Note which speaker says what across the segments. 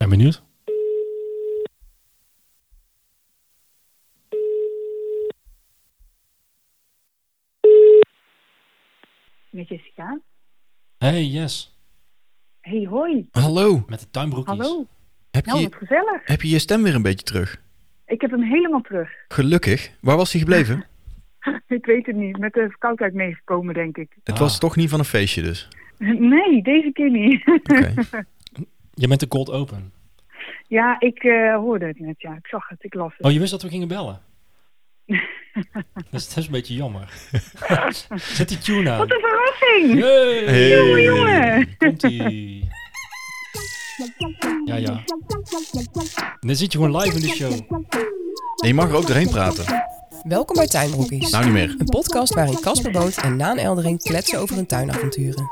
Speaker 1: ben benieuwd.
Speaker 2: Met Jessica.
Speaker 1: Hey, yes.
Speaker 2: Hey, hoi.
Speaker 3: Hallo,
Speaker 1: Met de tuinbroekjes.
Speaker 2: Hallo.
Speaker 3: heb
Speaker 2: Nou,
Speaker 3: je,
Speaker 2: wat gezellig.
Speaker 3: heb je je stem weer een beetje terug?
Speaker 2: Ik heb hem helemaal terug.
Speaker 3: Gelukkig. Waar was hij gebleven?
Speaker 2: Ik weet het niet. Met de verkoudheid meegekomen, denk ik.
Speaker 3: Het
Speaker 1: Ah.
Speaker 3: was toch niet van een feestje dus?
Speaker 2: Nee, deze keer niet.
Speaker 3: Oké.
Speaker 1: Je bent de cold open.
Speaker 2: Ja, ik eh, hoorde het net. Ja, ik zag het. Ik las het.
Speaker 1: Oh, je wist dat we gingen bellen. dat, is, dat is een beetje jammer. Zet die tune aan.
Speaker 2: Wat een verrassing!
Speaker 1: Yay!
Speaker 3: Hey.
Speaker 2: Jongen.
Speaker 1: Komt-ie. Ja, ja. En dan zit je gewoon live in de show.
Speaker 3: Nee, je mag er ook doorheen praten.
Speaker 4: Welkom bij Tuinbroekies.
Speaker 3: Nou niet meer.
Speaker 4: Een podcast waarin Casper Boot en Naan Eldering kletsen over hun tuinavonturen.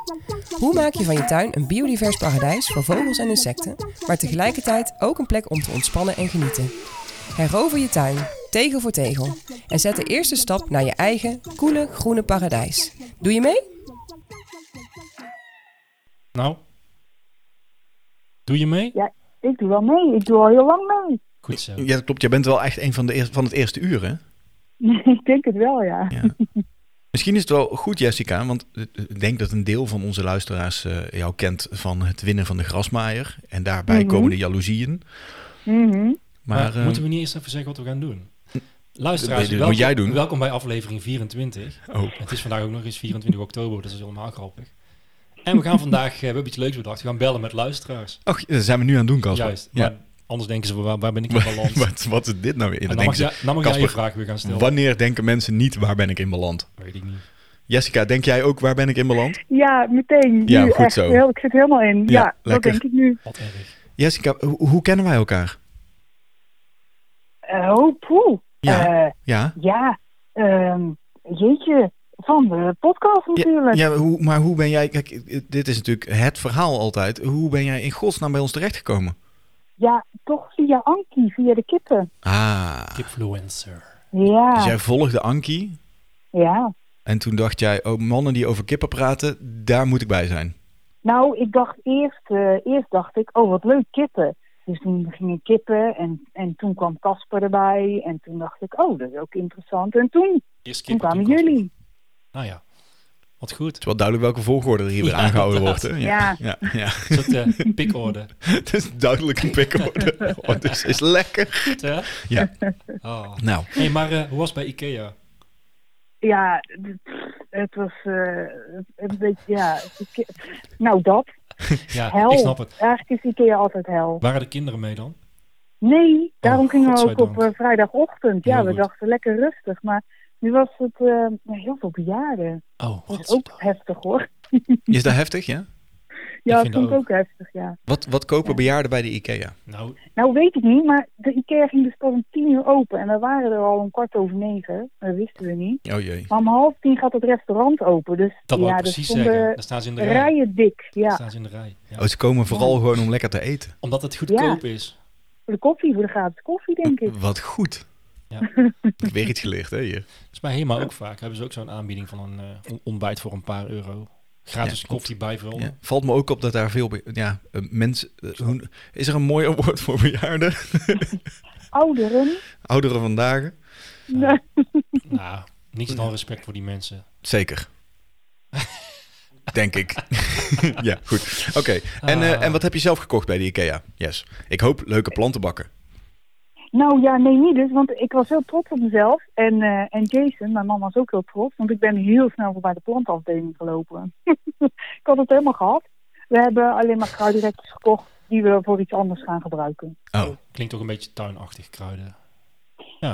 Speaker 4: Hoe maak je van je tuin een biodivers paradijs voor vogels en insecten, maar tegelijkertijd ook een plek om te ontspannen en genieten? Herover je tuin, tegel voor tegel, en zet de eerste stap naar je eigen koele groene paradijs. Doe je mee?
Speaker 1: Nou. Doe je mee?
Speaker 2: Ja, ik doe wel mee. Ik doe al heel lang mee.
Speaker 1: Goed zo.
Speaker 3: Ja, dat klopt. Jij bent wel echt een van, de eer- van het eerste uur, hè?
Speaker 2: ik denk het wel, ja.
Speaker 3: Ja. Misschien is het wel goed, Jessica, want eh, ik denk dat een deel van onze luisteraars eh, jou kent van het winnen van de grasmaaier. En daarbij
Speaker 2: Mhm.
Speaker 3: komen de jaloezieën.
Speaker 2: Mhm.
Speaker 3: Maar, eh,
Speaker 1: moeten we niet eerst even zeggen wat we gaan doen? Luisteraars,
Speaker 3: dat moet
Speaker 1: welkom,
Speaker 3: jij Oh. doen.
Speaker 1: welkom bij aflevering 24. Het is vandaag ook nog eens 24 oktober, dus dat is helemaal grappig. En we gaan vandaag, eh, we hebben iets leuks bedacht, we gaan bellen met luisteraars.
Speaker 3: Och, dat zijn we nu aan het doen, Casper.
Speaker 1: Juist,
Speaker 3: Ja.
Speaker 1: maar anders denken ze, waar, waar ben ik in balans? En
Speaker 3: wat, wat is dit nou weer? Dan
Speaker 1: dan mag,
Speaker 3: denken
Speaker 1: jij, dan mag jij je
Speaker 3: Casper,
Speaker 1: vraag weer gaan
Speaker 3: ze,
Speaker 1: stellen.
Speaker 3: wanneer denken mensen niet waar ben ik in beland?
Speaker 1: Weet ik niet.
Speaker 3: Jessica, denk jij ook waar ben ik in beland?
Speaker 2: Ja, meteen.
Speaker 3: Ja,
Speaker 2: nu
Speaker 3: goed
Speaker 2: echt.
Speaker 3: zo.
Speaker 2: Heel- ik zit helemaal in.
Speaker 3: Ja,
Speaker 2: Ja, dat
Speaker 3: lekker.
Speaker 2: denk ik nu.
Speaker 1: Wat erg.
Speaker 3: Jessica, ho- hoe kennen wij elkaar?
Speaker 2: Eh, oh, poeh.
Speaker 3: Ja.
Speaker 2: Eh,
Speaker 3: Ja,
Speaker 2: ja. ehm, jeetje. Van de podcast natuurlijk.
Speaker 3: ja hoe, maar hoe ben jij... Kijk, eh, dit is natuurlijk het verhaal altijd. Hoe ben jij in godsnaam bij ons terechtgekomen?
Speaker 2: Ja, toch via Anki, via de kippen.
Speaker 3: Ah,
Speaker 1: Kipfluencer.
Speaker 3: dus
Speaker 2: Ja,
Speaker 3: jij volgde Ankie
Speaker 2: ja.
Speaker 3: En toen dacht jij, oh, mannen die over kippen praten, daar moet ik bij zijn.
Speaker 2: Nou, ik dacht eerst, eh, eerst dacht ik, oh wat leuk, kippen. Dus toen gingen kippen en, en toen kwam Casper erbij. En toen dacht ik, oh dat is ook interessant. En toen,
Speaker 1: Eerst
Speaker 2: toen
Speaker 1: kippen,
Speaker 2: kwamen
Speaker 1: toen koffie.
Speaker 2: jullie.
Speaker 1: Nou ja, wat goed.
Speaker 3: Het is wel duidelijk welke volgorde er hier weer
Speaker 1: Ja,
Speaker 3: aangehouden wordt.
Speaker 1: inderdaad.
Speaker 3: Hè? ja. ja.
Speaker 1: Een soort eh, pikorde.
Speaker 3: Het is duidelijk een pikorde. Oh, dit is lekker.
Speaker 1: Goed hè?
Speaker 3: Ja.
Speaker 1: Oh.
Speaker 3: Nou,
Speaker 1: hey, maar eh, hoe was het bij Ikea?
Speaker 2: Ja, d- pff, het was eh, een beetje, ja. ik- Nou dat,
Speaker 1: Ja,
Speaker 2: hel.
Speaker 1: ik snap het.
Speaker 2: Eigenlijk is Ikea altijd hel.
Speaker 1: Waren de kinderen mee dan?
Speaker 2: Nee, daarom
Speaker 1: Oh,
Speaker 2: gingen we ook op
Speaker 1: godzijdank.
Speaker 2: eh, vrijdagochtend. Ja,
Speaker 1: Heel
Speaker 2: we
Speaker 1: goed.
Speaker 2: dachten lekker rustig. Maar nu was het eh, heel veel bejaarden.
Speaker 1: Oh,
Speaker 2: Dat is
Speaker 1: wat?
Speaker 2: ook heftig hoor.
Speaker 3: is dat heftig, ja?
Speaker 2: Ja,
Speaker 1: Ik vind
Speaker 2: dat vond ik
Speaker 1: dat
Speaker 2: ook heftig, ja.
Speaker 3: Wat, wat kopen bejaarden bij de IKEA?
Speaker 1: Nou,
Speaker 2: Nou, weet ik niet, maar de IKEA ging dus pas om tien uur open. En we waren er al om kwart over negen. Dat wisten we niet.
Speaker 3: Oh jee.
Speaker 2: Maar om half tien gaat het restaurant open. Dus
Speaker 1: dat wou
Speaker 2: ja,
Speaker 1: ik
Speaker 2: er
Speaker 1: precies
Speaker 2: stonden
Speaker 1: zeggen. Daar staan ze in de rij.
Speaker 2: rijen dik.
Speaker 1: Daar
Speaker 2: Ja,
Speaker 1: staan ze in de rij. Ja.
Speaker 3: Oh, ze komen vooral gewoon om lekker te eten.
Speaker 1: Omdat het goedkoop is.
Speaker 2: voor de koffie, voor de gratis koffie, denk ik.
Speaker 3: Wat goed.
Speaker 1: Ja.
Speaker 3: Ik heb weer iets geleerd, hè, hier.
Speaker 1: Dat is bij HEMA ook vaak. Hebben ze ook zo'n aanbieding van een eh, on- ontbijt voor een paar euro. Gratis
Speaker 3: Ja, klopt.
Speaker 1: koffie bijvullen.
Speaker 3: Ja. Valt me ook op dat daar veel... be- Ja, eh, mensen... eh, hoe- Is er een mooier woord voor bejaarden?
Speaker 2: Ouderen?
Speaker 3: Ouderen vandaag?
Speaker 2: Nee.
Speaker 1: Nou, niets dan respect voor die mensen.
Speaker 3: Zeker. Denk ik. ja, goed. Oké. En, eh,
Speaker 1: Ah.
Speaker 3: en wat heb je zelf gekocht bij de IKEA? Yes. Ik hoop leuke plantenbakken.
Speaker 2: Nou ja, nee, niet dus. Want ik was heel trots op mezelf. En, eh, en Jason, mijn man, was ook heel trots. Want ik ben heel snel voorbij de plantafdeling gelopen. ik had het helemaal gehad. We hebben alleen maar kruidenrekjes gekocht die we voor iets anders gaan gebruiken.
Speaker 3: Oh,
Speaker 1: Klinkt toch een beetje tuinachtig, kruiden.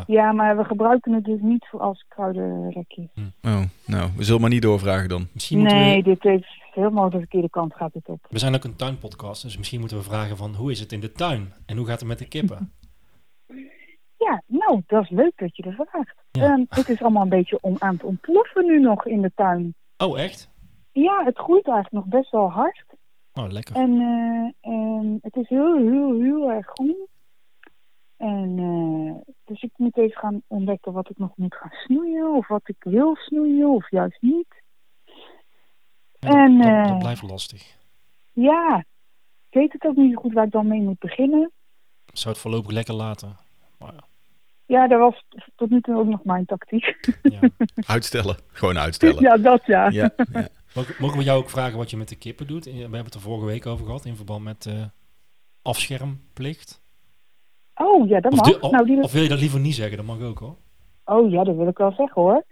Speaker 2: Ja, maar we gebruiken het dus niet voor als kruidenrekje.
Speaker 3: oh. nou, we zullen maar niet doorvragen dan.
Speaker 1: Misschien moeten
Speaker 2: Nee,
Speaker 1: we...
Speaker 2: dit heeft helemaal de verkeerde kant gaat dit op.
Speaker 1: We zijn ook een tuinpodcast, dus misschien moeten we vragen van... Hoe is het in de tuin? En hoe gaat het met de kippen?
Speaker 2: Ja, nou, dat is leuk dat je dat vraagt.
Speaker 1: Ja.
Speaker 2: Ehm, het is allemaal een beetje om, aan het ontploffen nu nog in de tuin.
Speaker 1: Oh, echt?
Speaker 2: Ja, het groeit eigenlijk nog best wel hard.
Speaker 1: Oh, lekker.
Speaker 2: En, eh, en het is heel, heel, heel erg groen. En eh, dus ik moet even gaan ontdekken wat ik nog moet gaan snoeien. Of wat ik wil snoeien, of juist niet.
Speaker 1: Ja, dat-
Speaker 2: en,
Speaker 1: dat,
Speaker 2: eh,
Speaker 1: dat blijft lastig.
Speaker 2: Ja, Ik weet het ook niet zo goed waar ik dan mee moet beginnen.
Speaker 1: Ik zou het voorlopig lekker laten. Maar ja,
Speaker 2: Ja, dat was tot nu toe ook nog mijn tactiek.
Speaker 1: ja.
Speaker 3: Uitstellen. Gewoon uitstellen.
Speaker 2: Ja, dat ja.
Speaker 3: Ja, ja.
Speaker 1: Mogen mogen we jou ook vragen wat je met de kippen doet? Eh, We hebben het er vorige week over gehad in verband met eh, afschermplicht.
Speaker 2: Oh ja, dat
Speaker 1: Of,
Speaker 2: mag.
Speaker 1: de- of-
Speaker 2: nou, die...
Speaker 1: of wil je dat liever niet zeggen? Dat mag ook hoor.
Speaker 2: Oh ja, dat wil ik wel zeggen hoor.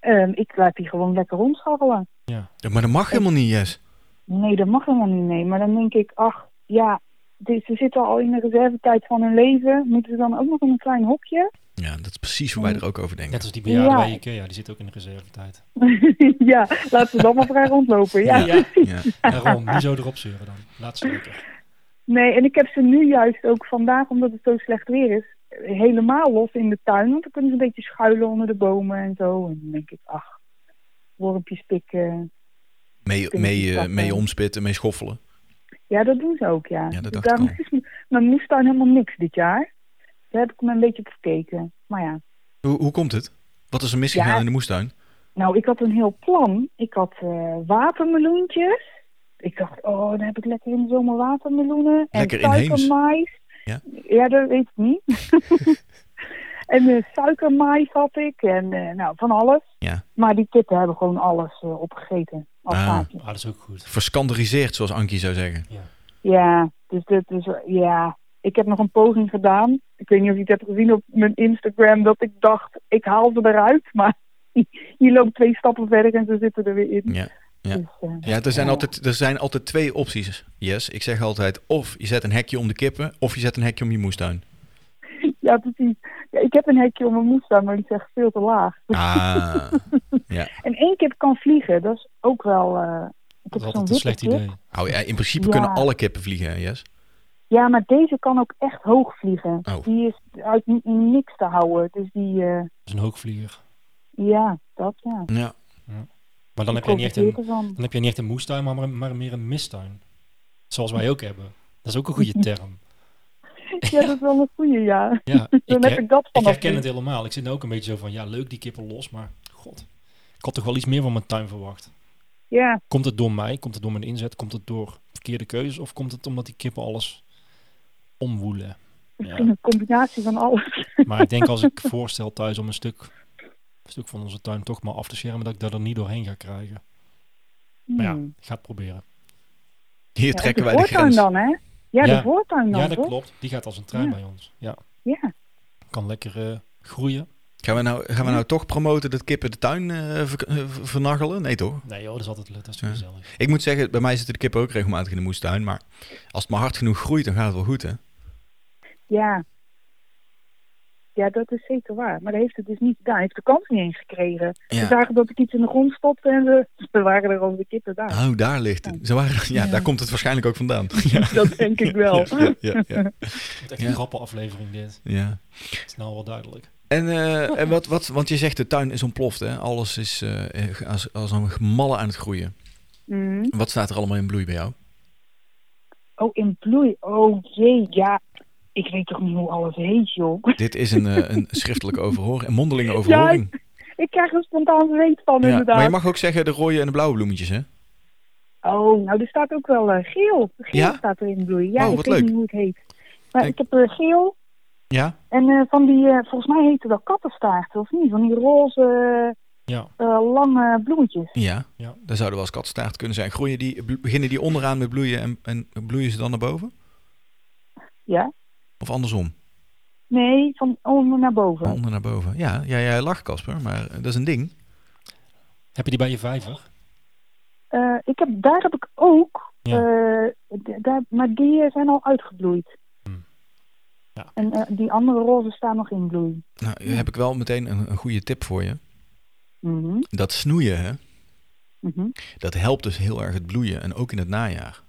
Speaker 2: Ehm, ik laat die gewoon lekker rondscharrelen.
Speaker 3: Ja, Maar dat mag helemaal niet, Jes.
Speaker 2: Nee, dat mag helemaal niet. Nee, maar dan denk ik, ach ja, die- ze zitten al in de reservetijd van hun leven. Moeten ze dan ook nog in een klein hokje?
Speaker 3: Ja, dat is precies hoe wij er ook over denken.
Speaker 1: Net als die bejaarden
Speaker 2: Ja.
Speaker 1: bij Ikea, die zit ook in de reservetijd.
Speaker 2: ja, laten ze dan maar vrij rondlopen. Ja.
Speaker 1: Ja.
Speaker 3: Ja.
Speaker 1: Daarom, niet zo erop zeuren dan. Laat ze lekker.
Speaker 2: Nee, en ik heb ze nu juist ook vandaag, omdat het zo slecht weer is, helemaal los in de tuin. Want dan kunnen ze een beetje schuilen onder de bomen en zo. En dan denk ik, ach, wormpjes pikken.
Speaker 3: Mee, mee, eh, mee omspitten, mee schoffelen.
Speaker 2: Ja, dat doen ze ook, ja.
Speaker 3: Ja, dat
Speaker 2: Dus
Speaker 3: dacht ik
Speaker 2: daarom is m- mijn moestuin helemaal niks dit jaar. Daar heb ik me een beetje op gekeken. Maar ja,
Speaker 3: Hoe, hoe komt het? Wat is er misgegaan
Speaker 2: Ja.
Speaker 3: in de moestuin?
Speaker 2: nou, ik had een heel plan. Ik had eh, watermeloentjes. Ik dacht, oh, dan heb ik lekker in de zomer watermeloenen.
Speaker 3: Lekker
Speaker 2: en
Speaker 3: inheems.
Speaker 2: suikermais.
Speaker 3: Ja.
Speaker 2: ja, dat weet ik niet. en eh, suikermais had ik. En eh, nou, van alles.
Speaker 3: Ja.
Speaker 2: Maar die kippen hebben gewoon alles eh, opgegeten. Als
Speaker 3: Ah.
Speaker 2: gaatje.
Speaker 1: Ah, dat is ook goed.
Speaker 3: Verskanderiseerd, zoals Ankie zou zeggen.
Speaker 2: Ja, dus dit is, ja, ik heb nog een poging gedaan. Ik weet niet of je het hebt gezien op mijn Instagram, dat ik dacht, ik haal ze eruit. Maar je loopt twee stappen verder en ze zitten er weer in.
Speaker 3: Ja. Ja.
Speaker 2: Dus, eh,
Speaker 3: Ja, er zijn,
Speaker 2: Ja.
Speaker 3: Altijd, er zijn altijd twee opties. Yes, ik zeg altijd of je zet een hekje om de kippen, of je zet een hekje om je moestuin.
Speaker 2: ja, precies. Ja, ik heb een hekje om mijn moestuin, maar die is echt veel te laag.
Speaker 3: Ah,
Speaker 2: En één kip kan vliegen, dat is ook wel... eh, ik
Speaker 1: Dat is altijd
Speaker 2: heb zo'n
Speaker 1: een slecht
Speaker 2: witte kip.
Speaker 1: idee.
Speaker 3: oh, ja, in principe
Speaker 2: Ja.
Speaker 3: kunnen alle kippen vliegen, hè, Jes.
Speaker 2: Ja, maar deze kan ook echt hoog vliegen.
Speaker 3: Oh.
Speaker 2: Die is uit ni- niks te houden. Dus die, eh,
Speaker 1: Dat is een hoogvlieger.
Speaker 2: ja, dat ja.
Speaker 3: Ja.
Speaker 1: Maar dan heb, je
Speaker 2: Ik
Speaker 1: niet echt
Speaker 2: profiteer
Speaker 1: een,
Speaker 2: ervan.
Speaker 1: dan heb je niet echt een moestuin, maar, maar, maar meer een mistuin. Zoals wij ook hebben. Dat is ook een goede term.
Speaker 2: Ja, dat is wel een goede, ja.
Speaker 1: Ja,
Speaker 2: Dan
Speaker 1: ik,
Speaker 2: heb
Speaker 1: her-
Speaker 2: ik dat
Speaker 1: ik
Speaker 2: vanaf
Speaker 1: herken
Speaker 2: nu.
Speaker 1: het helemaal. Ik zit nu ook een beetje zo van, ja, leuk die kippen los, maar god. Ik had toch wel iets meer van mijn tuin verwacht.
Speaker 2: Ja,
Speaker 1: Komt het door mij? Komt het door mijn inzet? Komt het door verkeerde keuzes? Of komt het omdat die kippen alles omwoelen?
Speaker 2: misschien
Speaker 1: Ja.
Speaker 2: een combinatie van alles.
Speaker 1: Maar ik denk als ik voorstel thuis om een stuk, een stuk van onze tuin toch maar af te schermen, dat ik daar er niet doorheen ga krijgen. Maar ja,
Speaker 2: Hmm.
Speaker 1: ik ga het proberen.
Speaker 3: Hier
Speaker 2: Ja,
Speaker 3: trekken
Speaker 2: de
Speaker 3: wij de
Speaker 2: voortuin
Speaker 3: grens.
Speaker 2: dan, hè? Ja,
Speaker 1: Ja.
Speaker 2: de voortuin dan,
Speaker 1: Ja, dat
Speaker 2: toch?
Speaker 1: klopt. Die gaat als een trein
Speaker 2: Ja.
Speaker 1: bij ons. Ja,
Speaker 2: Ja.
Speaker 1: kan lekker eh, groeien.
Speaker 3: Gaan we, nou, gaan we nou toch promoten dat kippen de tuin eh, ver- eh, vernachelen? Nee, toch?
Speaker 1: Nee joh, dat is altijd leuk. Dat is toch
Speaker 3: Ja.
Speaker 1: gezellig.
Speaker 3: Ik moet zeggen, bij mij zitten de kippen ook regelmatig in de moestuin. Maar als het maar hard genoeg groeit, dan gaat het wel goed, hè?
Speaker 2: ja. Ja, dat is zeker waar. Maar dat heeft het dus niet gedaan. Hij heeft de kans niet eens gekregen. Ze
Speaker 3: Ja.
Speaker 2: zagen dat ik iets in de grond stopte en ze, ze waren er al de kippen daar.
Speaker 3: Oh, daar ligt het. Ze waren, ja, daar komt het waarschijnlijk ook vandaan. Ja,
Speaker 2: Dat denk ik wel.
Speaker 3: ja, ja. ja,
Speaker 1: Het is echt
Speaker 3: Ja.
Speaker 1: een grappige aflevering dit.
Speaker 3: ja.
Speaker 1: Het is nou wel duidelijk.
Speaker 3: En, eh, en wat, wat, want je zegt de tuin is ontploft, hè? Alles is eh, eh, als, als een gemalle aan het groeien.
Speaker 2: Mm.
Speaker 3: Wat staat er allemaal in bloei bij jou?
Speaker 2: Oh, in bloei. Oh jee, ja. Ik weet toch niet hoe alles heet, joh.
Speaker 3: Dit is een, eh, een schriftelijke overhoring, een mondelinge overhoring.
Speaker 2: Ik krijg er spontaan weet van,
Speaker 3: Ja,
Speaker 2: inderdaad.
Speaker 3: Maar je mag ook zeggen de rode en de blauwe bloemetjes, hè?
Speaker 2: Oh, nou, er staat ook wel eh, geel. Geel
Speaker 3: Ja?
Speaker 2: staat er in bloei. Ja,
Speaker 3: Oh,
Speaker 2: ik
Speaker 3: wat
Speaker 2: weet
Speaker 3: leuk.
Speaker 2: niet hoe het heet. Maar
Speaker 3: Ik-
Speaker 2: ik heb eh, geel,
Speaker 3: Ja.
Speaker 2: En eh, van die, eh, volgens mij heette dat kattenstaarten, of niet? Van die roze,
Speaker 1: Ja.
Speaker 2: eh, lange bloemetjes.
Speaker 3: Ja.
Speaker 1: Ja.
Speaker 3: Daar zouden wel eens katstaart kunnen zijn. Groeien die, bl- beginnen die onderaan met bloeien en, en bloeien ze dan naar boven?
Speaker 2: Ja?
Speaker 3: Of andersom?
Speaker 2: Nee, van onder naar
Speaker 3: Van
Speaker 2: boven.
Speaker 3: onder naar boven. Ja, ja, jij lacht Casper, maar eh, dat is een ding.
Speaker 1: Heb je die bij je vijver?
Speaker 2: Eh, ik heb, daar heb ik ook,
Speaker 1: Ja.
Speaker 2: eh, d- daar, maar die eh, zijn al uitgebloeid.
Speaker 1: Hmm. Ja.
Speaker 2: En eh, die andere rozen staan nog in bloei.
Speaker 3: Nou, hier heb ik wel meteen een, een goede tip voor je.
Speaker 2: Mhm,
Speaker 3: Dat snoeien, hè,
Speaker 2: mhm.
Speaker 3: dat helpt dus heel erg het bloeien en ook in het najaar.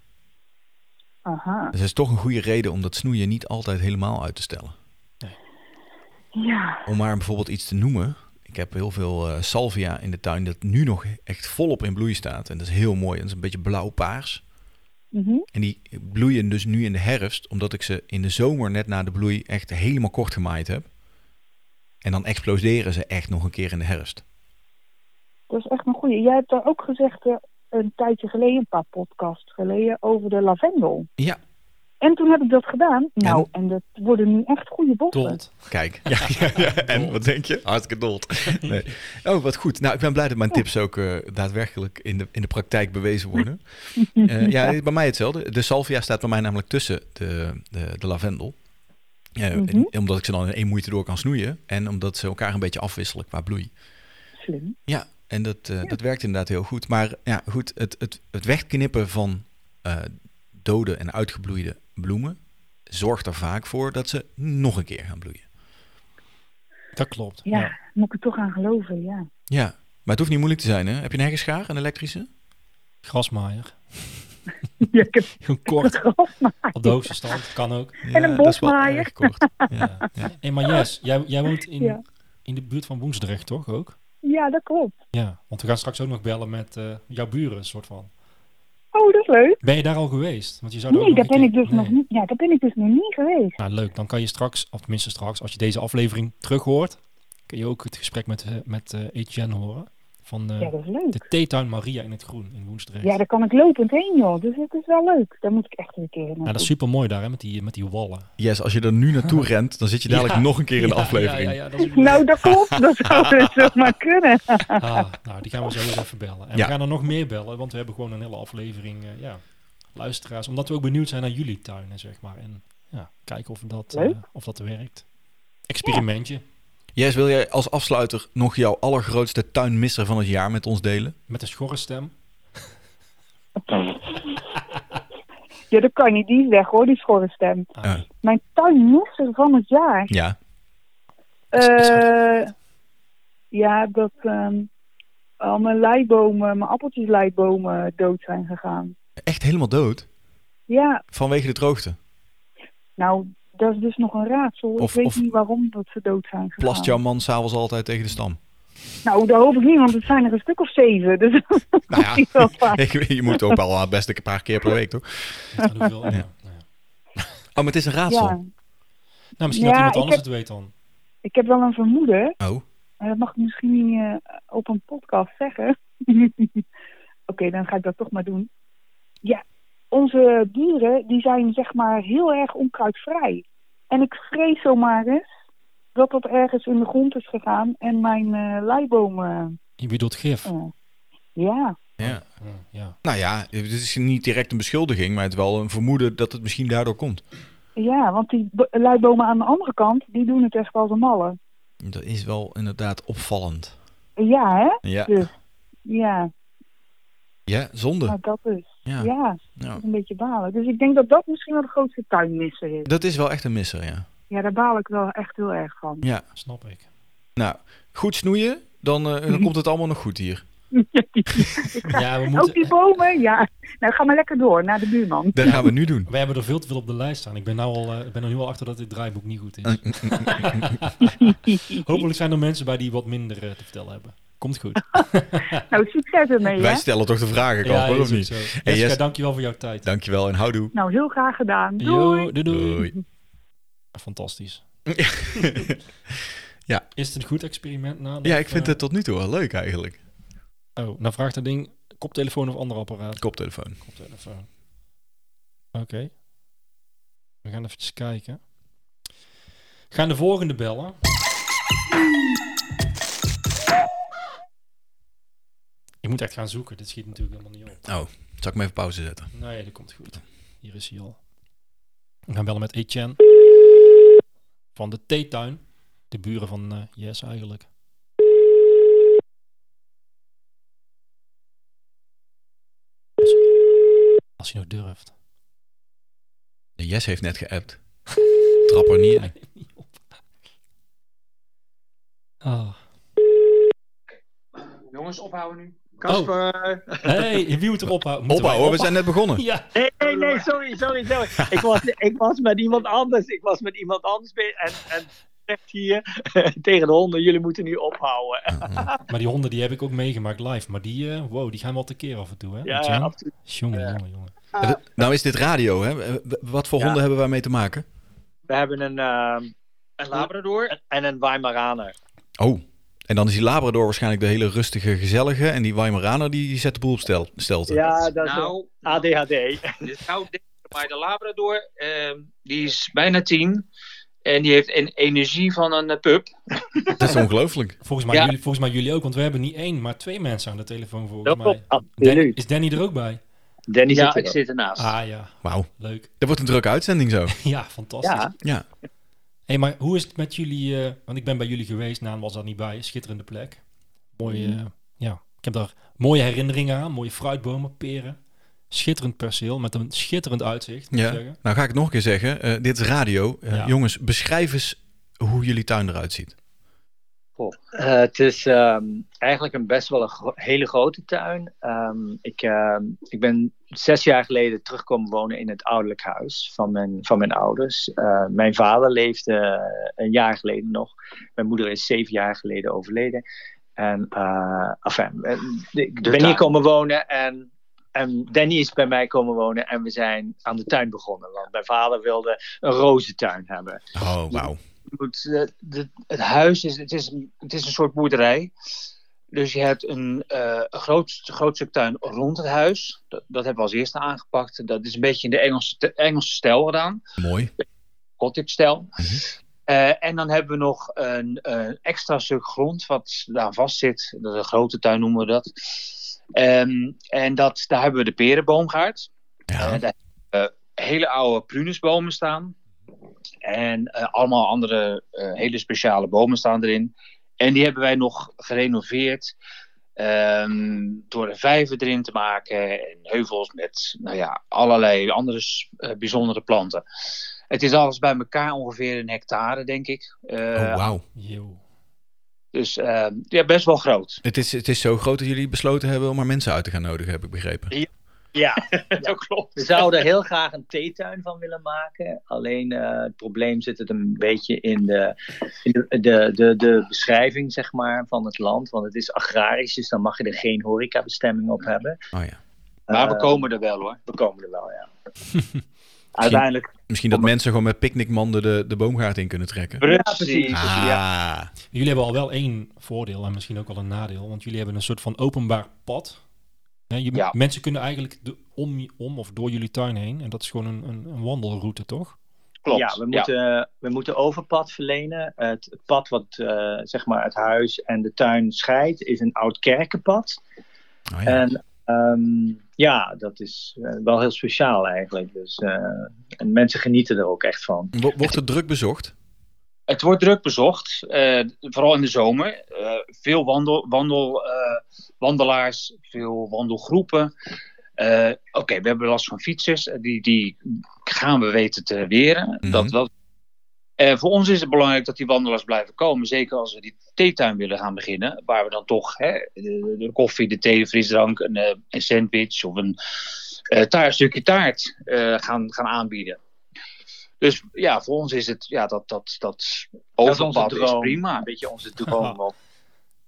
Speaker 2: Aha.
Speaker 3: Dus dat is toch een goede reden om dat snoeien niet altijd helemaal uit te stellen.
Speaker 2: Ja,
Speaker 3: Om maar bijvoorbeeld iets te noemen. Ik heb heel veel eh, salvia in de tuin dat nu nog echt volop in bloei staat. En dat is heel mooi. Dat is een beetje blauw-paars.
Speaker 2: mhm.
Speaker 3: En die bloeien dus nu in de herfst, omdat ik ze in de zomer net na de bloei echt helemaal kort gemaaid heb. En dan exploderen ze echt nog een keer in de herfst.
Speaker 2: dat is echt een goeie. Jij hebt daar ook gezegd eh, een tijdje geleden, een paar podcasts geleden, over de lavendel.
Speaker 3: Ja,
Speaker 2: En toen heb ik dat gedaan. Nou, en dat worden nu echt goede bossen.
Speaker 1: Dold.
Speaker 3: Kijk. Ja, ja, ja. En wat denk je? Hartstikke dood. Nee. Oh, wat goed. Nou, ik ben blij dat mijn tips ook eh, daadwerkelijk in de, in de praktijk bewezen worden. Eh, ja, bij mij hetzelfde. De salvia staat bij mij namelijk tussen de, de, de lavendel. Eh, en- Omdat ik ze dan in één moeite door kan snoeien. En omdat ze elkaar een beetje afwisselen qua bloei.
Speaker 2: Slim.
Speaker 3: Ja, en dat, eh, dat werkt inderdaad heel goed. Maar ja, goed, het, het, het wegknippen van eh, dode en uitgebloeide bloemen zorgt er vaak voor dat ze nog een keer gaan bloeien.
Speaker 1: Dat klopt.
Speaker 2: Ja, moet ik er toch aan geloven, ja.
Speaker 3: Ja, maar het hoeft niet moeilijk te zijn, hè? Heb je een heggeschaar, een elektrische?
Speaker 1: Grasmaaier.
Speaker 2: ja ik heb
Speaker 1: Heel kort.
Speaker 2: gras, maar
Speaker 1: Op de hoogste stand. Kan ook.
Speaker 2: En een
Speaker 3: dat is wel
Speaker 2: bosmaaier.
Speaker 3: erg kort.
Speaker 1: Ja. Hey, maar Jess, jij, jij woont in,
Speaker 2: Oh. Ja.
Speaker 1: in de buurt van Woensdrecht, toch ook?
Speaker 2: ja, dat klopt.
Speaker 1: Ja, want we gaan straks ook nog bellen met eh, jouw buren, soort van.
Speaker 2: Oh, dat is leuk.
Speaker 1: Ben je daar al geweest? Want je zou er
Speaker 2: Nee,
Speaker 1: ook nog
Speaker 2: daar
Speaker 1: een
Speaker 2: ben ik
Speaker 1: keer-
Speaker 2: dus
Speaker 1: Nee.
Speaker 2: nog niet. Ja, daar ben ik dus nog niet geweest.
Speaker 1: Nou, leuk. Dan kan je straks, of tenminste straks, als je deze aflevering terughoort, kun je ook het gesprek met, eh, met eh, Etienne horen. Van eh,
Speaker 2: Ja, dat is leuk.
Speaker 1: de theetuin Maria in het Groen in Woensdrecht.
Speaker 2: Ja, daar kan ik lopend heen, joh. Dus het is wel leuk. Daar moet ik echt een keer
Speaker 1: Nou,
Speaker 2: naar.
Speaker 1: dat is super mooi daar, hè, met die, met die wallen.
Speaker 3: Yes, als je er nu naartoe rent, dan zit je dadelijk
Speaker 1: Ja.
Speaker 3: nog een keer in de
Speaker 1: Ja,
Speaker 3: aflevering.
Speaker 1: Ja, ja, ja, dat is
Speaker 2: Nou, dat klopt. Dat zou dus zomaar kunnen.
Speaker 1: Ah, nou, die gaan we zo eens even bellen. En
Speaker 3: Ja.
Speaker 1: we gaan er nog meer bellen, want we hebben gewoon een hele aflevering eh, ja, luisteraars. Omdat we ook benieuwd zijn naar jullie tuinen, zeg maar. En ja, kijken of dat, eh,
Speaker 2: Leuk.
Speaker 1: of dat werkt. Experimentje
Speaker 3: Yes, wil jij als afsluiter nog jouw allergrootste tuinmisser van het jaar met ons delen?
Speaker 1: met een schorre stem. Nou,
Speaker 2: Ja, dat kan niet. Die is weg, hoor, die schorre stem.
Speaker 1: Ah,
Speaker 3: Ja.
Speaker 2: Mijn tuinmeester van het jaar.
Speaker 3: Ja.
Speaker 1: Is- is
Speaker 2: Eh, ja, dat ehm, al mijn leibomen, mijn appeltjesleibomen dood zijn gegaan.
Speaker 3: Echt helemaal dood?
Speaker 2: Ja,
Speaker 3: Vanwege de droogte?
Speaker 2: nou, dat is dus nog een raadsel.
Speaker 3: Of-
Speaker 2: ik weet
Speaker 3: of-
Speaker 2: niet waarom dat ze dood zijn gegaan.
Speaker 3: Plast jouw man s'avonds altijd tegen de stam?
Speaker 2: Nou, dat hoop ik niet, want het zijn er een stuk of zeven. Dus
Speaker 3: Nou
Speaker 2: die wel vaak.
Speaker 3: je, je moet ook al best een paar keer per week, toch?
Speaker 1: ligt aan hoeveel- ja, ja.
Speaker 3: Oh, maar het is een
Speaker 2: ja,
Speaker 3: raadsel.
Speaker 1: Nou, misschien dat
Speaker 2: Ja,
Speaker 1: iemand
Speaker 2: ik
Speaker 1: anders
Speaker 2: heb-
Speaker 1: het weet dan.
Speaker 2: ik heb wel een vermoeden.
Speaker 3: Oh,
Speaker 2: Maar dat mag ik misschien niet eh, op een podcast zeggen. Oké, dan ga ik dat toch maar doen. Ja, onze buren die zijn zeg maar heel erg onkruidvrij. En ik vrees zomaar eens dat dat ergens in de grond is gegaan en mijn eh leiboom. eh,
Speaker 1: Je bedoelt gif.
Speaker 2: eh, ja,
Speaker 3: ja.
Speaker 1: Ja, ja.
Speaker 3: Nou ja, het is niet direct een beschuldiging, maar het is wel een vermoeden dat het misschien daardoor komt.
Speaker 2: ja, want die bo- leibomen aan de andere kant, die doen het echt als een malle.
Speaker 3: Dat is wel inderdaad opvallend.
Speaker 2: Ja, hè?
Speaker 3: Ja,
Speaker 2: Dus, ja,
Speaker 3: ja zonde.
Speaker 2: nou, dat is.
Speaker 3: Ja.
Speaker 2: Ja, dat
Speaker 3: Ja.
Speaker 2: is een beetje balen. Dus ik denk dat dat misschien wel de grootste tuinmisser is.
Speaker 3: Dat is wel echt een misser, ja.
Speaker 2: Ja, daar baal ik wel echt heel erg van.
Speaker 3: Ja,
Speaker 1: Snap ik.
Speaker 3: nou, goed snoeien, dan, eh, dan komt het allemaal nog goed hier.
Speaker 1: Ja, we,
Speaker 2: Ook die
Speaker 1: moeten,
Speaker 2: bomen, ja. Nou, ga maar lekker door naar de buurman.
Speaker 3: Dat gaan we nu doen.
Speaker 1: we hebben er veel te veel op de lijst staan. Ik ben, nou al, eh, ik ben er nu al achter dat dit draaiboek niet goed is.
Speaker 3: Ah.
Speaker 1: Hopelijk zijn er mensen bij die wat minder eh, te vertellen hebben. Komt goed.
Speaker 2: Nou, succes ermee, hè.
Speaker 3: Wij stellen toch de vragen, kan
Speaker 1: ja,
Speaker 3: hoor,
Speaker 1: is
Speaker 3: of
Speaker 1: ook
Speaker 3: niet?
Speaker 1: zo.
Speaker 3: Hey,
Speaker 1: Jessica,
Speaker 3: Jess,
Speaker 1: dankjewel voor jouw tijd.
Speaker 3: dankjewel en houdoe.
Speaker 2: Nou, heel graag gedaan. Doei.
Speaker 1: Yo, doei, doei.
Speaker 3: Doei.
Speaker 1: Fantastisch.
Speaker 3: Ja.
Speaker 1: Is het een goed experiment? Nou,
Speaker 3: Ja,
Speaker 1: of,
Speaker 3: ik vind
Speaker 1: eh,
Speaker 3: het tot nu toe wel leuk eigenlijk.
Speaker 1: Oh, nou vraagt dat ding koptelefoon of ander apparaat.
Speaker 3: Koptelefoon.
Speaker 1: Koptelefoon. Oké. We gaan even kijken. Gaan de volgende bellen. Je moet echt gaan zoeken. Dit schiet natuurlijk helemaal niet op.
Speaker 3: Oh, zal ik hem even pauze zetten?
Speaker 1: Nee, dat komt goed. Hier is hij al. We gaan bellen met Etienne. Van de theetuin. De buren van eh Yes eigenlijk. Als- Als hij nog durft.
Speaker 3: Jess heeft net geappt. Trap er niet in.
Speaker 1: Hij neemt niet op. Ah.
Speaker 5: Jongens, ophouden nu. Kasper!
Speaker 1: Hey, wie moet er ophouden? Moeten wij
Speaker 3: Opbouwen, we
Speaker 1: ophouden?
Speaker 3: zijn net begonnen.
Speaker 1: Ja,
Speaker 6: Nee, nee, nee, sorry, sorry, sorry. Ik was, ik was met iemand anders. Ik was met iemand anders bezig. En, en zegt hier tegen de honden, jullie moeten nu ophouden.
Speaker 1: maar die honden die heb ik ook meegemaakt live. Maar die, eh, wow, die gaan wel tekeer af en toe, hè?
Speaker 6: Ja,
Speaker 1: Etienne?
Speaker 6: absoluut.
Speaker 1: Jongen, jongen, jongen.
Speaker 6: Ah.
Speaker 3: Eh, Nou is dit radio, hè? Eh, w- Wat voor
Speaker 6: Ja.
Speaker 3: honden hebben wij mee te maken?
Speaker 6: We hebben een, ehm,
Speaker 5: Een Labrador?
Speaker 6: en een Weimaraner.
Speaker 3: Oh, en dan is die Labrador waarschijnlijk de hele rustige, gezellige. En die Weimaraner, die zet de boel op stel, stelte.
Speaker 6: Ja, dat is
Speaker 5: Nou,
Speaker 6: ADHD.
Speaker 5: dit zou dit Maar de Labrador, ehm, die is bijna tien. En die heeft een energie van een eh, pup.
Speaker 3: Dat is ongelooflijk.
Speaker 1: Volgens mij,
Speaker 5: Ja.
Speaker 1: jullie, volgens mij jullie ook, want we hebben niet één, maar twee mensen aan de telefoon volgens
Speaker 6: Dat
Speaker 1: mij.
Speaker 6: klopt,
Speaker 1: Dan-
Speaker 6: absoluut.
Speaker 1: is Danny er ook bij?
Speaker 6: Danny
Speaker 5: ja,
Speaker 6: zit
Speaker 5: ik
Speaker 6: er ook.
Speaker 5: zit ernaast.
Speaker 1: Ah ja,
Speaker 3: Wauw.
Speaker 1: leuk.
Speaker 3: Dat wordt een drukke uitzending zo.
Speaker 1: Ja, fantastisch.
Speaker 6: Ja.
Speaker 3: Ja.
Speaker 1: hey, maar hoe is het met jullie? eh, want ik ben bij jullie geweest, Naan was daar niet bij. Schitterende plek. Mooie,
Speaker 6: Mhm.
Speaker 1: eh, ja. Ik heb daar mooie herinneringen aan. Mooie fruitbomen, peren. Schitterend perceel met een schitterend uitzicht. Moet ik
Speaker 3: ja.
Speaker 1: zeggen.
Speaker 3: Nou ga ik het nog een keer zeggen. Eh, dit is radio. Eh,
Speaker 1: Ja.
Speaker 3: Jongens, beschrijf eens hoe jullie tuin eruit ziet.
Speaker 6: Eh, het is ehm, eigenlijk een best wel een gro- hele grote tuin. Ehm, ik, ehm, ik ben zes jaar geleden terugkomen wonen in het ouderlijk huis van mijn, van mijn ouders. Eh, mijn vader leefde eh, een jaar geleden nog. Mijn moeder is zeven jaar geleden overleden. En eh, enfin, eh, ik ben
Speaker 5: tuin.
Speaker 6: hier komen wonen en, en Danny is bij mij komen wonen. En we zijn aan de tuin begonnen. Want mijn vader wilde een rozentuin hebben
Speaker 3: Oh, wauw.
Speaker 5: Je moet, eh, de- het huis is het, is, een- het is een soort boerderij. Dus je hebt een, eh, een groot, groot stuk tuin rond het huis. Dat, dat hebben we als eerste aangepakt. Dat is een beetje in de Engelse, te- Engelse stijl gedaan.
Speaker 3: Mooi.
Speaker 5: Cottage-stijl. Eh, en dan hebben we nog een, een extra stuk grond wat daar vast zit. Dat is een grote tuin noemen we dat. Ehm, en dat, daar hebben we de perenboomgaard.
Speaker 3: Ja.
Speaker 5: En daar hebben we eh, hele oude prunusbomen staan. En eh, allemaal andere eh, hele speciale bomen staan erin. En die hebben wij nog gerenoveerd. ehm, door een vijver erin te maken. En heuvels met nou ja, allerlei andere s- eh, bijzondere planten. Het is alles bij elkaar ongeveer een hectare, denk ik. Eh,
Speaker 3: Oh, wauw.
Speaker 1: Yo.
Speaker 5: Dus eh, ja, best wel groot.
Speaker 3: Het is, het is zo groot dat jullie besloten hebben om maar mensen uit te gaan nodigen, heb ik begrepen.
Speaker 6: Ja,
Speaker 5: Dat klopt.
Speaker 6: we zouden heel graag een theetuin van willen maken. Alleen eh, het probleem zit het een beetje in, de, in de, de, de, de beschrijving zeg maar, van het land. Want het is agrarisch, dus dan mag je er geen horecabestemming op hebben.
Speaker 3: Oh ja.
Speaker 5: Maar we
Speaker 6: Eh,
Speaker 5: komen er wel hoor.
Speaker 6: we komen er wel, ja. Uiteindelijk.
Speaker 3: Misschien dat mensen gewoon met picknickmanden de, de boomgaard in kunnen trekken.
Speaker 6: precies.
Speaker 3: Ah,
Speaker 1: Jullie hebben al wel één voordeel en misschien ook wel een nadeel. Want jullie hebben een soort van openbaar pad. Hè, je-
Speaker 5: Ja.
Speaker 1: Mensen kunnen eigenlijk de, om, om of door jullie tuin heen. En dat is gewoon een, een, een wandelroute, toch?
Speaker 5: Klopt.
Speaker 6: Ja, we moeten, eh, we moeten overpad verlenen. Het pad wat eh, zeg maar het huis en de tuin scheidt, is een oud kerkenpad.
Speaker 3: oh ja.
Speaker 6: En ehm, ja, dat is eh, wel heel speciaal eigenlijk. Dus, eh, en mensen genieten er ook echt van.
Speaker 3: Wo- Wordt het druk bezocht?
Speaker 5: Het wordt druk bezocht, eh, vooral in de zomer. Eh, veel wandel, wandel, eh, wandelaars, veel wandelgroepen. Eh, Oké, we hebben last van fietsers. Eh, Die, die gaan we weten te weren.
Speaker 3: Mhm.
Speaker 5: dat, dat. Eh, voor ons is het belangrijk dat die wandelaars blijven komen. Zeker als we die theetuin willen gaan beginnen. Waar we dan toch hè, de, de koffie, de thee, de frisdrank, een, eh, een sandwich of een, eh, taart, een stukje taart eh, gaan, gaan aanbieden. Dus ja, voor ons is het ja, dat, dat, dat
Speaker 6: is onze
Speaker 5: overpad is,
Speaker 6: droom.
Speaker 5: prima.
Speaker 6: Een beetje onze droom op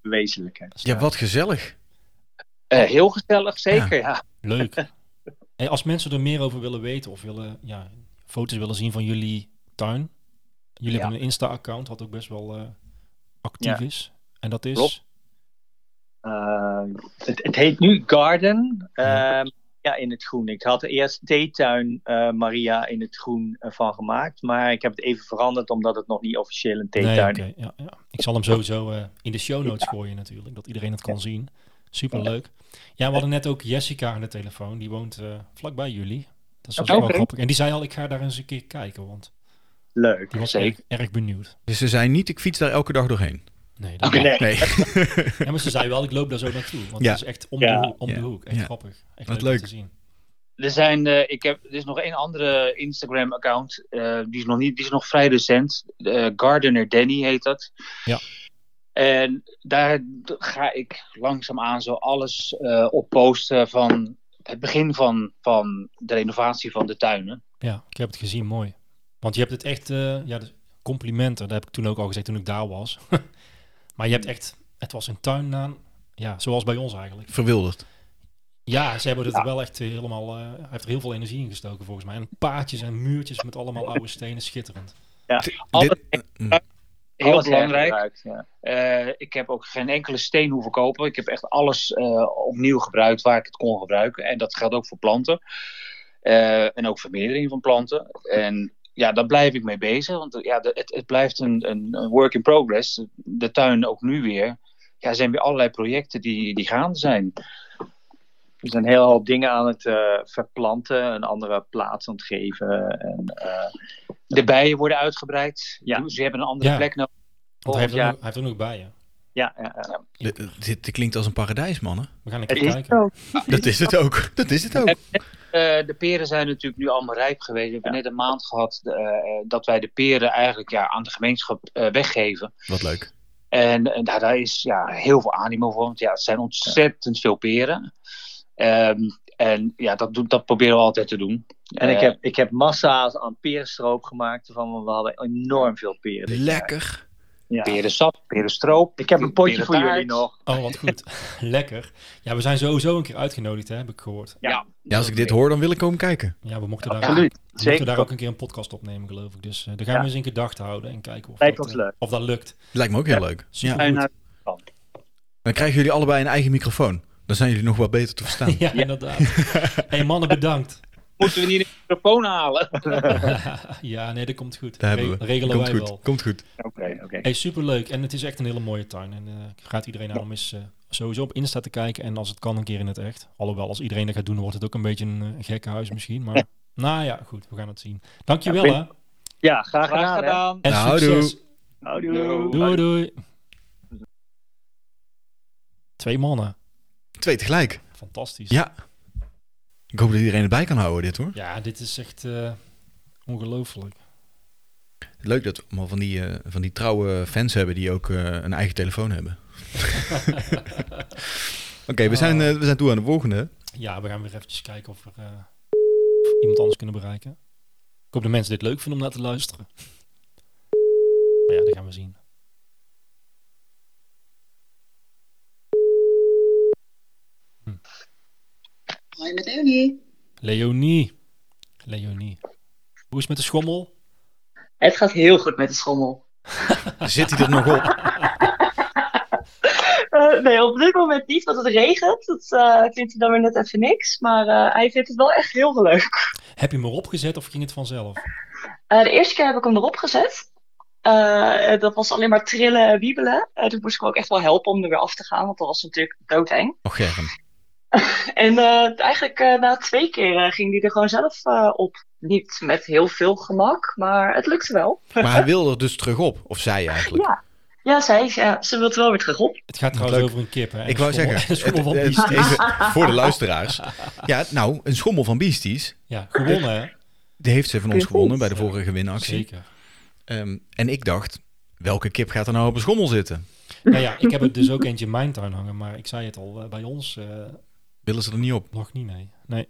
Speaker 6: wezenlijke.
Speaker 3: Ja, wat gezellig.
Speaker 5: Eh, heel gezellig, zeker. Ja.
Speaker 1: Leuk. en als mensen er meer over willen weten of willen, ja, foto's willen zien van jullie tuin. Jullie
Speaker 6: Ja.
Speaker 1: hebben een Insta-account wat ook best wel eh, actief is. En dat is...
Speaker 6: Klopt. Ehm, het, het heet nu Garden.
Speaker 1: Ja.
Speaker 6: ehm, ja, in het groen. Ik had er eerst theetuin eh, Maria in het groen eh, van gemaakt. Maar ik heb het even veranderd omdat het nog niet officieel een
Speaker 1: Nee,
Speaker 6: theetuin is.
Speaker 1: oké, ja, ja. Ik zal hem sowieso eh, in de show notes gooien natuurlijk, dat iedereen het kan zien. Superleuk. Ja, we hadden net ook Jessica aan de telefoon, die woont eh, vlakbij jullie. Dat is wel
Speaker 3: Oh,
Speaker 5: Oké.
Speaker 1: grappig. En die zei al, ik ga daar eens een keer kijken, want
Speaker 6: Leuk.
Speaker 1: die was erg,
Speaker 5: Zeker.
Speaker 1: erg benieuwd.
Speaker 3: Dus ze zijn niet, ik fiets daar elke dag doorheen.
Speaker 1: Nee, dat
Speaker 5: Oké.
Speaker 3: Nee,
Speaker 1: ja, maar ze zei wel, ik loop daar zo naartoe, want
Speaker 3: Ja.
Speaker 1: het is echt om,
Speaker 6: Ja.
Speaker 1: de, hoek, om
Speaker 3: Ja.
Speaker 1: de hoek. Echt
Speaker 3: Ja.
Speaker 1: grappig. Echt
Speaker 3: Wat
Speaker 1: leuk,
Speaker 3: leuk.
Speaker 1: om te zien.
Speaker 5: Er, zijn, eh, ik heb, er is nog één andere Instagram-account. eh, die, is nog niet- die is nog vrij recent. Eh, Gardener Danny heet dat.
Speaker 1: Ja.
Speaker 5: En daar d- ga ik langzaamaan zo alles eh, op posten van het begin van, van de renovatie van de tuinen.
Speaker 1: Ja, ik heb het gezien, mooi. Want je hebt het echt, eh, ja, dus complimenten, dat heb ik toen ook al gezegd toen ik daar was. maar je hebt echt, het was een tuin aan, ja, zoals bij ons eigenlijk.
Speaker 3: verwilderd.
Speaker 1: Ja, ze hebben het er wel echt eh, helemaal. eh, hij heeft er heel veel energie in gestoken volgens mij. En paadjes en muurtjes met allemaal oude stenen, schitterend.
Speaker 5: Alles-
Speaker 3: Dit- eh, mm.
Speaker 6: Eh,
Speaker 5: Heel
Speaker 6: Alles
Speaker 5: belangrijk.
Speaker 6: hergebruikt, ja.
Speaker 5: Eh, ik heb ook geen enkele steen hoeven kopen. Ik heb echt alles eh, opnieuw gebruikt waar ik het kon gebruiken. En dat geldt ook voor planten. Eh, en ook vermeerdering van planten. En ja, daar blijf ik mee bezig. Want eh, ja, de- het, het blijft een, een, een work in progress. De tuin ook nu weer. Ja, er zijn weer allerlei projecten die, die gaande zijn.
Speaker 6: We zijn een hele hoop dingen aan het eh, verplanten, een andere plaats aan het geven. En, eh,
Speaker 5: De bijen worden uitgebreid.
Speaker 6: Ja.
Speaker 5: Dus Ze hebben een andere
Speaker 1: Ja.
Speaker 5: plek nodig.
Speaker 1: Want hij heeft,
Speaker 6: Ja.
Speaker 1: ook, nog- hij heeft ook nog bijen.
Speaker 6: ja, ja, ja.
Speaker 3: Dit- Dit, dit klinkt als een paradijs, mannen.
Speaker 1: We gaan een
Speaker 6: Het
Speaker 1: keer
Speaker 6: is
Speaker 1: kijken.
Speaker 3: Dat is het ook. Dat is het ook.
Speaker 5: Eh, de peren zijn natuurlijk nu allemaal rijp geweest. We hebben net een maand gehad eh, eh, dat wij de peren eigenlijk ja, aan de gemeenschap eh, weggeven.
Speaker 3: Wat leuk.
Speaker 5: En, eh, daar, daar is ja, heel veel animo voor. Want ja, het zijn ontzettend veel peren. Ehm, en ja, dat, doen- dat proberen we altijd te doen.
Speaker 6: En ik
Speaker 5: Eh,
Speaker 6: heb, ik heb massa's aan perenstroop gemaakt. Van, we hadden enorm veel peren. dit jaar.
Speaker 3: Lekker.
Speaker 6: Ja.
Speaker 5: perensap, perenstroop.
Speaker 6: Ik heb een potje voor
Speaker 5: perentaart.
Speaker 6: jullie nog.
Speaker 1: Oh, wat goed. Lekker. Ja, we zijn sowieso een keer uitgenodigd, hè, heb ik gehoord.
Speaker 5: Ja,
Speaker 3: Ja, als ik dit hoor, dan wil ik komen kijken.
Speaker 1: Ja, we mochten daar,
Speaker 6: Absoluut.
Speaker 1: we mochten daar
Speaker 6: Zeker.
Speaker 1: ook een keer een podcast opnemen, geloof ik. Dus eh, daar gaan
Speaker 6: Ja.
Speaker 1: we eens in gedachten houden en kijken of,
Speaker 6: Lijkt
Speaker 1: dat,
Speaker 6: ons
Speaker 1: eh,
Speaker 6: leuk.
Speaker 1: of dat lukt.
Speaker 3: Lijkt me ook heel leuk. Ja.
Speaker 1: Supergoed.
Speaker 6: En,
Speaker 3: Dan krijgen jullie allebei een eigen microfoon. Dan zijn jullie nog wat beter te verstaan.
Speaker 1: Ja, inderdaad. hey, mannen, bedankt.
Speaker 5: Moeten we niet een microfoon halen?
Speaker 1: ja, nee, dat komt goed.
Speaker 3: Daar
Speaker 1: Re-
Speaker 3: hebben we.
Speaker 1: regelen
Speaker 3: Komt
Speaker 1: wij
Speaker 3: goed.
Speaker 1: wel.
Speaker 3: Komt goed.
Speaker 6: Oké, oké.
Speaker 1: Hey, superleuk. En het is echt een hele mooie tuin. En eh, ik raad iedereen aan om eens eh, sowieso op Insta te kijken. En als het kan, een keer in het echt. Alhoewel, als iedereen dat gaat doen, wordt het ook een beetje een eh, gekke huis misschien. Maar nou ja, goed. We gaan het zien. Dankjewel,
Speaker 6: Ja,
Speaker 1: hè.
Speaker 6: Ja, graag gedaan.
Speaker 5: Graag
Speaker 6: hè.
Speaker 5: gedaan.
Speaker 1: En
Speaker 3: Nou,
Speaker 1: succes.
Speaker 6: Houdoe.
Speaker 5: Doei.
Speaker 1: Doei, doei. Twee mannen.
Speaker 3: Twee tegelijk.
Speaker 1: Fantastisch.
Speaker 3: Ja. Ik hoop dat iedereen erbij kan houden dit hoor.
Speaker 1: Ja, dit is echt eh, ongelooflijk.
Speaker 3: Leuk dat we allemaal van die, eh, van die trouwe fans hebben die ook eh, een eigen telefoon hebben. Oké, we, zijn, eh, we zijn toe aan de volgende.
Speaker 1: Ja, we gaan weer eventjes kijken of we eh, of iemand anders kunnen bereiken. Ik hoop dat mensen dit leuk vinden om naar te luisteren. Maar ja, dat gaan we zien.
Speaker 7: Hoi met Leonie.
Speaker 1: Leonie. Leonie. Hoe is het met de schommel?
Speaker 7: Het gaat heel goed met de schommel.
Speaker 3: Zit hij er nog op?
Speaker 7: Eh, nee, op dit moment niet, want het regent. Dat eh, vindt hij dan weer net even niks. Maar eh, hij vindt het wel echt heel leuk.
Speaker 1: Heb je hem erop gezet of ging het vanzelf?
Speaker 7: Eh, de eerste keer heb ik hem erop gezet. Eh, eh, dat was alleen maar trillen en wiebelen. Eh, toen moest ik hem ook echt wel helpen om er weer af te gaan, want dat was natuurlijk doodeng.
Speaker 3: Och, Germ.
Speaker 7: En eh, eigenlijk eh, na twee keer eh, ging hij er gewoon zelf eh, op. Niet met heel veel gemak, maar het lukte wel.
Speaker 3: Maar hij wil er dus terug op. Of zij eigenlijk.
Speaker 7: Ja, ja, zij, ja ze wil het wel weer terug op.
Speaker 1: Het gaat
Speaker 3: Wat
Speaker 1: trouwens
Speaker 3: leuk.
Speaker 1: over een kip. Hè? En
Speaker 3: Ik
Speaker 1: een
Speaker 3: wou
Speaker 1: schommel-
Speaker 3: zeggen,
Speaker 1: en een schommel van
Speaker 3: het- het-
Speaker 1: Beasties.
Speaker 3: even voor de luisteraars. Ja, nou, een schommel van Beasties,
Speaker 1: Ja, gewonnen hè?
Speaker 3: die heeft ze van ons
Speaker 7: Precies.
Speaker 3: gewonnen bij de vorige winactie.
Speaker 1: Zeker.
Speaker 3: Ehm, en ik dacht, welke kip gaat er nou op een schommel zitten?
Speaker 1: Nou ja, ik heb er dus ook eentje in mijn tuin hangen. Maar ik zei het al, eh, bij ons eh,
Speaker 3: Willen ze er niet op?
Speaker 1: Nog niet, nee. Nee.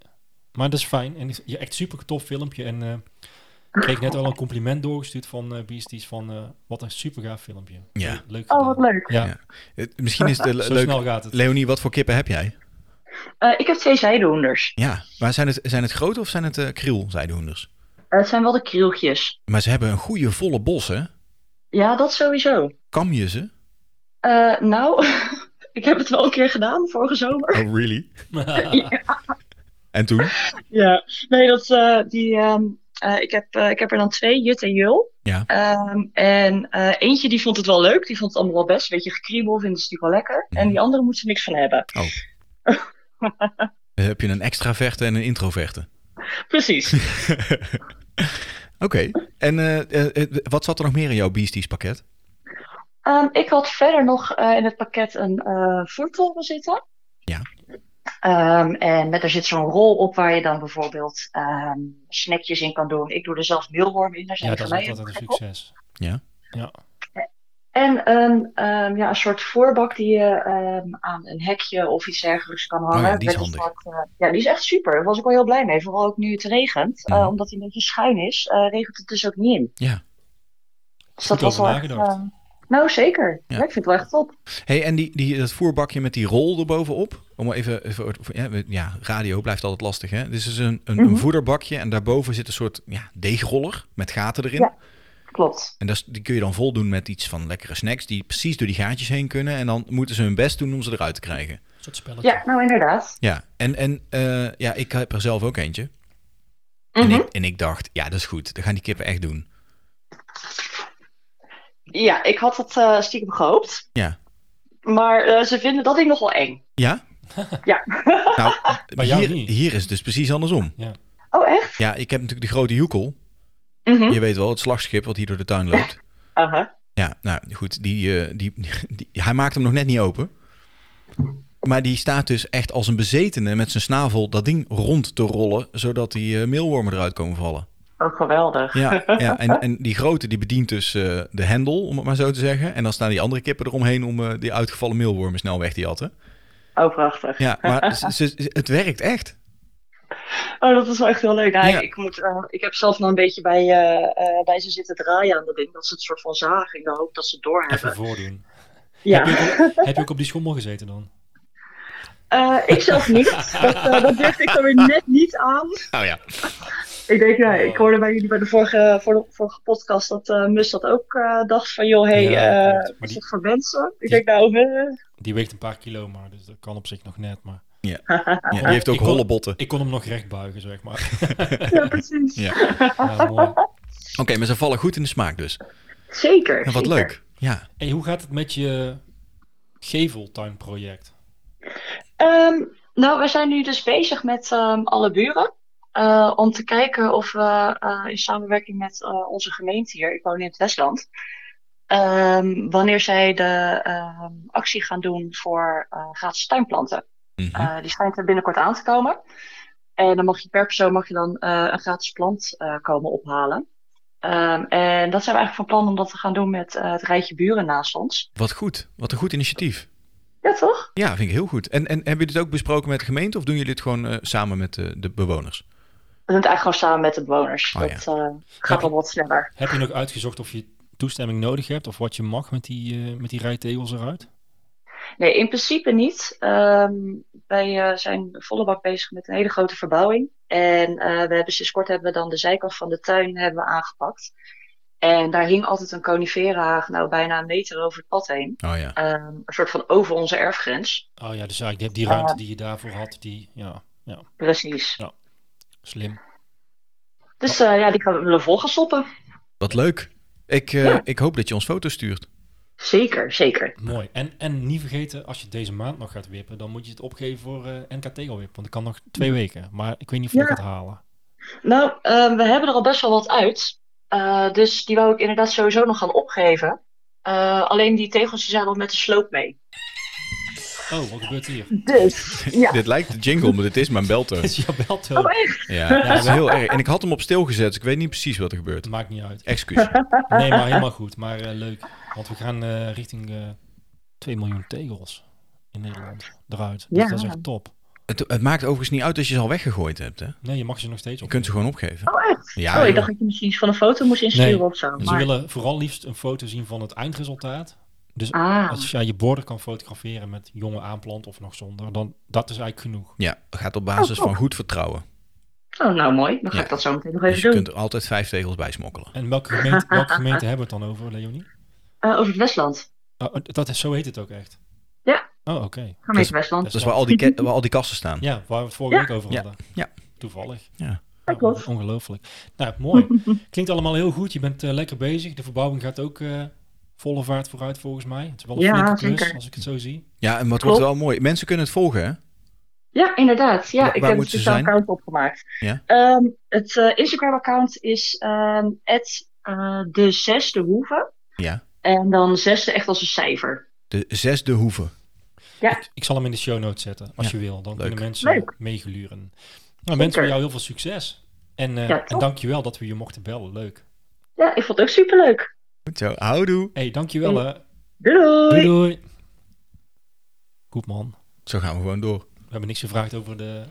Speaker 1: Maar dat is fijn. En je echt super tof filmpje. En eh, ik kreeg net al een compliment doorgestuurd van eh Beasties van eh, wat een super gaaf filmpje.
Speaker 3: Ja.
Speaker 1: Leuk.
Speaker 7: Oh,
Speaker 1: gedaan.
Speaker 7: wat leuk.
Speaker 1: Ja,
Speaker 3: Ja. Het- Misschien is het eh, le-
Speaker 1: zo
Speaker 3: leuk.
Speaker 1: snel gaat het.
Speaker 3: Leonie, wat voor kippen heb jij?
Speaker 7: Eh, ik heb twee zijdehoenders.
Speaker 3: Ja, maar zijn het, zijn het grote of zijn het eh kriel, zijdehoenders?
Speaker 7: Eh, het zijn wel de krieltjes.
Speaker 3: Maar ze hebben een goede volle bos, hè?
Speaker 7: Ja, dat sowieso.
Speaker 3: Kam je ze?
Speaker 7: Eh, nou, ik heb het wel een keer gedaan vorige zomer.
Speaker 3: Oh, really? En toen?
Speaker 7: Ja, nee, dat, eh, die, ehm, eh, ik, heb, eh, ik heb er dan twee, Jut en Jul.
Speaker 3: Ja.
Speaker 7: Ehm, en eh, eentje die vond het wel leuk, die vond het allemaal wel best. Een beetje gekriebel vinden ze natuurlijk wel lekker.
Speaker 1: Mhm.
Speaker 7: En die andere moest er niks van hebben.
Speaker 1: Oh.
Speaker 3: Dan heb je een extraverte en een introverte.
Speaker 7: Precies.
Speaker 3: Oké. En eh, eh, wat zat er nog meer in jouw Beasties pakket?
Speaker 7: Ehm, ik had verder nog eh, in het pakket een eh voertolpen zitten.
Speaker 3: Ja.
Speaker 7: Ehm, en met, er zit zo'n rol op waar je dan bijvoorbeeld ehm, snackjes in kan doen. Ik doe er zelf meelworm in, daar zijn
Speaker 1: ja,
Speaker 7: er
Speaker 1: dat is
Speaker 7: voor mij
Speaker 1: altijd een
Speaker 7: heel veel op.
Speaker 1: succes.
Speaker 7: En een, ehm, ja, een soort voorbak die je ehm, aan een hekje of iets dergelijks kan hangen.
Speaker 3: Oh ja, die is
Speaker 7: Met een
Speaker 3: handig.
Speaker 7: soort, eh, ja, die is echt super. Daar was ik wel heel blij mee. Vooral ook nu het regent. Eh,
Speaker 3: Mhm.
Speaker 7: omdat hij een beetje schuin is, eh, regent het dus ook niet in.
Speaker 3: Ja.
Speaker 7: Dus dat
Speaker 1: Goed
Speaker 7: was
Speaker 1: over
Speaker 7: wel echt,
Speaker 1: nagedacht.
Speaker 7: ehm, nou, zeker.
Speaker 3: Ja.
Speaker 7: Ja, ik vind het wel echt top.
Speaker 3: hey, en die, die, dat voerbakje met die rol erbovenop? Om maar even, even ja, we- ja, radio blijft altijd lastig, hè? Dit is dus een, een, een
Speaker 7: Mhm.
Speaker 3: voederbakje en daarboven zit een soort ja, deegroller met gaten erin.
Speaker 7: Ja. Klopt.
Speaker 3: En dat is- die kun je dan voldoen met iets van lekkere snacks die precies door die gaatjes heen kunnen. En dan moeten ze hun best doen om ze eruit te krijgen.
Speaker 1: Een soort spelletje.
Speaker 7: Ja, nou inderdaad.
Speaker 3: Ja, en, en eh, ja, ik heb er zelf ook eentje. En,
Speaker 7: Mhm.
Speaker 3: ik, en ik dacht, ja, dat is goed. Dat gaan die kippen echt doen.
Speaker 7: Ja, ik had dat eh, stiekem gehoopt.
Speaker 3: Ja.
Speaker 7: Maar eh, ze vinden dat ik nogal eng.
Speaker 3: Ja?
Speaker 7: Ja.
Speaker 3: Nou,
Speaker 1: Bij jou
Speaker 3: hier,
Speaker 1: niet.
Speaker 3: hier is het dus precies andersom.
Speaker 7: Oh, echt?
Speaker 3: Ja, ik heb natuurlijk de grote joekel.
Speaker 7: Mhm.
Speaker 3: Je weet wel, het slagschip wat hier door de tuin loopt.
Speaker 7: Aha.
Speaker 3: Ja, nou goed, die, eh, die, die, hij maakt hem nog net niet open. Maar die staat dus echt als een bezetene met zijn snavel dat ding rond te rollen, zodat die eh, meelwormen eruit komen vallen.
Speaker 7: Oh, geweldig.
Speaker 3: Ja, ja en, en die grote die bedient dus eh, de hendel, om het maar zo te zeggen. En dan staan die andere kippen eromheen om eh, die uitgevallen meelwormen snel weg te jatten.
Speaker 7: Oh, prachtig.
Speaker 3: Ja, maar ze- ze- ze- het werkt echt.
Speaker 7: Oh, dat is wel echt heel leuk. Nou,
Speaker 3: Ja.
Speaker 7: ik, moet, eh, ik heb zelf nog een beetje bij, eh, eh, bij ze zitten draaien aan dat ding. Dat ze het soort van zagen. Ik hoop dat ze het doorhebben.
Speaker 1: Even voordoen.
Speaker 7: Ja.
Speaker 1: Heb, je ook, heb je ook op die schommel gezeten dan?
Speaker 7: Eh, ik zelf niet. Dat, eh dat durfde ik dan weer net niet aan.
Speaker 3: Nou ja.
Speaker 7: Ik denk, nou,
Speaker 1: Oh.
Speaker 7: ik hoorde bij jullie bij de vorige, voor de, vorige podcast dat eh, Mus dat ook eh, dacht van, joh, hey,
Speaker 1: Ja,
Speaker 7: eh,
Speaker 1: klopt. Maar
Speaker 7: wat is
Speaker 1: die-
Speaker 7: dat voor mensen? Ik denk, nou, eh,
Speaker 1: Die weegt een paar kilo maar, dus dat kan op zich nog net. Maar
Speaker 3: ja die heeft ook
Speaker 1: Ik kon-
Speaker 3: holle botten.
Speaker 1: ik kon hem nog recht buigen, zeg maar.
Speaker 7: ja, precies.
Speaker 3: Ja.
Speaker 1: Ja, mooi.
Speaker 3: Oké, maar ze vallen goed in de smaak dus.
Speaker 7: Zeker.
Speaker 3: Ja, wat
Speaker 7: zeker.
Speaker 3: leuk. Ja.
Speaker 1: Hey, hoe gaat het met je geveltuinproject?
Speaker 7: Ehm, nou, we zijn nu dus bezig met ehm, alle buren. eh, om te kijken of we eh, in samenwerking met eh, onze gemeente hier, ik woon in het Westland, ehm, wanneer zij de ehm, actie gaan doen voor eh, gratis tuinplanten.
Speaker 3: Mhm.
Speaker 7: Eh, die schijnt er binnenkort aan te komen. En dan mag je per persoon mag je dan eh, een gratis plant eh, komen ophalen. Ehm, en dat zijn we eigenlijk van plan om dat te gaan doen met eh, het rijtje buren naast ons.
Speaker 3: Wat goed. Wat een goed initiatief.
Speaker 7: Ja, toch?
Speaker 3: Ja, vind ik heel goed. En, en hebben jullie dit ook besproken met de gemeente of doen jullie dit gewoon eh, samen met eh, de bewoners?
Speaker 7: We doen het eigenlijk gewoon samen met de bewoners.
Speaker 3: Oh, ja.
Speaker 7: dat eh, gaat wel wat sneller.
Speaker 1: Heb je nog uitgezocht of je toestemming nodig hebt of wat je mag met die, eh, met die rijtegels eruit?
Speaker 7: Nee, in principe niet. Ehm, wij eh, zijn volle bak bezig met een hele grote verbouwing. En eh, we hebben sinds kort hebben we dan de zijkant van de tuin hebben we aangepakt. En daar hing altijd een coniferahaag, nou bijna een meter over het pad heen.
Speaker 3: Oh ja.
Speaker 7: Ehm, een soort van over onze erfgrens.
Speaker 1: Oh ja, dus eigenlijk die ruimte
Speaker 7: Ah.
Speaker 1: die je daarvoor had, die, ja,
Speaker 7: Precies.
Speaker 1: slim.
Speaker 3: Oh.
Speaker 7: Dus eh, ja, die gaan we willen volgen stoppen.
Speaker 3: Wat leuk. Ik, eh,
Speaker 7: Ja.
Speaker 3: ik hoop dat je ons foto's stuurt.
Speaker 7: Zeker, zeker.
Speaker 1: Mooi. En, en niet vergeten, als je het deze maand nog gaat wippen, dan moet je het opgeven voor eh NK Tegelwip. Want dat kan nog twee weken. Maar ik weet niet of je
Speaker 7: Ja.
Speaker 1: het gaat halen.
Speaker 7: Nou, ehm, we hebben er al best wel wat uit. Eh, dus die wou ik inderdaad sowieso nog gaan opgeven. Eh, alleen die tegels die zijn al met de sloop mee.
Speaker 1: Oh, wat gebeurt hier?
Speaker 7: Dus, ja.
Speaker 3: Dit lijkt de jingle, maar dit is mijn
Speaker 1: Het
Speaker 3: belter.
Speaker 1: is jouw beltoon.
Speaker 7: Oh, echt?
Speaker 3: Ja, nou, dat is heel erg. En ik had hem op stil gezet, dus ik weet niet precies wat er gebeurt.
Speaker 1: Het maakt niet uit.
Speaker 3: Excuus.
Speaker 1: Nee, maar helemaal goed. Maar eh, leuk. Want we gaan eh, richting eh 2 miljoen tegels in Nederland eruit. Dus
Speaker 7: Ja.
Speaker 1: dat is echt top.
Speaker 3: Het, het maakt overigens niet uit dat je ze al weggegooid hebt. Hè?
Speaker 1: Nee, je mag ze nog steeds
Speaker 3: Je
Speaker 1: op.
Speaker 3: kunt ze gewoon opgeven.
Speaker 7: Oh, echt?
Speaker 3: Ja,
Speaker 7: oh, ik
Speaker 3: joh.
Speaker 7: dacht dat je misschien iets van een foto moest insturen
Speaker 1: Nee,
Speaker 7: of zo.
Speaker 1: Ze
Speaker 7: maar-
Speaker 1: willen vooral liefst een foto zien van het eindresultaat. Dus
Speaker 7: Ah,
Speaker 1: als jij je borden kan fotograferen met jonge aanplant of nog zonder, dan dat is eigenlijk genoeg.
Speaker 3: ja, gaat op basis
Speaker 7: Oh,
Speaker 3: van goed vertrouwen.
Speaker 7: oh, nou mooi. Dan ga
Speaker 3: Ja.
Speaker 7: ik dat zo meteen nog
Speaker 3: Dus
Speaker 7: even
Speaker 3: je
Speaker 7: doen.
Speaker 3: kunt er altijd vijf tegels bij smokkelen.
Speaker 1: En welke gemeente, welke gemeente hebben we het dan over, Leonie?
Speaker 7: Eh, over het Westland.
Speaker 1: Oh, dat is, zo heet het ook echt.
Speaker 7: Ja.
Speaker 1: Oh, oké.
Speaker 7: Ga mee
Speaker 3: Dus-
Speaker 7: het Westland.
Speaker 1: Dat
Speaker 3: Dat is waar al die, ke- waar al die kasten staan.
Speaker 1: Ja, waar we het vorige
Speaker 7: Ja.
Speaker 1: week over
Speaker 3: Ja.
Speaker 1: hadden.
Speaker 3: Ja.
Speaker 1: Toevallig.
Speaker 3: Ja.
Speaker 7: klopt.
Speaker 1: Ongelooflijk. Nou, mooi. Klinkt allemaal heel goed. Je bent eh, lekker bezig. De verbouwing gaat ook eh, volle vaart vooruit volgens mij. Het is wel een
Speaker 7: Ja,
Speaker 1: flinke klus,
Speaker 7: zeker.
Speaker 1: als ik het zo zie.
Speaker 3: Ja, en wat
Speaker 7: Klopt.
Speaker 3: wordt wel mooi. Mensen kunnen het volgen, hè?
Speaker 7: Ja, inderdaad. Ja,
Speaker 3: Waar-
Speaker 7: ik
Speaker 3: waar
Speaker 7: heb een
Speaker 3: moeten ze
Speaker 7: speciaal
Speaker 3: zijn?
Speaker 7: account opgemaakt.
Speaker 3: Ja.
Speaker 7: Ehm, het eh, Instagram-account is ehm at, eh, de zesde hoeve.
Speaker 3: Ja.
Speaker 7: En dan zesde echt als een cijfer.
Speaker 3: De zesde hoeven.
Speaker 1: Ik zal hem in de show notes zetten, als je wil. Dan kunnen mensen
Speaker 7: Leuk.
Speaker 1: meegeluren. Nou, wensen we jou heel veel succes. En, eh
Speaker 7: Ja,
Speaker 1: en
Speaker 7: top.
Speaker 1: dankjewel dat we je mochten bellen. Leuk.
Speaker 7: Ja, ik vond het ook superleuk.
Speaker 3: Goed zo. Houdoe.
Speaker 1: hey, dankjewel hè.
Speaker 7: Doei doei!
Speaker 1: Doei doei. Goed man.
Speaker 3: Zo gaan we gewoon door.
Speaker 1: We hebben niks gevraagd over de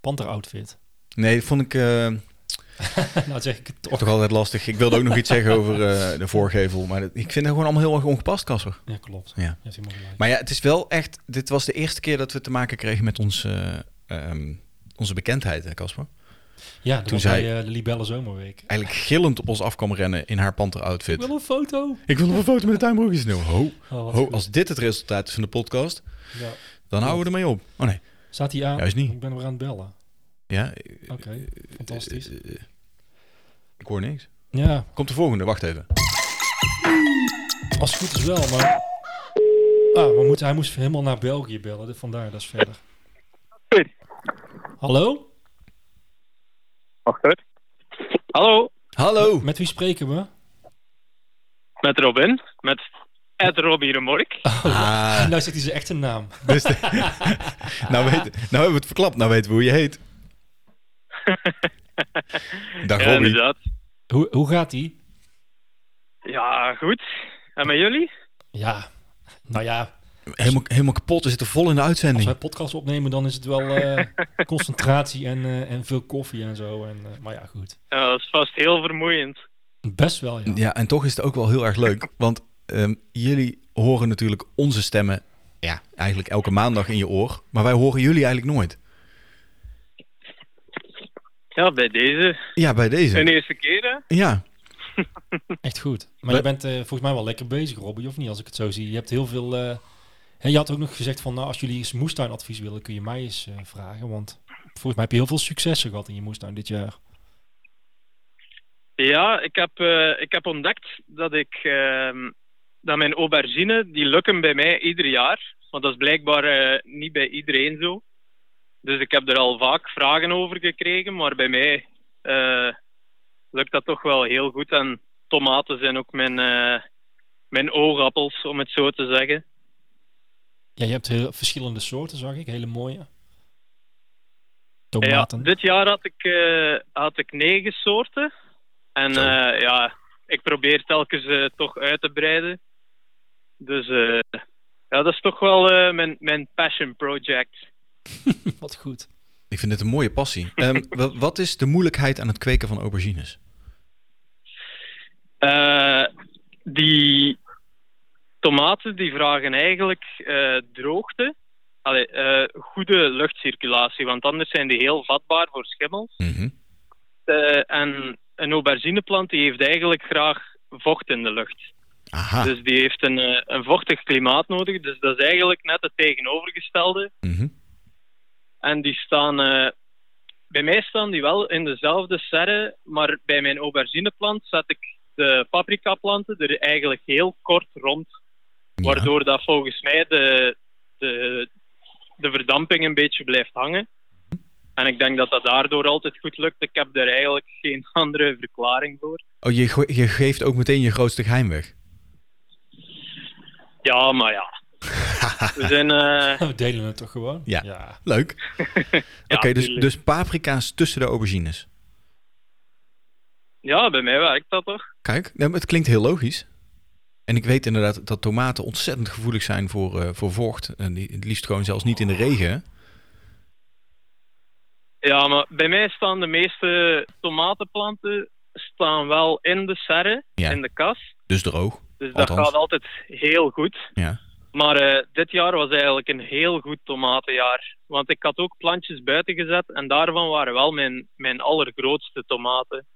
Speaker 1: panter outfit.
Speaker 3: Nee, dat vond ik eh,
Speaker 1: nou zeg ik het toch.
Speaker 3: toch altijd lastig. Ik wilde ook nog iets zeggen over eh, de voorgevel. Maar dat- ik vind dat gewoon allemaal heel erg ongepast, Kasser.
Speaker 1: Ja, klopt.
Speaker 3: Ja.
Speaker 1: is helemaal gelijk.
Speaker 3: Maar ja, het is wel echt... Dit was de eerste keer dat we te maken kregen met ons, eh, ehm, onze bekendheid, hè, Kasper.
Speaker 1: ja, toen
Speaker 3: toen
Speaker 1: zei
Speaker 3: zij-
Speaker 1: eh, de Libelle Zomerweek.
Speaker 3: Eigenlijk gillend op ons af kwam rennen in haar panter-outfit.
Speaker 1: Ik wil een foto.
Speaker 3: Ik wil nog een foto met de tuinbroekjes. Nou, ho,
Speaker 1: Oh, wat
Speaker 3: ho,
Speaker 1: goed.
Speaker 3: als dit het resultaat is van de podcast,
Speaker 1: Ja.
Speaker 3: dan houden we ermee op. Oh nee,
Speaker 1: Staat hij aan?
Speaker 3: Juist niet.
Speaker 1: Ik ben weer aan het bellen.
Speaker 3: Ja,
Speaker 1: Oké, fantastisch.
Speaker 3: eh, eh, ik hoor niks.
Speaker 1: Ja,
Speaker 3: Komt de volgende, wacht even.
Speaker 1: als het goed is wel, maar... Ah, we moeten, hij moest helemaal naar België bellen, dus vandaar, dat is verder.
Speaker 8: Goed.
Speaker 1: Hallo,
Speaker 8: Wacht even. Hallo,
Speaker 3: Hallo!
Speaker 1: met wie spreken we?
Speaker 8: met Robin. Met Ed Robbie Remork.
Speaker 3: Ah,
Speaker 1: Nou zit hij zijn echte naam.
Speaker 3: dus de- nou, weet, nou hebben we het verklapt, nou weten we hoe je heet. Dag
Speaker 8: Ja,
Speaker 3: Robbie.
Speaker 8: inderdaad.
Speaker 1: Hoe, hoe gaat die?
Speaker 8: Ja, goed. En met jullie?
Speaker 1: Ja, nou ja,
Speaker 3: Helemaal, helemaal kapot, we zitten vol in de
Speaker 1: als
Speaker 3: uitzending.
Speaker 1: wij podcasts opnemen, dan is het wel eh, concentratie en, eh, en veel koffie en zo. En, eh, maar ja, goed.
Speaker 8: Ja, dat is vast heel vermoeiend.
Speaker 1: Best wel, ja.
Speaker 3: Ja, en toch is het ook wel heel erg leuk. Want ehm, jullie horen natuurlijk onze stemmen ja, eigenlijk elke maandag in je oor. Maar wij horen jullie eigenlijk nooit.
Speaker 8: Ja, bij deze.
Speaker 3: Ja, bij
Speaker 8: Een
Speaker 3: deze.
Speaker 8: eerste keer, hè?
Speaker 3: Ja,
Speaker 1: Echt goed. Maar je bent eh, volgens mij wel lekker bezig, Robbie, of niet? Als ik het zo zie. Je hebt heel veel... eh, hè, je had ook nog gezegd van, nou, als jullie eens moestuinadvies willen, kun je mij eens eh, vragen. Want volgens mij heb je heel veel successen gehad in je moestuin dit jaar.
Speaker 8: Ja, ik heb, eh, ik heb ontdekt dat ik ehm, dat mijn aubergine, die lukken bij mij ieder jaar. Want dat is blijkbaar eh, niet bij iedereen zo. Dus ik heb er al vaak vragen over gekregen, maar bij mij eh, lukt dat toch wel heel goed. En tomaten zijn ook mijn, eh, mijn oogappels, om het zo te zeggen.
Speaker 1: Ja, je hebt heel verschillende soorten, zag ik. Hele mooie.
Speaker 8: Ja,
Speaker 1: Tomaten.
Speaker 8: dit jaar had ik, eh, had ik negen soorten. En
Speaker 3: Zo.
Speaker 8: eh, ja, ik probeer telkens eh, toch uit te breiden. Dus eh, ja, dat is toch wel eh, mijn, mijn passion project.
Speaker 1: Wat goed.
Speaker 3: ik vind het een mooie passie. Ehm, wa- wat is de moeilijkheid aan het kweken van aubergines?
Speaker 8: Eh, die tomaten die vragen eigenlijk eh, droogte. Allee, eh, goede luchtcirculatie, want anders zijn die heel vatbaar voor schimmels.
Speaker 3: Mhm.
Speaker 8: Eh, en een aubergineplant die heeft eigenlijk graag vocht in de lucht.
Speaker 3: Aha.
Speaker 8: Dus die heeft een, eh, een vochtig klimaat nodig. Dus dat is eigenlijk net het tegenovergestelde.
Speaker 3: Mhm.
Speaker 8: En die staan, eh, bij mij staan die wel in dezelfde serre, maar bij mijn aubergineplant zet ik de paprikaplanten eh, er eigenlijk heel kort rond.
Speaker 3: Ja.
Speaker 8: Waardoor dat volgens mij de, de, de verdamping een beetje blijft hangen. En ik denk dat dat daardoor altijd goed lukt. Ik heb daar eigenlijk geen andere verklaring voor.
Speaker 3: Oh, je, go- je geeft ook meteen je grootste geheim weg.
Speaker 8: Ja, maar ja. We zijn... eh,
Speaker 1: We delen het toch gewoon?
Speaker 3: Ja.
Speaker 1: ja.
Speaker 3: Leuk. Oké, dus,
Speaker 8: tuurlijk.
Speaker 3: dus paprika's tussen de aubergines.
Speaker 8: Ja, bij mij werkt dat toch?
Speaker 3: Kijk, nou, het klinkt heel logisch. En ik weet inderdaad dat tomaten ontzettend gevoelig zijn voor, eh, voor vocht. En die, het liefst gewoon zelfs niet in de regen.
Speaker 8: Ja, maar bij mij staan de meeste tomatenplanten staan wel in de serre,
Speaker 3: Ja.
Speaker 8: in de kas.
Speaker 3: Dus droog.
Speaker 8: Dus dat
Speaker 3: Althans.
Speaker 8: gaat altijd heel goed.
Speaker 3: Ja.
Speaker 8: Maar eh, dit jaar was eigenlijk een heel goed tomatenjaar. Want ik had ook plantjes buiten gezet en daarvan waren wel mijn, mijn allergrootste tomaten.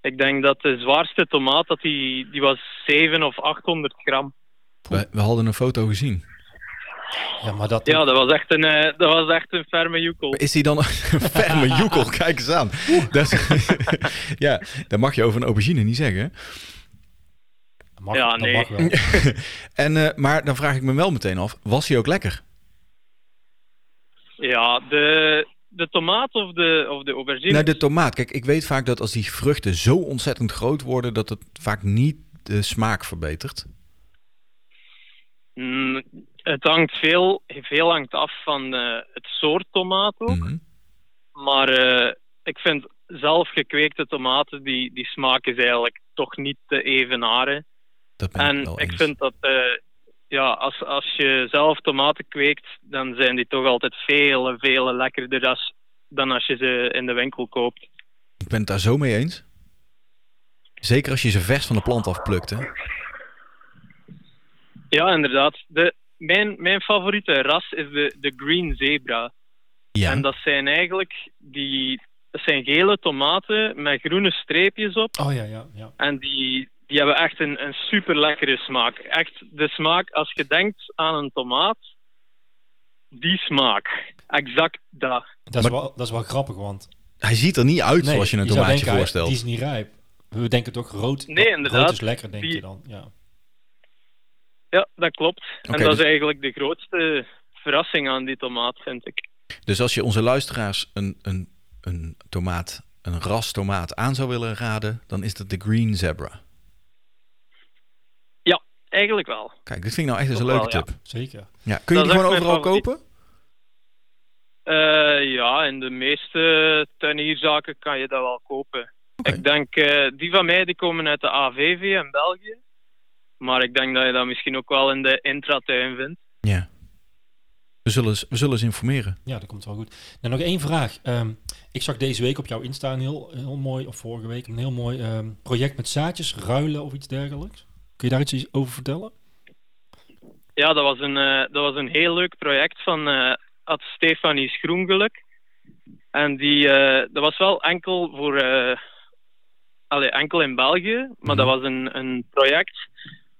Speaker 8: Ik denk dat de zwaarste tomaat, dat die, die was 700 of 800 gram.
Speaker 3: We, we hadden een foto gezien.
Speaker 1: Ja, maar dat...
Speaker 8: Ja, dat was echt een, eh, dat was echt een ferme joekel.
Speaker 3: Maar Is die dan een ferme joekel? Kijk eens aan. Dat is- ja, dat mag je over een aubergine niet zeggen.
Speaker 1: dat mag,
Speaker 8: Ja,
Speaker 1: dat
Speaker 8: nee.
Speaker 1: mag wel.
Speaker 3: En, eh, maar dan vraag ik me wel meteen af, was hij ook lekker?
Speaker 8: Ja, de, de tomaat of de, of de aubergine.
Speaker 3: Nou, de tomaat. Kijk, ik weet vaak dat als die vruchten zo ontzettend groot worden, dat het vaak niet de smaak verbetert.
Speaker 8: Mm, het hangt veel, veel hangt af van eh, het soort tomaat ook.
Speaker 3: Mhm.
Speaker 8: Maar eh, ik vind zelf gekweekte tomaten, die, die smaak is eigenlijk toch niet te evenaren.
Speaker 3: Dat ben ik
Speaker 8: En
Speaker 3: wel
Speaker 8: ik
Speaker 3: eens.
Speaker 8: vind dat eh, ja, als, als je zelf tomaten kweekt, dan zijn die toch altijd vele, vele lekkerder als, dan als je ze in de winkel koopt.
Speaker 3: Ik ben het daar zo mee eens. Zeker als je ze vers van de plant afplukt, hè?
Speaker 8: Ja, inderdaad. De, mijn, mijn favoriete ras is de, de Green Zebra.
Speaker 3: Ja.
Speaker 8: En dat zijn eigenlijk die, dat zijn gele tomaten met groene streepjes op.
Speaker 1: Oh ja, ja, ja.
Speaker 8: En die, die hebben echt een, een super lekkere smaak. Echt de smaak, als je denkt aan een tomaat, die smaak. exact dat.
Speaker 1: Dat is,
Speaker 3: Maar-
Speaker 1: wel, dat is wel grappig, want
Speaker 3: Hij ziet er niet uit
Speaker 1: nee,
Speaker 3: zoals je een
Speaker 1: zou
Speaker 3: tomaatje
Speaker 1: denken, hij-
Speaker 3: voorstelt.
Speaker 1: Die is niet rijp. We denken toch rood.
Speaker 8: Nee, inderdaad.
Speaker 1: Rood Oh, is lekker, denk
Speaker 8: Die-
Speaker 1: je dan. Ja.
Speaker 8: Ja, dat klopt.
Speaker 3: Oké,
Speaker 8: en dat
Speaker 3: dus-
Speaker 8: is eigenlijk de grootste verrassing aan die tomaat, vind ik.
Speaker 3: Dus als je onze luisteraars een, een, een tomaat, een ras tomaat aan zou willen raden, dan is dat de Green Zebra.
Speaker 8: Eigenlijk wel.
Speaker 3: Kijk, dit vind ik nou echt eens een
Speaker 8: Toch
Speaker 3: leuke
Speaker 8: wel, ja.
Speaker 3: tip.
Speaker 1: Zeker.
Speaker 3: Ja. kun
Speaker 8: Dat
Speaker 3: je die
Speaker 8: is
Speaker 3: gewoon
Speaker 8: echt mijn
Speaker 3: overal
Speaker 8: favoriet.
Speaker 3: kopen?
Speaker 8: Eh, ja, in de meeste tuinierzaken kan je dat wel kopen.
Speaker 3: Oké.
Speaker 8: Ik denk, eh, die van mij die komen uit de AVV in België. Maar ik denk dat je dat misschien ook wel in de intratuin vindt.
Speaker 3: Ja. We zullen, eens- we zullen ze informeren.
Speaker 1: Ja, dat komt wel goed. En nog één vraag. Ehm, ik zag deze week op jouw Insta een heel, heel mooi, of vorige week, een heel mooi ehm, project met zaadjes, ruilen of iets dergelijks. Kun je daar iets over vertellen?
Speaker 8: Ja, dat was een, eh, dat was een heel leuk project van eh had Stefanie Schroengeluk. En die, eh, dat was wel enkel voor, eh, allee, enkel in België, maar dat was een, een project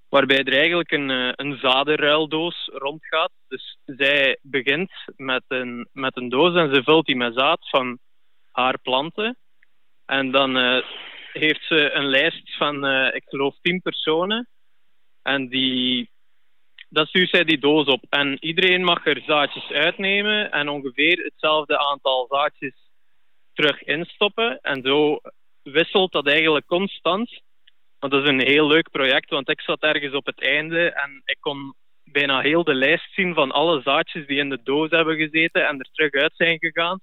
Speaker 8: waarbij er eigenlijk een, eh, een zadenruildoos rondgaat. Dus zij begint met een, met een doos en ze vult die met zaad van haar planten. En dan eh, heeft ze een lijst van, eh, ik geloof, tien personen. En die dan stuurt zij die doos op. En iedereen mag er zaadjes uitnemen en ongeveer hetzelfde aantal zaadjes terug instoppen. En zo wisselt dat eigenlijk constant. Want dat is een heel leuk project, want ik zat ergens op het einde en ik kon bijna heel de lijst zien van alle zaadjes die in de doos hebben gezeten en er terug uit zijn gegaan.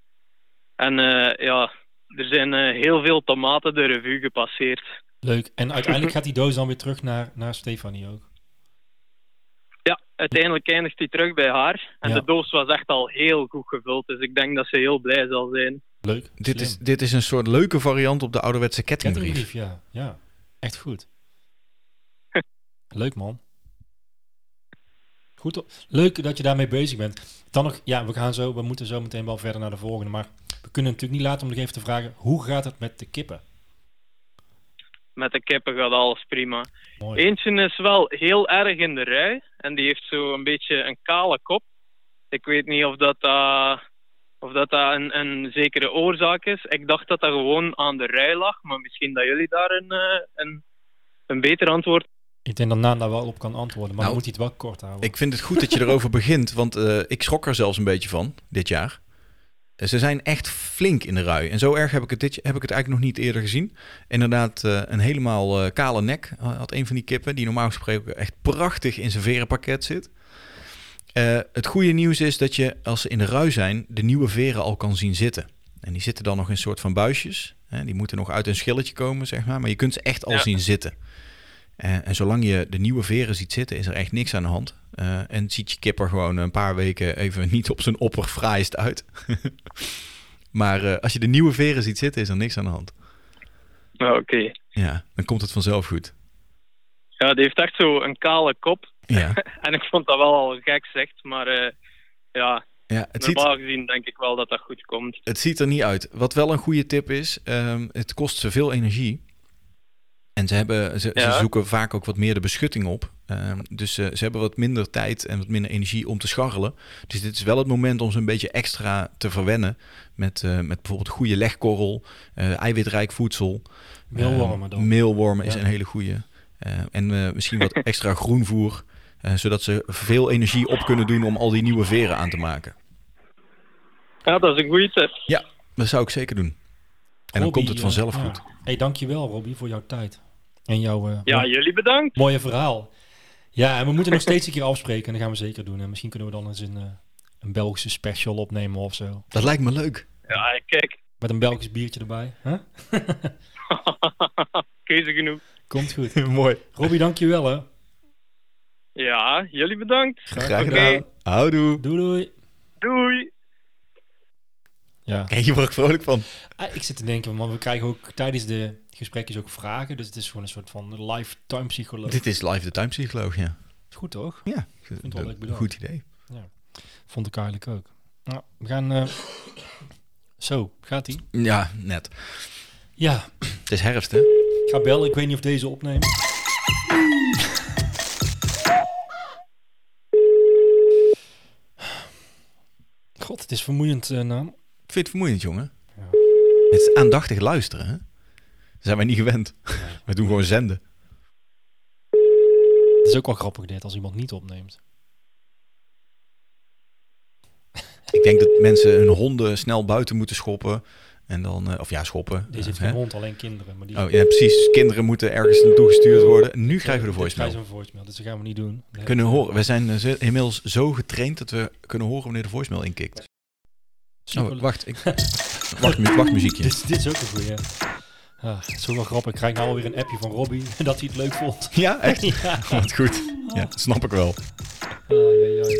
Speaker 8: En eh, ja, er zijn eh, heel veel tomaten de revue gepasseerd.
Speaker 1: Leuk. En uiteindelijk gaat die doos dan weer terug naar, naar Stefanie ook.
Speaker 8: Ja, uiteindelijk eindigt hij terug bij haar. En
Speaker 1: Ja.
Speaker 8: de doos was echt al heel goed gevuld. Dus ik denk dat ze heel blij zal zijn.
Speaker 1: Leuk.
Speaker 3: Dit is,
Speaker 1: Slim.
Speaker 3: dit is een soort leuke variant op de ouderwetse kettingbrief.
Speaker 1: Kettingbrief, ja. ja. Echt goed. Leuk, man. Goed, o- leuk dat je daarmee bezig bent. Dan nog, ja, we gaan zo, we moeten zo meteen wel verder naar de volgende. Maar we kunnen natuurlijk niet laten om nog even te vragen, hoe gaat het met de kippen?
Speaker 8: Met de kippen gaat alles prima.
Speaker 1: Mooi.
Speaker 8: Eentje is wel heel erg in de rij. En die heeft zo een beetje een kale kop. Ik weet niet of dat, dat, of dat, dat een, een zekere oorzaak is. Ik dacht dat dat gewoon aan de rij lag. Maar misschien dat jullie daar een, eh, een, een beter antwoord
Speaker 1: Ik denk dat Naan daar wel op kan antwoorden, maar
Speaker 3: Nou,
Speaker 1: dan moet hij het wel kort houden.
Speaker 3: Ik vind het goed dat je erover begint, want eh, ik schrok er zelfs een beetje van dit jaar. Eh, Ze zijn echt flink in de rui. En zo erg heb ik het, dit, heb ik het eigenlijk nog niet eerder gezien. Inderdaad, eh, een helemaal eh, kale nek eh, had een van die kippen, die normaal gesproken echt prachtig in zijn verenpakket zit. Eh, het goede nieuws is dat je, als ze in de rui zijn, de nieuwe veren al kan zien zitten. En die zitten dan nog in soort van buisjes. Hè? Die moeten nog uit een schilletje komen, zeg maar. Maar je kunt ze echt al
Speaker 8: Ja.
Speaker 3: zien zitten. Eh, en zolang je de nieuwe veren ziet zitten, is er echt niks aan de hand. Eh, en ziet je kipper gewoon een paar weken even niet op zijn opperfraaist uit. maar eh, als je de nieuwe veren ziet zitten, is er niks aan de hand.
Speaker 8: Ja, Oké.
Speaker 3: Ja, dan komt het vanzelf goed.
Speaker 8: Ja, die heeft echt zo een kale kop.
Speaker 3: Ja,
Speaker 8: En ik vond dat wel al gek zegt, maar eh, ja,
Speaker 3: ja het, ziet,
Speaker 8: Normaal gezien denk ik wel dat dat goed komt.
Speaker 3: het ziet er niet uit. Wat wel een goede tip is, ehm, het kost ze veel energie. En ze, hebben, ze, ze
Speaker 8: Ja.
Speaker 3: zoeken vaak ook wat meer de beschutting op. Ehm, dus eh, ze hebben wat minder tijd en wat minder energie om te scharrelen. Dus dit is wel het moment om ze een beetje extra te verwennen. Met, eh, met bijvoorbeeld goede legkorrel, eh, eiwitrijk voedsel.
Speaker 1: Meelwormen
Speaker 3: Ehm,
Speaker 1: dan.
Speaker 3: meelwormen is
Speaker 1: Ja.
Speaker 3: een hele goede. en eh, misschien wat extra groenvoer. eh, zodat ze veel energie op kunnen doen om al die nieuwe veren aan te maken.
Speaker 8: Ja, dat is een eh, goede tip.
Speaker 3: Ja, dat zou ik zeker doen. En dan
Speaker 1: Robbie,
Speaker 3: komt het vanzelf
Speaker 1: eh, ja.
Speaker 3: goed.
Speaker 1: hey, dankjewel Robbie voor jouw tijd en jouw eh,
Speaker 8: Ja,
Speaker 1: mo-
Speaker 8: jullie bedankt.
Speaker 1: mooie verhaal. Ja, en we moeten nog steeds een keer afspreken en dat gaan we zeker doen. En misschien kunnen we dan eens een, eh, een Belgische special opnemen of zo.
Speaker 3: Dat lijkt me leuk.
Speaker 8: Ja, kijk.
Speaker 1: Met een Belgisch biertje erbij. Huh?
Speaker 8: Keuze genoeg.
Speaker 1: Komt goed.
Speaker 3: Mooi.
Speaker 1: Robbie, dankjewel hè.
Speaker 8: Ja, jullie bedankt.
Speaker 3: Graag gedaan. Houdoe.
Speaker 1: Doei doei.
Speaker 8: Doei.
Speaker 1: Ja.
Speaker 3: Kijk, je wordt er vrolijk van.
Speaker 1: Ah, ik zit te denken, want we krijgen ook tijdens de gesprekjes ook vragen. Dus het is gewoon een soort van lifetime psycholoog.
Speaker 3: Dit is live de time psycholoog, ja.
Speaker 1: is goed toch?
Speaker 3: Ja,
Speaker 1: het wel leuk bedacht.
Speaker 3: goed idee.
Speaker 1: Vond ik eigenlijk ook. Nou, we gaan... eh, Zo, gaat ie?
Speaker 3: Ja, net.
Speaker 1: Ja,
Speaker 3: Het is herfst, hè?
Speaker 1: ik ga bellen. Ik weet niet of deze opneemt. God. Het is vermoeiend, eh, naam.
Speaker 3: Vind je het vermoeiend, jongen? Het is aandachtig luisteren, hè? Dat zijn wij niet gewend. We doen gewoon zenden.
Speaker 1: Het is ook wel grappig dit, als iemand niet opneemt.
Speaker 3: Ik denk dat mensen hun honden snel buiten moeten schoppen. En dan, eh, of ja, schoppen.
Speaker 1: Deze heeft
Speaker 3: eh,
Speaker 1: geen
Speaker 3: hè?
Speaker 1: hond, alleen kinderen. Maar die
Speaker 3: Oh ja, precies. Dus Kinderen moeten ergens naartoe gestuurd worden. Nu krijgen we de
Speaker 1: Dit krijgen
Speaker 3: voicemail.
Speaker 1: we een voicemail, dus dat gaan we niet doen.
Speaker 3: We kunnen horen. We zijn eh, zo- inmiddels zo getraind dat we kunnen horen wanneer de voicemail inkikt.
Speaker 1: Super-
Speaker 3: Oh, wacht. Ik... Wacht, mu- wacht, muziekje.
Speaker 1: Dit, dit is ook een goeie. Ah, het is ook wel grappig. Ik krijg nou alweer een appje van Robbie dat hij het leuk vond.
Speaker 3: Ja, echt?
Speaker 1: Ja.
Speaker 3: Wat goed. Ja, dat snap ik wel.
Speaker 1: Ai, ai, ai.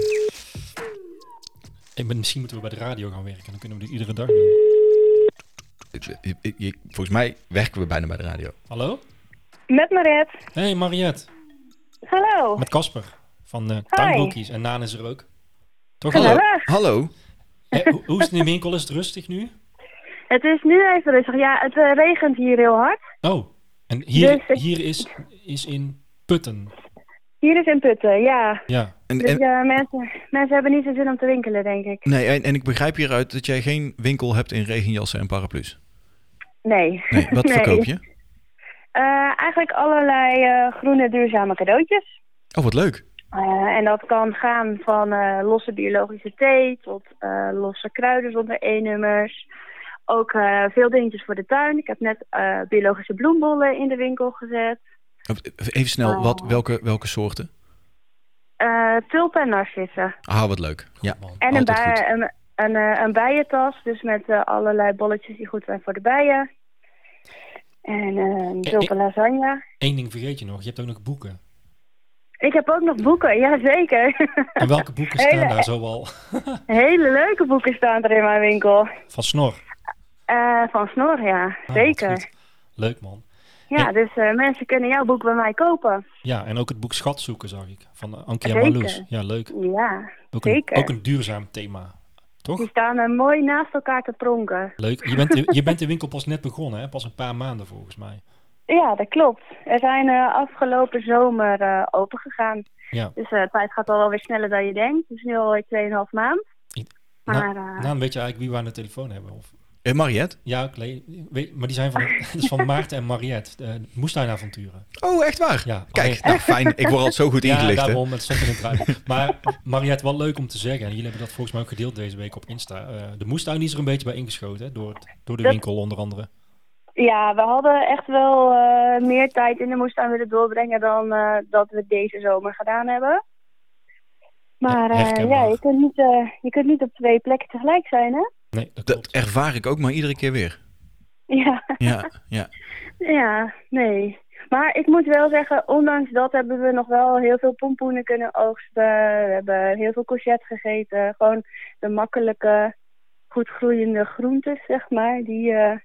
Speaker 1: Ik ben, misschien moeten we bij de radio gaan werken. Dan kunnen we dit iedere dag doen.
Speaker 3: Ik- ik- ik- ik- Volgens mij werken we bijna bij de radio.
Speaker 1: Hallo?
Speaker 9: Met Mariette.
Speaker 1: Hey Mariette.
Speaker 9: Hallo.
Speaker 1: Met Casper. Van eh Tuinbroekies. En Naan is er ook. Toch?
Speaker 3: Hallo.
Speaker 9: Gezellig.
Speaker 3: Hallo.
Speaker 1: Eh, hoe- hoe is het in de winkel? Is het rustig nu?
Speaker 9: Het is nu even rustig. Ja, het eh, regent hier heel hard.
Speaker 1: Oh. En hier,
Speaker 9: Dus ik-
Speaker 1: hier is, is in Putten.
Speaker 9: Hier is in Putten, ja.
Speaker 1: Ja.
Speaker 3: En,
Speaker 9: Dus
Speaker 3: en,
Speaker 9: ja, mensen, mensen hebben niet zo zin om te winkelen, denk ik.
Speaker 3: nee, en, en ik begrijp hieruit dat jij geen winkel hebt in regenjassen en paraplu's.
Speaker 9: Nee.
Speaker 3: Nee, wat verkoop je?
Speaker 9: Eh, eigenlijk allerlei eh, groene duurzame cadeautjes.
Speaker 3: Oh, wat leuk.
Speaker 9: Eh, en dat kan gaan van eh, losse biologische thee tot eh, losse kruiden zonder E-nummers. Ook eh, veel dingetjes voor de tuin. Ik heb net eh, biologische bloembollen in de winkel gezet.
Speaker 3: Even snel, wat, welke, welke soorten?
Speaker 9: Eh tulpen en narcissen.
Speaker 3: Ah, wat leuk. Ja,
Speaker 1: man.
Speaker 9: En een,
Speaker 3: altijd
Speaker 9: bij-
Speaker 3: goed.
Speaker 9: een, een, eh, een bijentas, dus met eh, allerlei bolletjes die goed zijn voor de bijen. En eh tulpen lasagne.
Speaker 1: Eén ding vergeet je nog. Je hebt ook nog boeken.
Speaker 9: Ik heb ook nog boeken, jazeker.
Speaker 1: En welke boeken staan
Speaker 9: Hele-
Speaker 1: daar zoal?
Speaker 9: Hele leuke boeken staan er in mijn winkel.
Speaker 1: Van Snor.
Speaker 9: Eh, van Snor, ja,
Speaker 1: Ah,
Speaker 9: zeker.
Speaker 1: wat goed. Leuk man.
Speaker 9: Ja, dus eh, mensen kunnen jouw boek bij mij kopen.
Speaker 1: Ja, en ook het boek Schat zoeken zag ik. Van eh, Ankia
Speaker 9: Zeker.
Speaker 1: Marloes. Ja, leuk.
Speaker 9: Ja,
Speaker 1: Ook een,
Speaker 9: zeker.
Speaker 1: ook een duurzaam thema.
Speaker 9: Die
Speaker 1: Toch?
Speaker 9: staan er mooi naast elkaar te pronken.
Speaker 1: Leuk. Je bent, de, je bent de winkel pas net begonnen, hè? Pas een paar maanden volgens mij.
Speaker 9: Ja, dat klopt. Er zijn eh, afgelopen zomer eh open gegaan.
Speaker 1: Ja.
Speaker 9: Dus eh, tijd gaat al wel weer sneller dan je denkt. Het is nu alweer 2,5 maand.
Speaker 1: Ik-
Speaker 9: Maar
Speaker 1: Na,
Speaker 9: eh,
Speaker 1: Naan, weet je eigenlijk wie we aan de telefoon hebben? Of,
Speaker 3: Eh, Mariette?
Speaker 1: ja, ik le- weet, maar die zijn van, dat is van Maarten en Mariette. eh moestuinavonturen.
Speaker 3: Oh, echt waar?
Speaker 1: Ja,
Speaker 3: Kijk,
Speaker 1: alleen-
Speaker 3: nou fijn. Ik word altijd zo goed
Speaker 1: Ja,
Speaker 3: ingelicht. hè.
Speaker 1: daarom. Het stond in het draaiboek. Maar Mariette, wel leuk om te zeggen. En jullie hebben dat volgens mij ook gedeeld deze week op Insta. eh, de moestuin is er een beetje bij ingeschoten. Hè? Door, het- door de
Speaker 9: Dat-
Speaker 1: winkel onder andere.
Speaker 9: ja, we hadden echt wel eh, meer tijd in de moestuin willen doorbrengen dan eh, dat we deze zomer gedaan hebben. Maar eh,
Speaker 1: Herkenbaar.
Speaker 9: ja, je kunt, niet, eh, je kunt niet op twee plekken tegelijk zijn, hè?
Speaker 1: Nee, dat
Speaker 3: Dat
Speaker 1: klopt.
Speaker 3: ervaar ik ook maar iedere keer weer.
Speaker 9: Ja.
Speaker 3: Ja, ja.
Speaker 9: Ja, nee. Maar ik moet wel zeggen, ondanks dat hebben we nog wel heel veel pompoenen kunnen oogsten. We hebben heel veel courgette gegeten. Gewoon de makkelijke, goed groeiende groentes, zeg maar. Die eh,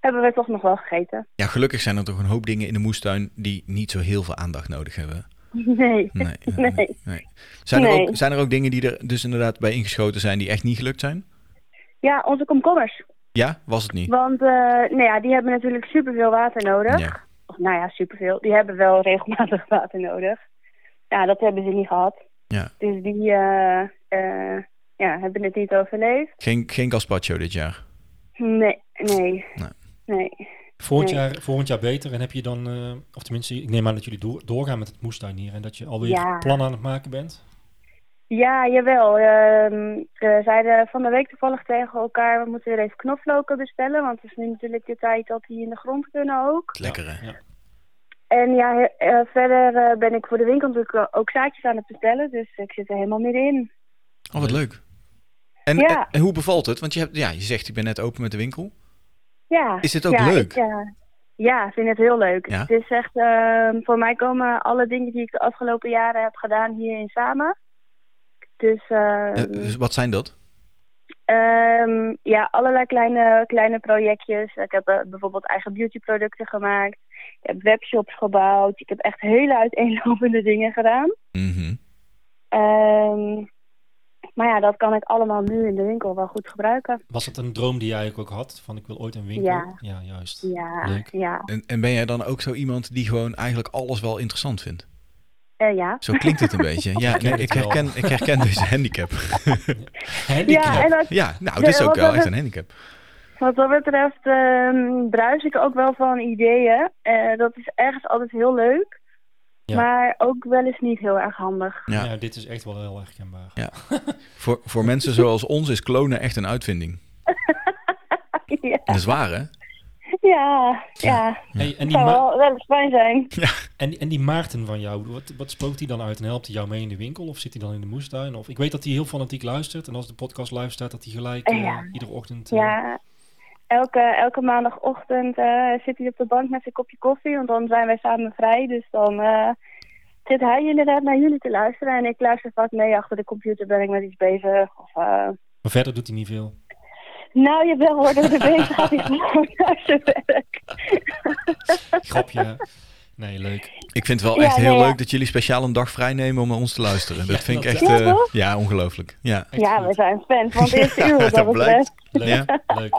Speaker 9: hebben we toch nog wel gegeten.
Speaker 3: ja, gelukkig zijn er toch een hoop dingen in de moestuin die niet zo heel veel aandacht nodig hebben.
Speaker 9: Nee.
Speaker 3: Nee.
Speaker 9: Nee.
Speaker 3: nee. Zijn, er
Speaker 9: Nee.
Speaker 3: Ook, zijn er ook dingen die er dus inderdaad bij ingeschoten zijn die echt niet gelukt zijn?
Speaker 9: Ja, onze komkommers.
Speaker 3: Ja, was het niet?
Speaker 9: Want eh, nou ja, die hebben natuurlijk superveel water nodig.
Speaker 3: Ja.
Speaker 9: Of, nou ja, superveel. Die hebben wel regelmatig water nodig. Ja, dat hebben ze niet gehad.
Speaker 3: Ja.
Speaker 9: Dus die eh, eh, ja, hebben het niet overleefd.
Speaker 3: Geen, geen gazpacho dit jaar.
Speaker 9: Nee, nee.
Speaker 3: Nee.
Speaker 9: Nee.
Speaker 1: Volgend,
Speaker 9: Nee.
Speaker 1: jaar, volgend jaar beter. En heb je dan, eh, of tenminste, ik neem aan dat jullie door- doorgaan met het moestuin hier. En dat je alweer
Speaker 9: Ja.
Speaker 1: plannen aan het maken bent.
Speaker 9: Ja, jawel. Ehm we zeiden van de week toevallig tegen elkaar, we moeten weer even knoflooken bestellen. Want het is nu natuurlijk de tijd dat die in de grond kunnen ook.
Speaker 3: Lekker hè?
Speaker 1: Ja.
Speaker 9: En ja, he- eh, verder eh, ben ik voor de winkel natuurlijk ook zaadjes aan het bestellen. Dus ik zit er helemaal middenin.
Speaker 3: Oh, wat leuk. En,
Speaker 9: Ja.
Speaker 3: en, en hoe bevalt het? Want je, hebt, ja, je zegt, ik ben net open met de winkel.
Speaker 9: Ja.
Speaker 3: Is het ook
Speaker 9: ja,
Speaker 3: leuk?
Speaker 9: ik, ja. ja, ik vind het heel leuk.
Speaker 3: Ja?
Speaker 9: Het is echt, ehm, voor mij komen alle dingen die ik de afgelopen jaren heb gedaan hierin samen. Dus, ehm,
Speaker 3: Eh, dus wat zijn dat?
Speaker 9: Ehm, ja, allerlei kleine, kleine projectjes. Ik heb eh, bijvoorbeeld eigen beautyproducten gemaakt. Ik heb webshops gebouwd. Ik heb echt hele uiteenlopende dingen gedaan.
Speaker 3: Mhm.
Speaker 9: Ehm, maar ja, dat kan ik allemaal nu in de winkel wel goed gebruiken.
Speaker 1: Was het een droom die jij eigenlijk ook had? Van ik wil ooit een winkel.
Speaker 9: Ja.
Speaker 1: juist.
Speaker 9: Ja,
Speaker 1: Leuk.
Speaker 9: ja.
Speaker 3: En, en ben jij dan ook zo iemand die gewoon eigenlijk alles wel interessant vindt?
Speaker 9: Eh, ja.
Speaker 3: Zo klinkt het een beetje. Ja, nee, ik, herken, ik herken deze handicap.
Speaker 9: Ja, en dat,
Speaker 3: Ja, nou, dit is ook wel echt een handicap.
Speaker 9: Wat dat betreft ehm, bruis ik ook wel van ideeën. Eh, dat is ergens altijd heel leuk.
Speaker 1: Ja.
Speaker 9: Maar ook wel eens niet heel erg handig.
Speaker 3: Ja.
Speaker 1: Ja, dit is echt wel heel herkenbaar.
Speaker 3: Ja. Voor, voor mensen zoals ons is klonen echt een uitvinding.
Speaker 9: ja,
Speaker 3: Dat is waar, hè?
Speaker 9: ja, ja.
Speaker 1: Hey, en, die
Speaker 9: zou
Speaker 1: Ma-
Speaker 9: wel, wel eens fijn zijn.
Speaker 1: en, die- en die Maarten van jou, wat, wat spookt hij dan uit? En helpt hij jou mee in de winkel? Of zit hij dan in de moestuin? Of, ik weet dat hij heel fanatiek luistert. En als de podcast live staat, dat hij gelijk
Speaker 9: Eh,
Speaker 1: eh,
Speaker 9: ja.
Speaker 1: iedere ochtend... eh,
Speaker 9: Ja, elke, elke maandagochtend eh, zit hij op de bank met zijn kopje koffie. Want dan zijn wij samen vrij. Dus dan eh, zit hij inderdaad naar jullie te luisteren. En ik luister vaak mee. Achter de computer ben ik met iets bezig. Of, eh,
Speaker 1: Maar verder doet hij niet veel.
Speaker 9: nou, je bent worden we er bezig. Gaat hij gewoon naar zijn werk.
Speaker 1: Grapje. hè? Nee, leuk.
Speaker 3: Ik vind het wel
Speaker 9: Ja,
Speaker 3: echt heel
Speaker 9: nee, ja.
Speaker 3: leuk dat jullie speciaal een dag vrij nemen om naar ons te luisteren. Dat vind ik
Speaker 1: dat-
Speaker 3: echt
Speaker 9: Ja,
Speaker 3: eh,
Speaker 9: toch?
Speaker 3: ja, ongelooflijk. Ja.
Speaker 1: Echt
Speaker 9: ja,
Speaker 1: goed.
Speaker 9: we zijn fans van het eerste uur wat dat
Speaker 3: Dat blijkt.
Speaker 9: betreft.
Speaker 1: Leuk, leuk.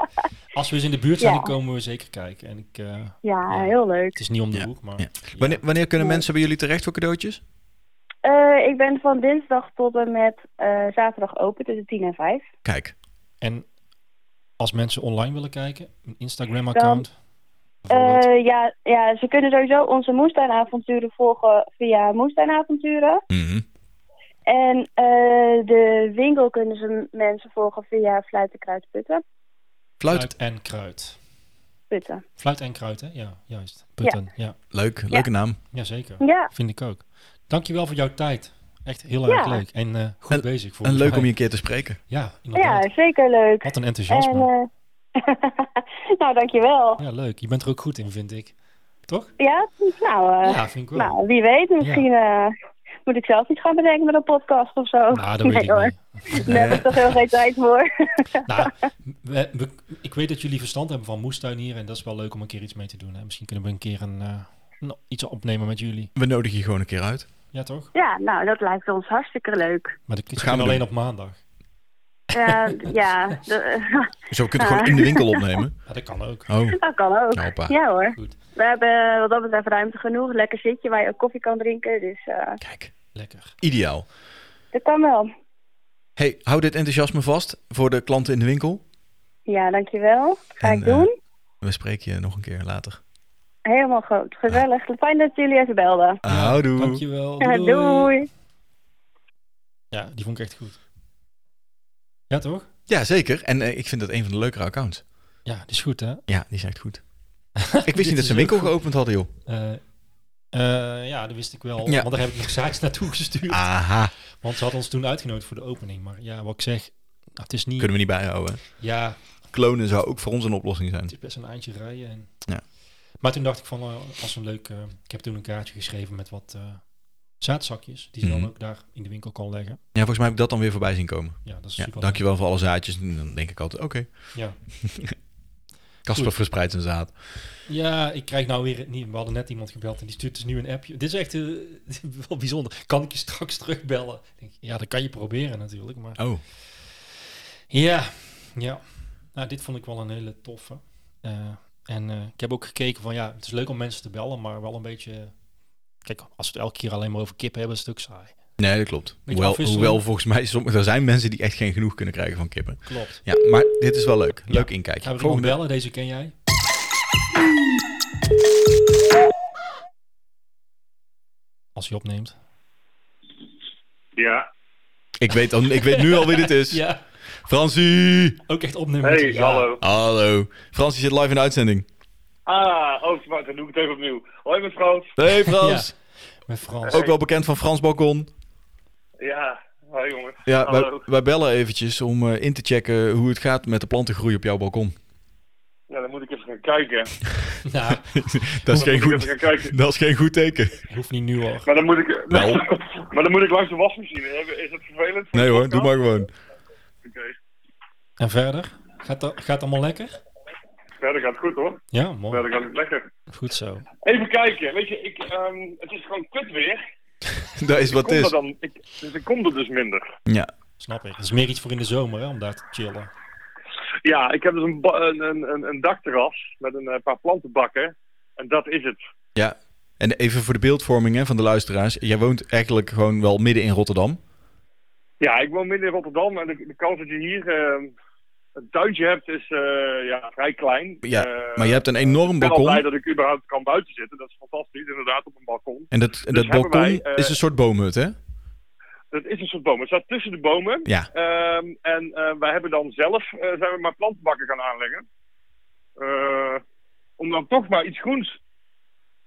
Speaker 1: Als we eens in de buurt zijn,
Speaker 9: Ja.
Speaker 1: dan komen we zeker kijken. En ik, eh,
Speaker 9: Ja,
Speaker 1: Ja.
Speaker 9: heel leuk.
Speaker 1: het is niet om de
Speaker 3: Ja,
Speaker 1: hoek, maar...
Speaker 3: ja. Wanneer, wanneer kunnen mensen bij jullie terecht voor cadeautjes?
Speaker 9: Eh, ik ben van dinsdag tot en met eh, zaterdag open tussen 10 en 5.
Speaker 3: Kijk,
Speaker 1: En als mensen online willen kijken, een Instagram-account bijvoorbeeld.
Speaker 9: Eh, ja, ja, ze kunnen sowieso onze moestuinavonturen volgen via moestuinavonturen.
Speaker 3: Mhm.
Speaker 9: En eh, de winkel kunnen ze mensen volgen via Fluitenkruid Putten.
Speaker 3: fluit.
Speaker 1: Fluit en kruid.
Speaker 9: Putten.
Speaker 1: Fluit en kruid, hè? Ja, juist. Putten, ja.
Speaker 3: Leuk, leuke naam.
Speaker 1: Jazeker.
Speaker 9: Ja,
Speaker 1: Vind ik ook. Dankjewel voor jouw tijd. Echt heel
Speaker 9: Ja.
Speaker 1: erg leuk. En eh, goed
Speaker 3: En-
Speaker 1: bezig. Voor
Speaker 3: En leuk om je een keer te spreken.
Speaker 1: Ja, inderdaad.
Speaker 9: ja, zeker leuk.
Speaker 1: Wat een
Speaker 9: En,
Speaker 1: enthousiasme.
Speaker 9: eh nou, dankjewel.
Speaker 1: ja, leuk. Je bent er ook goed in, vind ik. Toch?
Speaker 9: Ja, nou, eh,
Speaker 1: Ja, vind ik wel.
Speaker 9: nou wie weet, misschien eh, moet ik zelf iets gaan bedenken met een podcast of zo.
Speaker 1: nou, dat weet
Speaker 9: nee, hoor.
Speaker 1: ik niet.
Speaker 9: Daar heb ik toch heel geen tijd voor.
Speaker 1: Nou, we- we- ik weet dat jullie verstand hebben van moestuinieren. En dat is wel leuk om een keer iets mee te doen. Hè? Misschien kunnen we een keer een, eh, nou, iets opnemen met jullie.
Speaker 3: We nodigen je gewoon een keer uit.
Speaker 1: Ja, toch?
Speaker 9: Ja, nou, dat lijkt ons hartstikke leuk.
Speaker 1: Maar dat
Speaker 3: gaan
Speaker 1: gaan
Speaker 3: we
Speaker 1: alleen op maandag.
Speaker 9: Eh, ja, de-
Speaker 3: Zo, we kunnen
Speaker 9: Ah.
Speaker 3: het gewoon in de winkel opnemen.
Speaker 1: Ja, dat kan ook.
Speaker 3: Oh,
Speaker 9: dat kan ook.
Speaker 3: nou pa.
Speaker 9: Ja hoor.
Speaker 1: Goed.
Speaker 9: We hebben wat dat betreft ruimte genoeg. Lekker zitje waar je ook koffie kan drinken. Dus eh,
Speaker 3: Kijk,
Speaker 1: Lekker.
Speaker 3: ideaal.
Speaker 9: dat kan wel.
Speaker 3: Hey, hou dit enthousiasme vast voor de klanten in de winkel.
Speaker 9: Ja, dankjewel. Ga
Speaker 3: En,
Speaker 9: ik
Speaker 3: eh,
Speaker 9: doen.
Speaker 3: we spreken je nog een keer later.
Speaker 9: Helemaal goed. Gezellig. Fijn dat jullie even belden.
Speaker 3: Houdoe. Oh,
Speaker 1: Dankjewel.
Speaker 9: Ja,
Speaker 1: Doei.
Speaker 9: doei.
Speaker 1: Ja, die vond ik echt goed. Ja, toch?
Speaker 3: Ja, zeker. En eh, ik vind dat een van de leukere accounts.
Speaker 1: Ja, die is goed, hè?
Speaker 3: Ja, die is echt goed. Ik wist niet dat
Speaker 1: is
Speaker 3: ze een winkel
Speaker 1: ook goed.
Speaker 3: geopend hadden, joh.
Speaker 1: Eh, eh, ja, dat wist ik wel.
Speaker 3: Ja.
Speaker 1: Want daar heb ik nog zaaks naartoe gestuurd.
Speaker 3: Aha.
Speaker 1: Want ze hadden ons toen uitgenodigd voor de opening. Maar ja, wat ik zeg, nou, het is niet...
Speaker 3: Kunnen we niet bijhouden. hè?
Speaker 1: Ja,
Speaker 3: Klonen zou ook voor ons een oplossing
Speaker 1: het
Speaker 3: zijn.
Speaker 1: is best een eindje rijden. En...
Speaker 3: Ja.
Speaker 1: Maar toen dacht ik van, eh, als een leuk... eh, ik heb toen een kaartje geschreven met wat eh, zaadzakjes. Die ze
Speaker 3: Mhm.
Speaker 1: dan ook daar in de winkel kon leggen.
Speaker 3: Ja, volgens mij heb ik dat dan weer voorbij zien komen.
Speaker 1: Ja, dat is
Speaker 3: Ja,
Speaker 1: super.
Speaker 3: dankjewel voor alle zaadjes. En Dan denk ik altijd, oké.
Speaker 1: Ja.
Speaker 3: Kasper
Speaker 1: Goed.
Speaker 3: verspreidt zijn zaad.
Speaker 1: Ja, ik krijg nou weer... niet. we hadden net iemand gebeld en die stuurt dus nu een appje. Dit is echt eh, wel bijzonder. Kan ik je straks terugbellen? Ik denk, Ja, dat kan je proberen natuurlijk, maar...
Speaker 3: Oh,
Speaker 1: Ja, ja. Nou, dit vond ik wel een hele toffe. Eh, en eh, ik heb ook gekeken van ja, het is leuk om mensen te bellen, maar wel een beetje. eh, Kijk, als we het elke keer alleen maar over kip hebben, is het ook saai.
Speaker 3: nee, dat klopt. Hoewel,
Speaker 1: afwisseling.
Speaker 3: hoewel volgens mij, sommige, er zijn mensen die echt geen genoeg kunnen krijgen van kippen.
Speaker 1: Klopt.
Speaker 3: Ja, maar dit is wel leuk. Leuk
Speaker 1: Ik ga
Speaker 3: inkijkje.
Speaker 1: weer iemand
Speaker 3: Volgende.
Speaker 1: bellen, deze ken jij. Als hij opneemt.
Speaker 10: Ja,
Speaker 3: Ik weet, al, ik weet nu al wie dit is.
Speaker 1: Ja,
Speaker 3: Francie!
Speaker 1: ook echt opnemen.
Speaker 10: hey,
Speaker 1: Ja.
Speaker 10: hallo.
Speaker 3: Hallo. Francie zit live in de uitzending.
Speaker 10: Ah, oh, wacht, dan doe ik het even opnieuw. Hoi, mevrouw.
Speaker 3: Hey Frans.
Speaker 1: Met Frans.
Speaker 3: Ook wel bekend van Frans Balkon.
Speaker 10: Ja, hoi jongens.
Speaker 3: Ja, wij,
Speaker 10: Hallo.
Speaker 3: wij bellen eventjes om eh, in te checken hoe het gaat met de plantengroei op jouw balkon.
Speaker 10: Ja, dan moet ik even gaan kijken.
Speaker 1: Nou,
Speaker 3: Dat is, geen
Speaker 10: moet ik
Speaker 3: goed,
Speaker 10: even gaan kijken.
Speaker 3: dat is geen goed teken. Nou,
Speaker 1: hoeft niet nu hoor.
Speaker 10: Maar dan moet ik,
Speaker 3: Wel.
Speaker 10: maar dan moet ik langs de wasmachine. Hebben- Is dat vervelend? voor
Speaker 3: Nee
Speaker 10: de
Speaker 3: hoor, doe maar
Speaker 10: podcast?
Speaker 3: gewoon.
Speaker 10: eh, Oké,
Speaker 1: En verder? Gaat dat gaat het allemaal lekker?
Speaker 10: verder gaat het goed hoor.
Speaker 1: Ja, mooi.
Speaker 10: Verder gaat het lekker.
Speaker 1: Goed zo.
Speaker 10: Even kijken, weet je, ik, ehm, het is gewoon kut weer.
Speaker 3: Dat is wat
Speaker 10: Komt
Speaker 3: het
Speaker 10: er
Speaker 3: is.
Speaker 10: dan, ik, dus ik kom er dus minder.
Speaker 3: Ja.
Speaker 1: Snap ik. Dat is meer iets voor in de zomer hè, om daar te chillen.
Speaker 10: Ja, ik heb dus een, ba- een, een, een dakterras met een eh, paar plantenbakken. En dat is het.
Speaker 3: ja. En even voor de beeldvorming hè, van de luisteraars. Jij woont eigenlijk gewoon wel midden in Rotterdam.
Speaker 10: Ja, ik woon midden in Rotterdam en de, de kans dat je hier eh, een tuintje hebt is eh, ja, vrij klein.
Speaker 3: Ja,
Speaker 10: Eh,
Speaker 3: maar je hebt een enorm
Speaker 10: ik ben al blij
Speaker 3: balkon.
Speaker 10: dat ik überhaupt kan buiten zitten. Dat is fantastisch, inderdaad, op een balkon.
Speaker 3: En dat, en dat
Speaker 10: hebben
Speaker 3: balkon
Speaker 10: wij, eh,
Speaker 3: is een soort boomhut, hè?
Speaker 10: Dat is een soort boom. Het staat tussen de bomen.
Speaker 3: Ja.
Speaker 10: Ehm, en eh, wij hebben dan zelf, eh, zijn we maar plantenbakken gaan aanleggen. Eh, om dan toch maar iets groens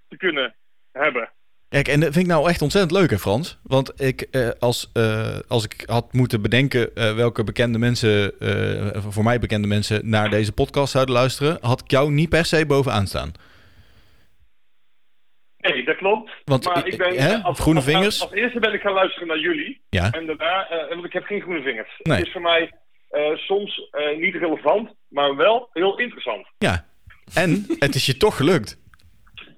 Speaker 10: te kunnen hebben.
Speaker 3: Kijk, en dat vind ik nou echt ontzettend leuk, hè, Frans? Want ik, eh, als, eh, als ik had moeten bedenken eh, welke bekende mensen, eh, voor mij bekende mensen, naar deze podcast zouden luisteren, had ik jou niet per se bovenaan staan.
Speaker 10: Nee, dat klopt.
Speaker 3: Want
Speaker 10: maar
Speaker 3: i-
Speaker 10: ik ben,
Speaker 3: hè,
Speaker 10: eh, als,
Speaker 3: groene
Speaker 10: als-
Speaker 3: vingers?
Speaker 10: Als, als eerste ben ik gaan luisteren naar jullie.
Speaker 3: Ja.
Speaker 10: En daarna, eh, want ik heb geen groene vingers.
Speaker 3: Nee.
Speaker 10: Het is voor mij eh, soms eh, niet relevant, maar wel heel interessant.
Speaker 3: Ja. En het is je toch gelukt.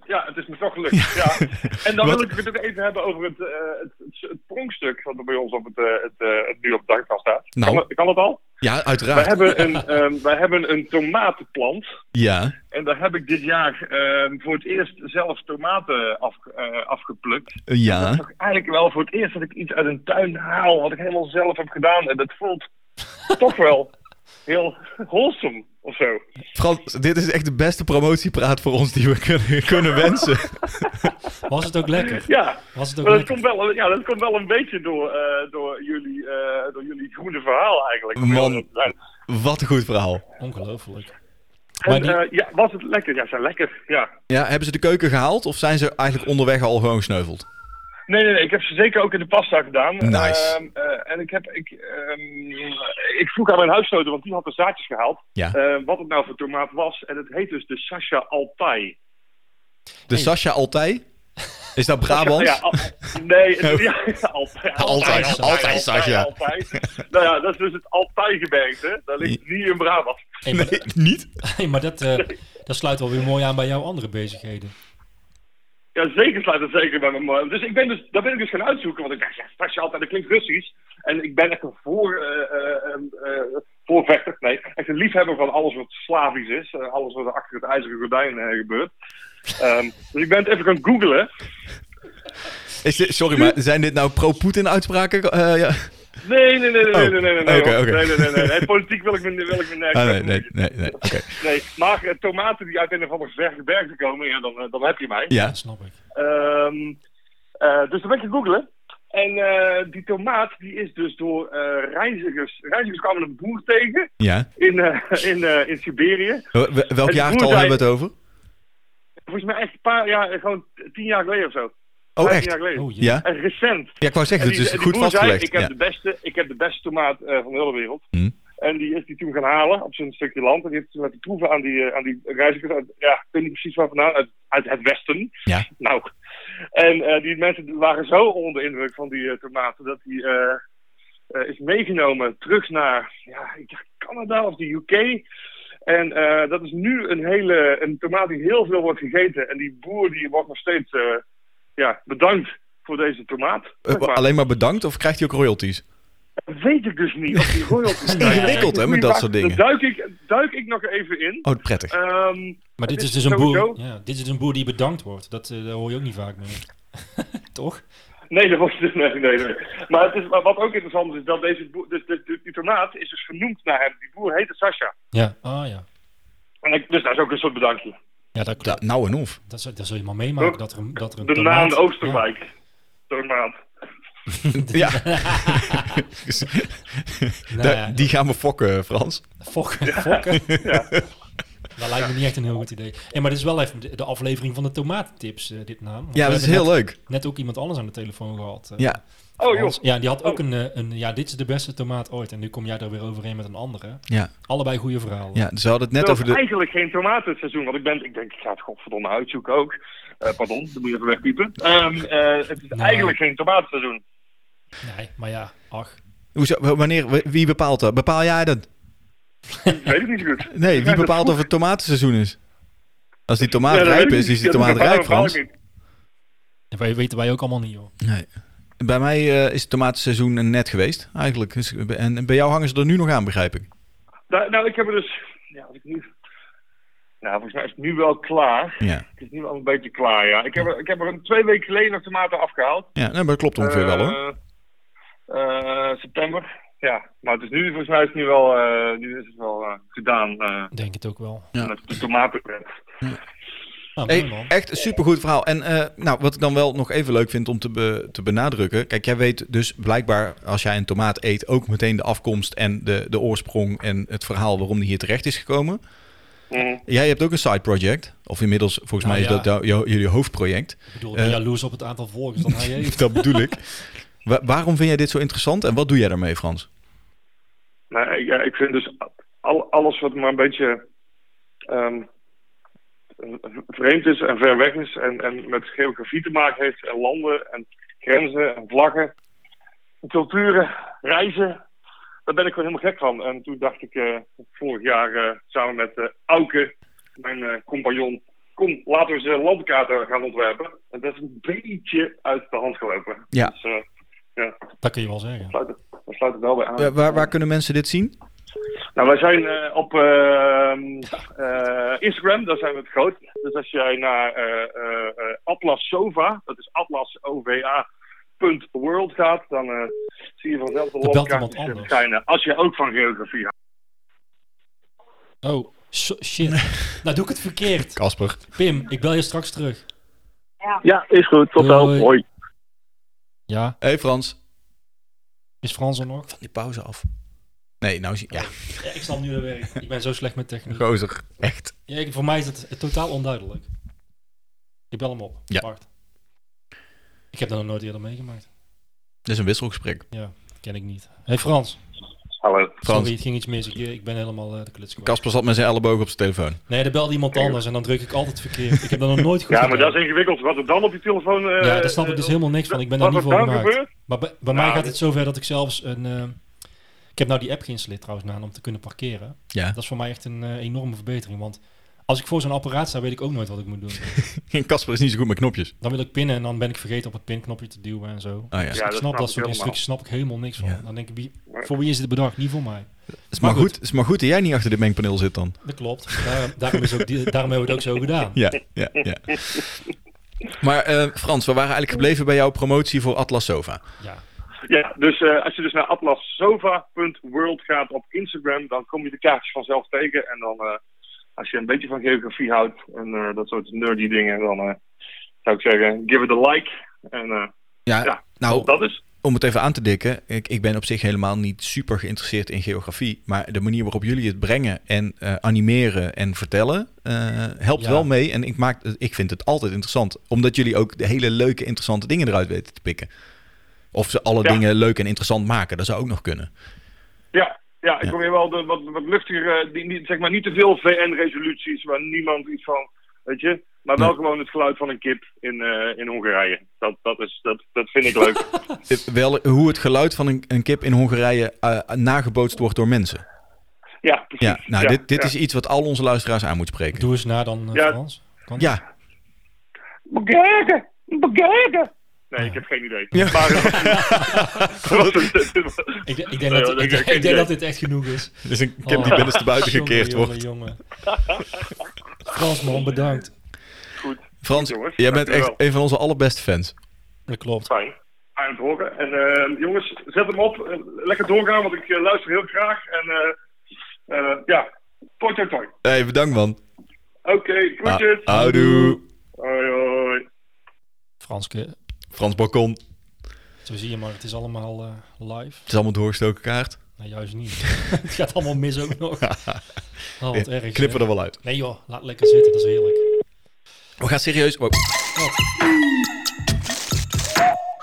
Speaker 10: Ja, het is me toch gelukt. Ja. En dan
Speaker 3: Wat-
Speaker 10: wil ik het ook even hebben over het, eh, het, het, het pronkstuk wat er bij ons op het, eh, het, eh, het nu op de dakkast staat.
Speaker 3: Nou.
Speaker 10: Kan, dat- kan dat al?
Speaker 3: Ja,
Speaker 10: Wij
Speaker 3: uiteraard.
Speaker 10: hebben, een, ehm, wij hebben een tomatenplant.
Speaker 3: Ja.
Speaker 10: En daar heb ik dit jaar ehm, voor het eerst zelf tomaten af, eh, afgeplukt.
Speaker 3: Ja.
Speaker 10: toch eigenlijk wel voor het eerst dat ik iets uit een tuin haal wat ik helemaal zelf heb gedaan. En dat voelt toch wel heel wholesome of zo.
Speaker 3: Frans, dit is echt de beste promotiepraat voor ons die we kunnen, kunnen wensen.
Speaker 1: Was het ook lekker?
Speaker 10: Ja,
Speaker 1: Was het ook
Speaker 10: maar dat
Speaker 1: lekker?
Speaker 10: komt wel, ja, dat komt wel een beetje door, eh, door, jullie, eh, door jullie groene verhaal eigenlijk. om
Speaker 3: Man.
Speaker 10: heel eerlijk te zijn.
Speaker 3: Wat een goed verhaal.
Speaker 1: Ongelooflijk. Maar
Speaker 10: En
Speaker 1: die-
Speaker 10: eh, ja, was het lekker? Ja, ze zijn lekker. Ja.
Speaker 3: Ja, hebben ze de keuken gehaald of zijn ze eigenlijk onderweg al gewoon gesneuveld?
Speaker 10: Nee, nee, nee. Ik heb ze zeker ook in de pasta gedaan.
Speaker 3: Nice.
Speaker 10: Ehm, eh, en ik, heb, ik, ehm, ik vroeg aan mijn huisgenoten, want die had de zaadjes gehaald,
Speaker 3: Ja.
Speaker 10: eh, wat het nou voor tomaat was. En het heet dus de Sasha Altai.
Speaker 3: De Sascha Altij? Is dat Brabant? Oh.
Speaker 10: Ja, al- nee, het- ja, Altai.
Speaker 3: Altai, Altai, Sasha.
Speaker 10: Altai. Nou ja, dat is dus het Altai-gebergte. Dat ligt niet in Brabant.
Speaker 1: Hey, maar,
Speaker 3: Nee, niet?
Speaker 1: hey, maar dat, eh, dat sluit wel weer mooi aan bij jouw andere bezigheden.
Speaker 10: Ja, zeker sluit het zeker bij me. aan. Dus ik ben dus, dat ben ik dus gaan uitzoeken, want ik dacht, ja, Sasha Altai, dat klinkt Russisch. En ik ben echt een voor, eh, eh, eh, eh, voorvechter, nee, echt een liefhebber van alles wat Slavisch is. eh, alles wat er achter het ijzeren gordijn eh, gebeurt. Ehm, dus ik ben het even gaan googlen.
Speaker 3: Is dit- sorry, maar zijn dit nou pro-Poetin uitspraken? Eh, ja.
Speaker 10: Nee, nee, nee, nee, nee, nee, nee, nee, nee,
Speaker 3: oké,
Speaker 10: hoor.
Speaker 3: Oh, oké.
Speaker 10: nee, nee, nee, nee, nee, Politiek wil ik me, wil ik me nergens
Speaker 3: Ah, nee,
Speaker 10: mee
Speaker 3: nee, nee, nee. Oké.
Speaker 10: Nee, maar eh, tomaten die uit een of ander verre bergen komen, ja, dan, eh, dan heb je mij.
Speaker 3: Ja.
Speaker 1: Dat snap ik.
Speaker 10: Ehm, eh, dus dan ben ik gaan googlen. En eh, die tomaat die is dus door eh, reizigers. Reizigers kwamen een boer tegen
Speaker 3: ja.
Speaker 10: in, eh, in, eh, in Siberië.
Speaker 3: Wel- wel- Welk
Speaker 10: Het
Speaker 3: jaartal
Speaker 10: boer zei-
Speaker 3: hebben we het over?
Speaker 10: Volgens mij echt een paar jaar, gewoon tien jaar geleden of zo.
Speaker 3: Oh,
Speaker 10: Vijftien
Speaker 3: echt?
Speaker 10: jaar geleden.
Speaker 1: Oh, jee.
Speaker 3: Ja?
Speaker 10: En recent.
Speaker 3: Ja, ik wou zeggen,
Speaker 10: En
Speaker 3: het
Speaker 10: die-
Speaker 3: is
Speaker 10: en die
Speaker 3: goed
Speaker 10: boer zei,
Speaker 3: vastgelegd.
Speaker 10: ik, heb
Speaker 3: Ja.
Speaker 10: de beste, ik heb de beste tomaat eh, van de hele wereld.
Speaker 3: Hm.
Speaker 10: En die is die toen gaan halen op zijn stukje land. En die heeft ze laten proeven aan die, eh, aan die reizigers. Uit, ja, ik weet niet precies waar vandaan. Uit, uit het westen.
Speaker 3: Ja.
Speaker 10: Nou. En eh, die mensen waren zo onder de indruk van die eh, tomaten. Dat die eh, eh, is meegenomen terug naar ja, ik dacht Canada of de UK. En eh, dat is nu een hele een tomaat die heel veel wordt gegeten. En die boer die wordt nog steeds eh, ja, bedankt voor deze tomaat.
Speaker 3: Eh,
Speaker 10: zeg maar.
Speaker 3: Alleen maar bedankt of krijgt hij ook royalties?
Speaker 10: Dat weet ik dus niet. Of die royalties
Speaker 3: Dat is ingewikkeld, hè, met dat soort dingen.
Speaker 10: Daar duik ik, duik ik nog even in.
Speaker 3: Oh, prettig.
Speaker 10: Ehm,
Speaker 1: Maar dit
Speaker 10: Het
Speaker 1: is
Speaker 10: is
Speaker 1: dus een boer,
Speaker 10: sowieso-
Speaker 1: ja, dit is dus een boer die bedankt wordt. Dat, eh, daar hoor je ook niet vaak meer. Toch?
Speaker 10: nee, dat was nee, nee, nee. Maar, het is, maar wat ook interessant is, dat deze boer, dus, dus- dus die tomaat is dus vernoemd naar hem. Die boer heette Sasha.
Speaker 1: Ja. Ah ja.
Speaker 10: En ik, dus dat is ook een soort bedankje.
Speaker 1: Ja, dat,
Speaker 3: Da- nou en of.
Speaker 1: dat, zou- dat zul je maar meemaken.
Speaker 10: Toch?
Speaker 1: Dat er, een- dat er een
Speaker 10: De
Speaker 1: tomaat-
Speaker 10: naam Oosterwijk. Tomaat.
Speaker 3: Ja.
Speaker 1: Nou ja,
Speaker 3: Da- Dus, die gaan we fokken, Frans.
Speaker 1: Fokken, fokken. Dat lijkt me niet echt een heel goed idee. Hey, maar dit is wel even de, de aflevering van de tomaattips, eh, dit naam. Want
Speaker 3: Ja,
Speaker 1: we
Speaker 3: dat is
Speaker 1: hebben
Speaker 3: heel leuk.
Speaker 1: Net, net ook iemand anders aan de telefoon gehad. eh,
Speaker 3: Ja.
Speaker 10: Oh joh.
Speaker 1: Hans. Ja, die had ook
Speaker 10: Oh.
Speaker 1: een, eh, een, ja, dit is de beste tomaat ooit. En nu kom jij er weer overheen met een andere.
Speaker 3: Ja.
Speaker 1: Allebei goede verhalen.
Speaker 3: ja, ze hadden het net
Speaker 10: Terwijl
Speaker 3: over
Speaker 10: het
Speaker 3: de...
Speaker 10: eigenlijk geen tomaten het seizoen. Want ik ben, ik denk, ik ga het godverdomme uitzoeken ook. Eh, pardon, dat moet je even wegpiepen. Ehm, eh, het is
Speaker 1: Nee.
Speaker 10: eigenlijk geen tomatenseizoen.
Speaker 1: Nee, maar ja, ach.
Speaker 3: Hoezo, w- wanneer, w- wie bepaalt dat? Bepaal jij dat?
Speaker 10: Ik weet het niet zo goed.
Speaker 3: Nee, wie
Speaker 10: dat
Speaker 3: bepaalt
Speaker 10: vroeg.
Speaker 3: of het tomatenseizoen is? Als die tomaat
Speaker 10: Ja, dat
Speaker 3: rijp
Speaker 10: weet ik
Speaker 3: is,
Speaker 10: niet.
Speaker 3: is die
Speaker 10: Ja, dat
Speaker 3: tomaat
Speaker 10: bepaal-
Speaker 3: rijp,
Speaker 10: bepaal ik
Speaker 3: Frans.
Speaker 10: niet.
Speaker 1: En wij weten wij ook allemaal niet, joh.
Speaker 3: Nee. Bij mij eh, is het tomatenseizoen net geweest, eigenlijk. Dus,
Speaker 10: nou,
Speaker 3: en bij jou hangen ze er nu nog aan, begrijp ik.
Speaker 10: Da- nou, ik heb er dus. Ja, als ik nu. Nou, volgens mij is het nu wel klaar.
Speaker 3: Ja.
Speaker 10: Het is nu wel een beetje klaar, ja. Ik heb er, ik heb er een- twee weken geleden nog tomaten afgehaald.
Speaker 3: Ja, nee, maar dat klopt ongeveer wel hoor.
Speaker 10: Eh, eh, september, ja. Maar het is nu, volgens mij is het nu wel, eh, nu is het wel eh, gedaan eh,
Speaker 1: Denk het ook wel.
Speaker 10: met de tomatenpret.
Speaker 1: Nou, mooi
Speaker 3: Hey,
Speaker 1: man.
Speaker 3: echt een supergoed verhaal. En eh, nou, wat ik dan wel nog even leuk vind om te, be- te benadrukken. Kijk, jij weet dus blijkbaar als jij een tomaat eet ook meteen de afkomst en de, de oorsprong en het verhaal waarom die hier terecht is gekomen.
Speaker 10: Mhm.
Speaker 3: Jij hebt ook een side project. Of inmiddels, volgens
Speaker 1: Nou
Speaker 3: mij is
Speaker 1: ja.
Speaker 3: dat jou- jou- jullie hoofdproject.
Speaker 1: Ik bedoel, ik ben
Speaker 3: Eh.
Speaker 1: jaloers op het aantal volgers dat hij heeft.
Speaker 3: dat bedoel ik. Wa- waarom vind jij dit zo interessant en wat doe jij daarmee, Frans?
Speaker 10: Nou, ik, ja, ik vind dus al, alles wat maar een beetje ehm, v- vreemd is en ver weg is en, en met geografie te maken heeft en landen en grenzen en vlaggen, culturen, reizen, daar ben ik gewoon helemaal gek van. En toen dacht ik eh, vorig jaar eh, samen met eh, Auke, mijn eh, compagnon, kom laten we eens een landkaarten gaan ontwerpen. En dat is een beetje uit de hand gelopen.
Speaker 3: Ja.
Speaker 10: Dus eh, ja,
Speaker 1: Dat kun je wel zeggen.
Speaker 10: sluit het, daar sluit het wel bij aan.
Speaker 3: Wa- waar, waar kunnen mensen dit zien?
Speaker 10: Nou, wij zijn eh, op ehm, eh, Instagram, daar zijn we het groot. Dus als jij naar eh, eh, eh, Atlas Sova, dat is atlasova.world gaat, dan eh, zie je vanzelf de
Speaker 1: belt
Speaker 10: landkaartjes
Speaker 1: iemand anders.
Speaker 10: verschijnen. Als je ook van geografie houdt.
Speaker 1: Oh, so- shit. nou doe ik het verkeerd.
Speaker 3: Kasper.
Speaker 1: Pim, ik bel je straks terug.
Speaker 6: Ja, is goed. Tot
Speaker 1: Doei.
Speaker 6: dan. Hoi.
Speaker 1: Ja,
Speaker 3: Hé hey, Frans,
Speaker 1: is Frans er nog?
Speaker 3: van die pauze af. Nee, nou zie ja,
Speaker 1: Ja, ik snap nu de werk. Ik ben zo slecht met techniek.
Speaker 3: gozer, echt.
Speaker 1: Ja, ik- voor mij is het totaal onduidelijk. Ik bel hem op.
Speaker 3: Ja.
Speaker 1: Wacht. Ik heb dat nog nooit eerder meegemaakt.
Speaker 3: Dit is een wisselgesprek.
Speaker 1: Ken ik niet. Hé hey Frans.
Speaker 10: Hallo.
Speaker 3: Frans.
Speaker 1: Sorry, het ging iets mis. Ik, ik ben helemaal eh, de kluts kwijt.
Speaker 3: Kasper zat met zijn elleboog op zijn telefoon.
Speaker 1: Nee, er belde iemand anders en dan druk ik altijd verkeerd. Ik heb dat nog nooit goed
Speaker 10: Ja, maar
Speaker 1: gedaan.
Speaker 10: dat is ingewikkeld. Wat er dan op je telefoon... eh,
Speaker 1: Ja, daar snap ik dus
Speaker 10: eh,
Speaker 1: helemaal niks van. Ik ben daar
Speaker 10: wat
Speaker 1: niet
Speaker 10: er
Speaker 1: voor
Speaker 10: dan
Speaker 1: gemaakt.
Speaker 10: gebeurt?
Speaker 1: Maar bij, bij
Speaker 10: Nou,
Speaker 1: mij gaat
Speaker 10: dit-
Speaker 1: het zover dat ik zelfs een... eh, ik heb nou die app geïnstalleerd trouwens, Naan, om te kunnen parkeren.
Speaker 3: Ja.
Speaker 1: Dat is voor mij echt een eh, enorme verbetering. Want als ik voor zo'n apparaat sta, weet ik ook nooit wat ik moet doen.
Speaker 3: Kasper is niet zo goed met knopjes.
Speaker 1: Dan wil ik pinnen en dan ben ik vergeten op het pinknopje te duwen en zo.
Speaker 3: Oh ja.
Speaker 1: Dus
Speaker 10: Ja,
Speaker 1: ik
Speaker 10: dat
Speaker 1: snap dat
Speaker 10: snap ik
Speaker 1: soort
Speaker 10: helemaal.
Speaker 1: instructies snap ik helemaal niks van.
Speaker 3: Ja.
Speaker 1: Dan denk ik, wie, voor wie is dit bedacht? Niet voor mij.
Speaker 3: is maar,
Speaker 1: maar
Speaker 3: goed, is maar goed dat jij niet achter de mengpaneel zit dan.
Speaker 1: Dat klopt. Daarom, daarom, is ook, die- daarom hebben we het ook zo gedaan.
Speaker 3: Ja, ja, ja. Maar eh, Frans, we waren eigenlijk gebleven bij jouw promotie voor Atlas Sofa.
Speaker 1: Ja.
Speaker 10: Ja, dus eh, als je dus naar atlassova.world gaat op Instagram, dan kom je de kaartjes vanzelf tegen. En dan, eh, als je een beetje van geografie houdt en eh, dat soort nerdy dingen, dan eh, zou ik zeggen, give it a like. En eh,
Speaker 3: Ja,
Speaker 10: Ja.
Speaker 3: nou,
Speaker 10: dat is...
Speaker 3: om het even aan te dikken. Ik, ik ben op zich helemaal niet super geïnteresseerd in geografie. Maar de manier waarop jullie het brengen en eh, animeren en vertellen... eh, helpt
Speaker 1: Ja.
Speaker 3: wel mee. En ik, maak, ik vind het altijd interessant. Omdat jullie ook de hele leuke, interessante dingen eruit weten te pikken. Of ze alle
Speaker 10: Ja.
Speaker 3: dingen leuk en interessant maken. Dat zou ook nog kunnen.
Speaker 10: Ja, ja ik
Speaker 3: Ja.
Speaker 10: probeer wel de, wat, wat luchtiger, eh, die, niet- zeg maar niet te veel VN-resoluties waar niemand iets van, weet je. Maar wel
Speaker 3: Nee.
Speaker 10: gewoon het geluid van een kip in, eh, in Hongarije. Dat, dat, is, dat, dat vind ik leuk.
Speaker 3: Eh, Wel hoe het geluid van een, een kip in Hongarije eh, nagebootst wordt door mensen.
Speaker 10: ja, precies.
Speaker 3: Ja, nou,
Speaker 10: Ja,
Speaker 3: dit, dit
Speaker 10: ja.
Speaker 3: is iets wat al onze luisteraars aan moet spreken.
Speaker 1: Doe eens na dan, eh,
Speaker 10: Ja.
Speaker 1: Frans. Kan
Speaker 3: Ja,
Speaker 2: Bekijken! Bekijken!
Speaker 10: Nee, ik heb geen idee.
Speaker 3: Ja.
Speaker 10: Maar, eh,
Speaker 1: Ik, ik, denk
Speaker 10: Nee,
Speaker 1: dat,
Speaker 10: hoor,
Speaker 1: ik,
Speaker 10: ik- ik-
Speaker 1: denk- ik
Speaker 10: ik-
Speaker 1: denk dat dit echt genoeg is.
Speaker 3: dit is een
Speaker 1: Oh,
Speaker 3: kip die binnenste buiten
Speaker 1: jongen,
Speaker 3: gekeerd
Speaker 1: jongen,
Speaker 3: wordt.
Speaker 1: jongen. Frans, man, bedankt.
Speaker 10: goed.
Speaker 3: Frans,
Speaker 10: jongens,
Speaker 3: jij bent echt
Speaker 10: dankjewel.
Speaker 3: een van onze allerbeste fans.
Speaker 1: Dat klopt.
Speaker 10: Fijn. Aan het horen. En eh, jongens, zet hem op. Eh, lekker doorgaan, want ik eh, luister heel graag. En eh eh, ja, toi toi toi.
Speaker 3: hey, bedankt man.
Speaker 10: Oké, groetjes.
Speaker 3: Ah, houdoe.
Speaker 10: Hoi hoi.
Speaker 1: Franske,
Speaker 3: Frans Balkon. Het
Speaker 1: zo zie je maar, het is allemaal eh, live.
Speaker 3: is allemaal doorgestoken kaart.
Speaker 1: Nee, juist niet. het gaat allemaal mis ook nog. Oh, wat erg.
Speaker 3: Knippen
Speaker 1: hè?
Speaker 3: er wel uit.
Speaker 1: Nee joh, laat lekker zitten, dat is heerlijk.
Speaker 3: We gaan serieus... oh. wow.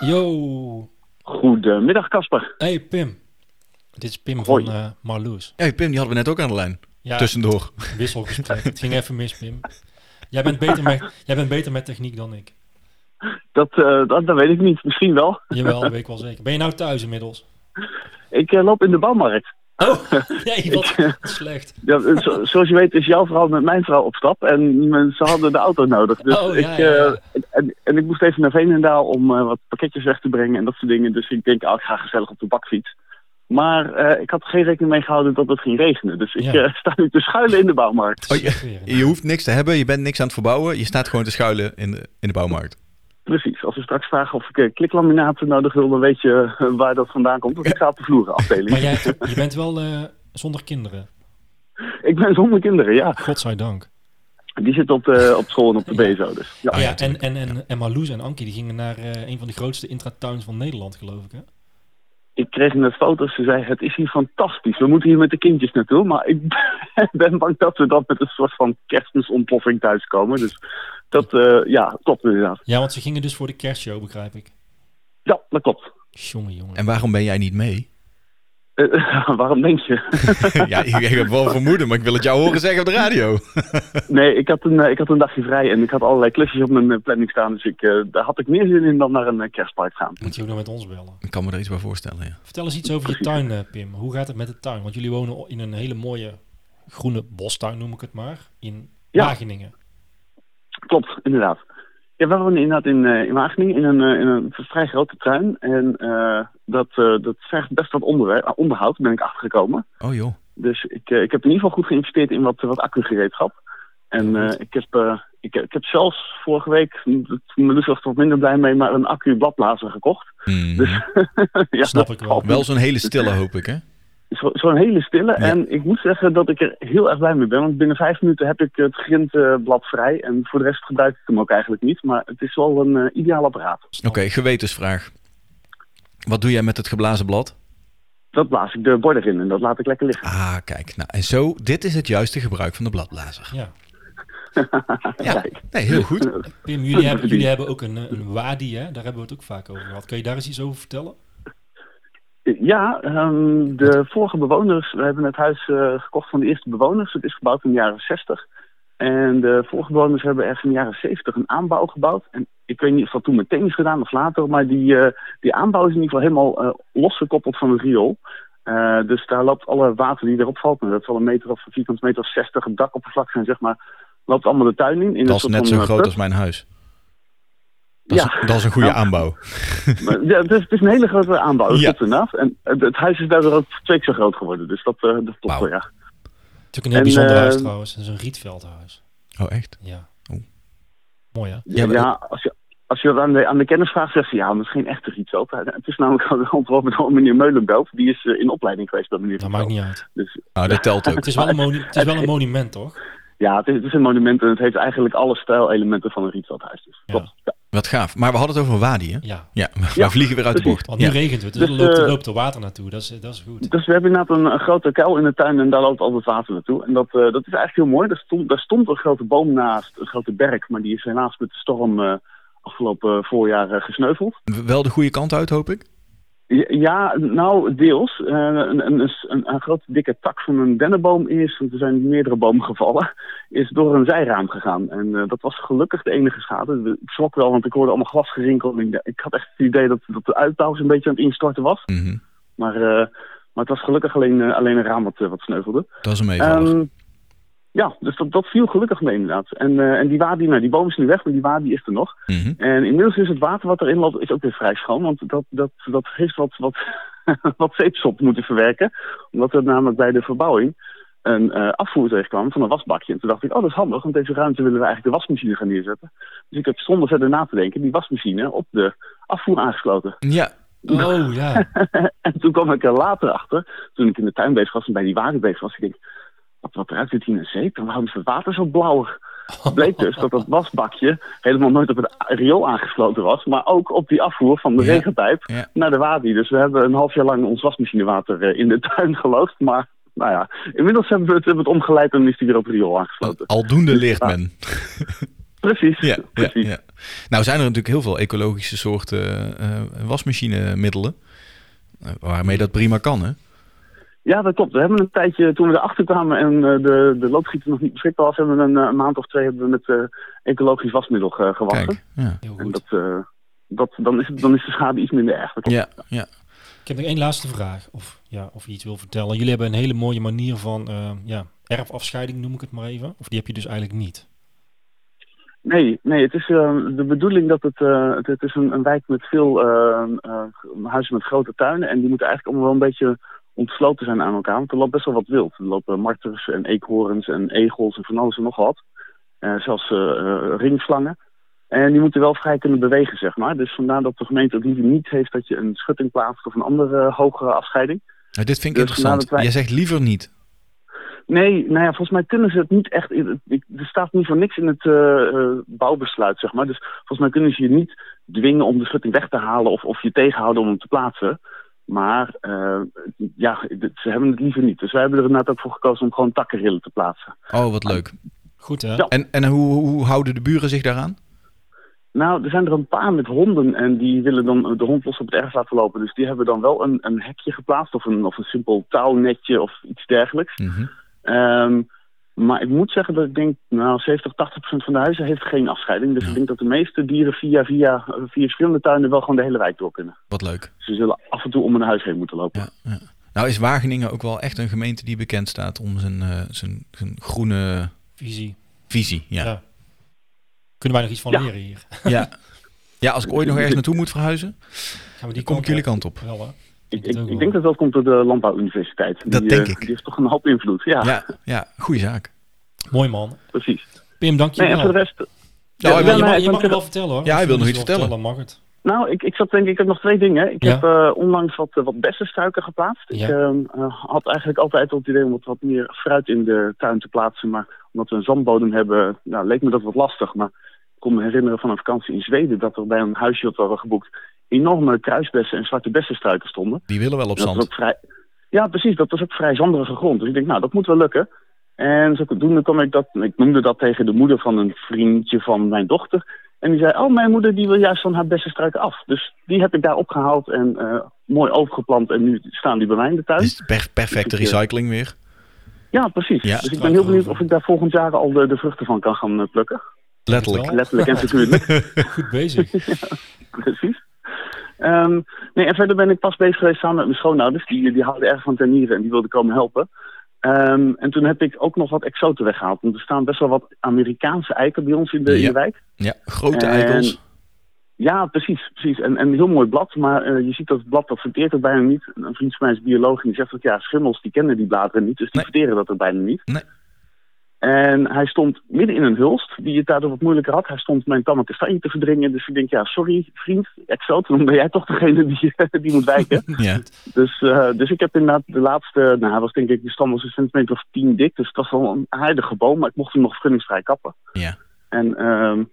Speaker 1: Yo,
Speaker 6: Goedemiddag, Casper.
Speaker 1: hey Pim. Dit is Pim
Speaker 6: Hoi.
Speaker 1: van eh Marloes.
Speaker 3: Hey, Pim, die hadden we net ook aan de lijn.
Speaker 1: Ja,
Speaker 3: Tussendoor.
Speaker 1: wisselgesprek. het ging even mis, Pim. Jij bent, beter met, jij bent beter met techniek dan ik.
Speaker 6: Dat, eh, dat, dat weet ik niet. Misschien wel.
Speaker 1: Jawel, dat weet ik wel zeker. Ben je nou thuis inmiddels?
Speaker 6: Ik eh, loop in de bouwmarkt.
Speaker 1: Oh, nee, wat slecht.
Speaker 6: Ja, eh, zo- zoals je weet is jouw vrouw met mijn vrouw op stap. En men- ze hadden de auto nodig. Dus
Speaker 1: Oh, ja,
Speaker 6: ik,
Speaker 1: ja, ja.
Speaker 6: eh, en, en ik moest even naar Veenendaal om eh, wat pakketjes weg te brengen en dat soort dingen. Dus ik denk, ah, ik ga gezellig op de bakfiets.
Speaker 11: Maar eh, ik had geen rekening mee gehouden dat het ging regenen. Dus ik eh, sta nu te schuilen in de bouwmarkt.
Speaker 3: Oh, je, je hoeft niks te hebben, je bent niks aan het verbouwen. Je staat gewoon te schuilen in de, in de bouwmarkt.
Speaker 11: Precies, als we straks vragen of ik eh, kliklaminaten nodig wil, dan weet je eh, waar dat vandaan komt. Want ik sta op de vloerenafdeling.
Speaker 1: Maar jij, je bent wel eh, zonder kinderen.
Speaker 11: Ik ben zonder kinderen, ja.
Speaker 1: Godzijdank.
Speaker 11: Die zit op, de, op school en op de BSO dus. Ja.
Speaker 3: Oh
Speaker 1: Ah ja, en, en, en, en Marloes en Ankie die gingen naar eh, een van de grootste intratuins van Nederland, geloof ik. Hè?
Speaker 11: Ik kreeg net foto's, ze zei het is hier fantastisch. We moeten hier met de kindjes naartoe. Maar ik ben bang dat we dan met een soort van kerstmisontploffing thuiskomen. Dus dat, eh, ja, klopt inderdaad.
Speaker 1: Ja, want ze gingen dus voor de kerstshow, begrijp ik.
Speaker 11: Ja, dat klopt.
Speaker 1: Jongen, jongen.
Speaker 3: En waarom ben jij niet mee?
Speaker 11: Eh, waarom denk je?
Speaker 3: ja, ik, ik heb wel vermoeden, maar ik wil het jou horen zeggen op de radio.
Speaker 11: Nee, ik had, een, eh, ik had een dagje vrij en ik had allerlei klusjes op mijn eh, planning staan. Dus ik, eh, daar had ik meer zin in dan naar een eh, kerstpark gaan.
Speaker 1: Moet je ook nog met ons bellen.
Speaker 3: Ik kan me er iets bij voorstellen, ja.
Speaker 1: Vertel eens iets over je tuin, eh, Pim. Hoe gaat het met de tuin? Want jullie wonen o- in een hele mooie groene bostuin, noem ik het maar, in
Speaker 11: Ja.
Speaker 1: Wageningen.
Speaker 11: Klopt, inderdaad. Ja, we wonen inderdaad in, eh, in Wageningen in een, eh, in een vrij grote tuin. En eh, dat, eh, dat vergt best wat onderwe- eh, onderhoud, ben ik achtergekomen.
Speaker 3: Oh joh.
Speaker 11: Dus ik, eh, ik heb in ieder geval goed geïnvesteerd in wat, wat accugereedschap. En eh, ik, heb, eh, ik, ik heb zelfs vorige week, dat- Meluus was er wat minder blij mee, maar een accu-bladblazer gekocht. Dus, ja,
Speaker 3: Snap
Speaker 11: dat
Speaker 3: ik wel.
Speaker 11: valt
Speaker 3: Hmm. Wel
Speaker 11: niet.
Speaker 3: zo'n hele stille, hoop ik, hè?
Speaker 11: Zo- Dus Zo'n hele stille. En ik moet zeggen dat ik er heel erg blij mee ben. Want binnen vijf minuten heb ik het grindblad vrij. En voor de rest gebruik ik hem ook eigenlijk niet. Maar het is wel een eh, ideaal apparaat.
Speaker 3: Oké, gewetensvraag. Wat doe jij met het geblazen blad?
Speaker 11: Dat blaas ik de border in en dat laat ik lekker liggen.
Speaker 3: Ah, kijk. Nou, en zo, dit is het juiste gebruik van de bladblazer.
Speaker 1: Ja.
Speaker 3: Ja, nee, heel goed.
Speaker 1: Pim, jullie hebben, jullie hebben ook een, eh, een wadi, hè? daar hebben we het ook vaak over gehad. Kun je daar eens iets over vertellen?
Speaker 11: Eh, Ja, ehm, de vorige bewoners. We hebben het huis eh, gekocht van de eerste bewoners. Het is gebouwd in de jaren 60. En de vorige bewoners hebben ergens in de jaren 70 een aanbouw gebouwd. En ik weet niet of dat toen meteen is gedaan of later. Maar die, eh, die aanbouw is in ieder geval helemaal eh, losgekoppeld van het riool. Eh, dus daar loopt alle water die erop valt. En dat zal een meter of een vierkant meter of 60 het dakoppervlak zijn, zeg maar. Loopt allemaal de tuin in. in een
Speaker 3: Dat is
Speaker 11: soort
Speaker 3: net
Speaker 11: van,
Speaker 3: zo
Speaker 11: eh,
Speaker 3: groot
Speaker 11: put.
Speaker 3: als mijn huis. Dat is,
Speaker 11: Ja.
Speaker 3: dat is een goede
Speaker 11: Nou.
Speaker 3: aanbouw.
Speaker 11: Maar, ja, het, is, het is een hele grote aanbouw, dat
Speaker 3: Ja.
Speaker 11: klopt inderdaad. En het, het huis is daardoor ook twee keer zo groot geworden. Dus dat, eh, dat klopt wel, ja.
Speaker 1: Het is ook een heel
Speaker 11: En,
Speaker 1: bijzonder
Speaker 11: eh,
Speaker 1: huis trouwens. Het is een rietveldhuis.
Speaker 3: Oh, echt?
Speaker 1: Ja.
Speaker 3: Oh.
Speaker 1: Mooi hè?
Speaker 11: Ja, als, je, als je dat aan de, aan de kennis vraagt, zegt ze ja, maar het is geen echte Rietveld. Het is namelijk een ontworpen door meneer Meulenbelt. Die is eh, in opleiding geweest bij meneer
Speaker 1: Dat
Speaker 11: Rietveld.
Speaker 1: maakt niet uit. Ah,
Speaker 11: Dus,
Speaker 3: Nou, dat telt ook.
Speaker 1: Het is wel een, monu- het is wel een monument, toch?
Speaker 11: ja, het is, het is een monument en het heeft eigenlijk alle stijlelementen van een Rietveldhuis. Dus,
Speaker 1: Ja.
Speaker 11: klopt. Ja.
Speaker 3: Wat gaaf. Maar we hadden het over een wadi, hè?
Speaker 1: Ja.
Speaker 3: Ja, we
Speaker 11: Ja,
Speaker 3: vliegen weer uit de
Speaker 11: precies.
Speaker 3: bocht.
Speaker 1: Want nu
Speaker 3: Ja.
Speaker 1: regent het, dus,
Speaker 11: Dus,
Speaker 1: er loopt, er
Speaker 11: eh,
Speaker 1: loopt er water naartoe. Dat is, dat is goed.
Speaker 11: Dus we hebben inderdaad een, een grote kuil in de tuin en daar loopt al het water naartoe. En dat, eh, dat is eigenlijk heel mooi. Daar stond, daar stond een grote boom naast, een grote berk. Maar die is helaas met de storm eh, afgelopen voorjaar eh, gesneuveld.
Speaker 3: Wel de goede kant uit, hoop ik.
Speaker 11: Ja, nou, deels. Eh, een, een, een, een grote dikke tak van een dennenboom is, want er zijn meerdere bomen gevallen, is door een zijraam gegaan. En eh, dat was gelukkig de enige schade. Ik schrok wel, want ik hoorde allemaal glasgerinkel. En ik- Ik had echt het idee dat, dat de uitbouw een beetje aan het instorten was.
Speaker 3: Mhm.
Speaker 11: Maar, eh, maar het was gelukkig alleen, eh, alleen een raam wat, eh, wat sneuvelde.
Speaker 3: Dat is een meevaller.
Speaker 11: Ehm, ja, dus dat, dat viel gelukkig mee inderdaad. En, eh, en die wadi, nou die boom is nu weg, maar die wadi is er nog.
Speaker 3: Mhm.
Speaker 11: En inmiddels is het water wat erin loopt is ook weer vrij schoon. Want dat, dat, dat heeft wat, wat, wat zeepsop moeten verwerken. Omdat er namelijk bij de verbouwing een eh, afvoer tegenkwam van een wasbakje. En toen dacht ik, oh dat is handig, want deze ruimte willen we eigenlijk de wasmachine gaan neerzetten. Dus ik heb zonder verder na te denken die wasmachine op de afvoer aangesloten.
Speaker 3: Ja,
Speaker 1: Oh ja.
Speaker 11: En toen kwam ik er later achter, toen ik in de tuin bezig was en bij die wagen bezig was. Ik denk, wat, wat ruikt het hier naar zeep? En waarom is het water zo blauwig? Bleek dus dat dat wasbakje helemaal nooit op het riool aangesloten was, maar ook op die afvoer van de
Speaker 3: Ja.
Speaker 11: regenpijp
Speaker 3: Ja.
Speaker 11: naar de wadi. Dus we hebben een half jaar lang ons wasmachinewater eh, in de tuin geloofd, maar nou ja, inmiddels hebben we het, hebben we het omgeleid en is die weer op het riool aangesloten. Dus,
Speaker 3: aldoende leert
Speaker 11: Ja.
Speaker 3: men.
Speaker 11: Precies,
Speaker 3: Ja, ja,
Speaker 11: precies.
Speaker 3: ja. Nou zijn er natuurlijk heel veel ecologische soorten eh wasmachinemiddelen. eh, Waarmee dat prima kan, hè?
Speaker 11: Ja, dat klopt. We hebben een tijdje, toen we erachter kwamen en eh, de, de loodgieter nog niet beschikbaar was, hebben we een, eh, maand of twee hebben we met eh, ecologisch wasmiddel eh, gewassen.
Speaker 3: Kijk, ja.
Speaker 1: Heel
Speaker 11: En
Speaker 1: goed.
Speaker 11: dat, eh, dat, dan, is het, dan is de schade iets minder erg. Dat klopt.
Speaker 3: Ja, ja.
Speaker 1: Ik heb nog één laatste vraag. Of, ja, of je iets wil vertellen. Jullie hebben een hele mooie manier van eh, ja, erfafscheiding, noem ik het maar even. Of die heb je dus eigenlijk niet.
Speaker 11: Nee, nee, het is eh, de bedoeling dat het, eh, ehm, het, het is een, een wijk met veel eh, eh, huizen met grote tuinen. En die moeten eigenlijk allemaal wel een beetje ontsloten zijn aan elkaar. Want er loopt best wel wat wild. Er lopen marters en eekhoorns en egels en van alles en nog wat. Eh, zelfs eh, eh, ringslangen. En die moeten wel vrij kunnen bewegen, zeg maar. Dus vandaar dat de gemeente het liever niet heeft dat je een schutting plaatst of een andere eh, hogere afscheiding.
Speaker 3: Nou, dit vind ik
Speaker 11: Dus
Speaker 3: interessant.
Speaker 11: nadat wij-
Speaker 3: Jij zegt liever niet.
Speaker 11: Nee, nou ja, volgens mij kunnen ze het niet echt. in- ik- Er staat niet voor niks in het eh, eh, bouwbesluit, zeg maar. Dus volgens mij kunnen ze je niet dwingen om de schutting weg te halen of, of je tegenhouden om hem te plaatsen. Maar eh, ja, dit- ze hebben het liever niet. Dus wij hebben er inderdaad ook voor gekozen om gewoon takkenrillen te plaatsen.
Speaker 3: Oh, wat leuk.
Speaker 1: Goed hè?
Speaker 3: En, en hoe, hoe houden de buren zich daaraan?
Speaker 11: Nou, er zijn er een paar met honden en die willen dan de hond los op het erf laten lopen. Dus die hebben dan wel een, een hekje geplaatst of een, of een simpel touwnetje of iets dergelijks.
Speaker 3: Mhm.
Speaker 11: Ehm, maar ik moet zeggen dat ik denk, nou, 70, 80 procent van de huizen heeft geen afscheiding. Dus ik denk dat de meeste dieren via, via, eh, via verschillende tuinen wel gewoon de hele wijk door kunnen.
Speaker 3: Wat leuk.
Speaker 11: Ze zullen af en toe om hun huis heen moeten lopen.
Speaker 3: Nou is Wageningen ook wel echt een gemeente die bekend staat om zijn, eh, zijn, zijn groene
Speaker 1: Visie.
Speaker 3: visie. Ja. Ja.
Speaker 1: Kunnen wij nog iets van
Speaker 3: Ja.
Speaker 1: leren hier?
Speaker 3: Ja. als ik ooit nog ergens naartoe moet verhuizen,
Speaker 1: Gaan we die
Speaker 3: dan kom ik jullie kant op.
Speaker 1: Wel, hè?
Speaker 11: ik, ik, ik denk dat dat komt door de landbouwuniversiteit.
Speaker 3: Dat
Speaker 11: die,
Speaker 3: denk
Speaker 11: eh,
Speaker 3: ik.
Speaker 11: Die heeft toch een hoop invloed, ja.
Speaker 3: Ja, ja goede zaak.
Speaker 1: Mooi man.
Speaker 11: Precies.
Speaker 1: Pim, dank je
Speaker 11: Nee, en
Speaker 1: wel.
Speaker 11: voor de rest...
Speaker 1: Ja,
Speaker 11: Ja,
Speaker 1: je,
Speaker 11: nou,
Speaker 1: mag,
Speaker 11: ik
Speaker 1: je
Speaker 11: wou
Speaker 1: mag hem wel
Speaker 11: zeggen-
Speaker 1: vertellen hoor.
Speaker 3: Ja, hij wil nog iets
Speaker 1: Dan mag het.
Speaker 11: Nou, ik, ik zat denk ik, ik heb nog twee dingen. Ik
Speaker 1: Ja.
Speaker 11: heb eh, onlangs wat, eh, wat bessenstruiken geplaatst.
Speaker 1: Ja.
Speaker 11: Ik ehm, eh, had eigenlijk altijd het idee om wat, wat meer fruit in de tuin te plaatsen. Maar omdat we een zandbodem hebben, nou, leek me dat wat lastig. Maar ik kon me herinneren van een vakantie in Zweden... dat er bij een huisje dat we hadden geboekt... enorme kruisbessen en zwarte bessenstruiken stonden.
Speaker 3: Die willen wel op
Speaker 11: Dat was
Speaker 3: zand.
Speaker 11: ook vrij... Ja, precies. Dat was ook vrij zanderige grond. Dus ik denk, nou, dat moet wel lukken. En zodoende kwam ik dat... Ik noemde dat tegen de moeder van een vriendje van mijn dochter. En die zei, oh, mijn moeder die wil juist van haar beste struiken af. Dus die heb ik daar opgehaald en eh, mooi overgeplant. En nu staan die bij mij in de tuin.
Speaker 3: Per- perfecte recycling weer.
Speaker 11: Ja, precies.
Speaker 3: Ja,
Speaker 11: dus ik ben heel benieuwd of ik daar volgend jaar al de, de vruchten van kan gaan eh, plukken.
Speaker 3: Letterlijk.
Speaker 11: Letterlijk en figuurlijk.
Speaker 1: Goed bezig.
Speaker 11: Precies. Ehm, nee, en verder ben ik pas bezig geweest samen met mijn schoonouders. Die, die houden erg van tuinieren en die wilden komen helpen. Ehm, en toen heb ik ook nog wat exoten weggehaald. Want er staan best wel wat Amerikaanse eiken bij ons in de, in de wijk.
Speaker 3: Ja, grote
Speaker 11: En-
Speaker 3: eikels.
Speaker 11: Ja, precies. precies. En, en een heel mooi blad, maar eh, je ziet dat het blad dat verteert het bijna niet. Een een vriend van mij is bioloog en die zegt dat ja, schimmels die kennen die bladeren niet, dus die verteren dat er bijna niet.
Speaker 3: Nee.
Speaker 11: En hij stond midden in een hulst, die het daardoor wat moeilijker had. Hij stond mijn tamme kastanje te verdringen, dus ik denk ja, sorry vriend, exot, dan ben jij toch degene die, die moet wijken.
Speaker 3: Ja.
Speaker 11: Dus, eh, dus ik heb inderdaad de laatste, nou hij was denk ik, de stam was een centimeter of tien dik, dus het was wel een aardige boom, maar ik mocht hem nog vergunningsvrij kappen.
Speaker 3: Ja.
Speaker 11: En ehm,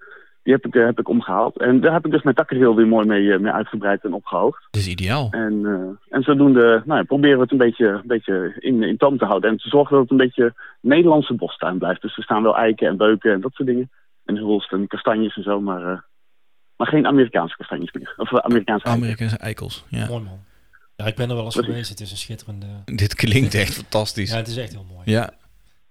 Speaker 11: die heb ik, eh, heb ik omgehaald. En daar heb ik dus mijn takkenreel weer mooi mee, eh, mee uitgebreid en opgehoogd.
Speaker 3: Dat is ideaal.
Speaker 11: En, eh, en zodoende nou, ja, proberen we het een beetje, een beetje in, in toom te houden. En te zorgen dat het een beetje Nederlandse bostuin blijft. Dus er staan wel eiken en beuken en dat soort dingen. En hulst en kastanjes en zo, maar, eh, maar geen Amerikaanse kastanjes meer. Of eh, Amerikaanse
Speaker 1: Ah,
Speaker 11: eiken.
Speaker 3: Amerikaanse eikels. Ja.
Speaker 1: Mooi man. Ja, ik ben er wel eens
Speaker 11: Precies.
Speaker 1: geweest. Het is een schitterende...
Speaker 3: Dit klinkt echt fantastisch.
Speaker 1: Ja, het is echt heel mooi.
Speaker 3: Ja.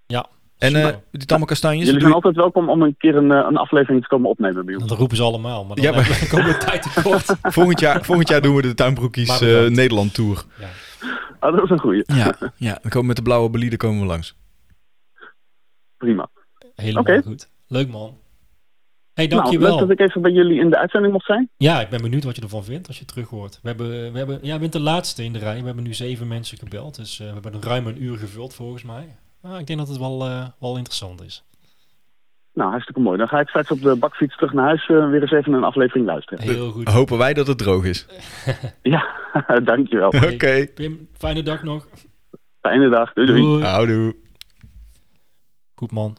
Speaker 1: Ja.
Speaker 3: En eh die tamme kastanjes.
Speaker 11: Jullie
Speaker 3: doe
Speaker 11: zijn
Speaker 3: je-
Speaker 11: altijd welkom om een keer een, eh, een aflevering te komen opnemen bij ons.
Speaker 1: Dat roepen ze allemaal, maar dan
Speaker 3: Ja, maar-
Speaker 1: hebben we- komen we tijd tekort.
Speaker 3: Volgend jaar, volgend jaar doen we de Tuinbroekies
Speaker 1: Maar bedankt.
Speaker 3: eh, Nederland Tour.
Speaker 11: Ah, dat is een goeie.
Speaker 3: Ja, ja. Dan komen we met de blauwe bolide komen we langs.
Speaker 11: Prima.
Speaker 1: Helemaal
Speaker 11: Oké.
Speaker 1: goed. Leuk man. hey,
Speaker 11: Nou,
Speaker 1: dankjewel.
Speaker 11: leuk dat ik even bij jullie in de uitzending mocht zijn.
Speaker 1: Ja, ik ben benieuwd wat je ervan vindt als je het terug hoort. We hebben, we hebben, ja, je bent de laatste in de rij. We hebben nu zeven mensen gebeld. Dus eh, we hebben ruim een uur gevuld volgens mij. Maar ik denk dat het wel, eh, wel interessant is.
Speaker 11: Nou, hartstikke mooi. Dan ga ik straks op de bakfiets terug naar huis eh, weer eens even een aflevering luisteren.
Speaker 1: Heel goed.
Speaker 3: Hopen wij dat het droog is.
Speaker 11: Ja, dankjewel.
Speaker 3: Oké.
Speaker 1: Pim, fijne dag nog.
Speaker 11: Fijne dag. Doei doei.
Speaker 1: Doei.
Speaker 3: Houdoe.
Speaker 1: Goed man.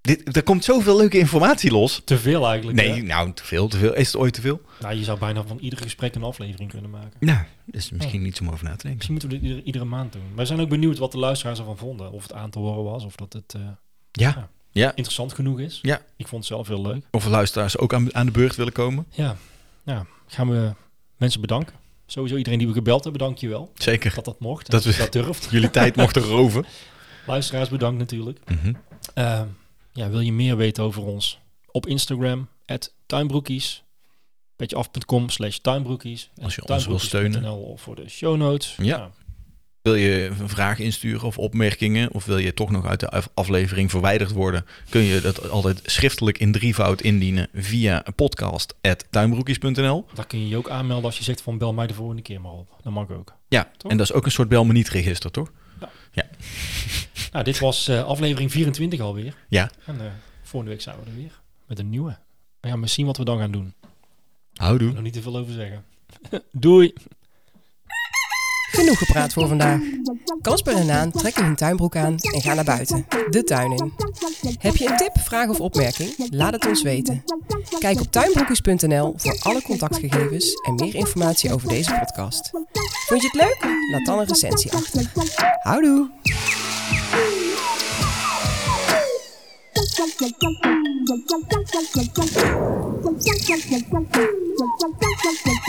Speaker 3: Dit, er komt zoveel leuke informatie los.
Speaker 1: Te veel eigenlijk.
Speaker 3: Nee,
Speaker 1: hè?
Speaker 3: nou, te veel, te veel. Is het ooit te veel?
Speaker 1: Nou, je zou bijna van ieder gesprek een aflevering kunnen maken.
Speaker 3: Nou, dat is misschien niet om over na te denken.
Speaker 1: Misschien moeten we dit iedere, iedere maand doen. Maar we zijn ook benieuwd wat de luisteraars ervan vonden. Of het aan te horen was. Of dat het eh,
Speaker 3: Ja. Ja.
Speaker 1: interessant genoeg is.
Speaker 3: Ja.
Speaker 1: Ik vond het zelf heel leuk.
Speaker 3: Of luisteraars ook aan, aan de beurt willen komen.
Speaker 1: Ja. ja. Nou, Gaan we mensen bedanken. Sowieso iedereen die we gebeld hebben, dank je wel.
Speaker 3: Zeker.
Speaker 1: dat dat mocht. en
Speaker 3: Dat
Speaker 1: Dat,
Speaker 3: we
Speaker 1: je dat durft.
Speaker 3: jullie tijd mochten roven.
Speaker 1: Luisteraars, bedankt natuurlijk.
Speaker 3: Mhm.
Speaker 1: Ehm, ja, wil je meer weten over ons? Op Instagram, at tuinbroekies. Petjeaf.com slash tuinbroekies.
Speaker 3: Als je ons wil steunen.
Speaker 1: Of voor de show notes.
Speaker 3: Ja.
Speaker 1: Nou,
Speaker 3: Wil je een vraag insturen of opmerkingen? Of wil je toch nog uit de af- aflevering verwijderd worden? Kun je dat altijd schriftelijk in drievoud indienen via podcast.tuinbroekjes.nl.
Speaker 1: Daar kun je je ook aanmelden als je zegt van bel mij de volgende keer maar op. Dat mag ook.
Speaker 3: Ja, en dat is ook een soort bel me niet register, toch?
Speaker 1: Nou, dit was eh, aflevering 24 alweer.
Speaker 3: Ja.
Speaker 1: En eh, volgende week zijn we er weer met een nieuwe. Maar ja, misschien wat we dan gaan doen. Ik
Speaker 3: Houdoe.
Speaker 1: kan er niet te veel over zeggen. Doei!
Speaker 4: Genoeg gepraat voor vandaag. Kasper en Naan trekken hun tuinbroek aan en gaan naar buiten, de tuin in. Heb je een tip, vraag of opmerking? Laat het ons weten. Kijk op tuinbroekjes.nl voor alle contactgegevens en meer informatie over deze podcast. Vond je het leuk? Laat dan een recensie achter. Houdoe!
Speaker 12: Thank you.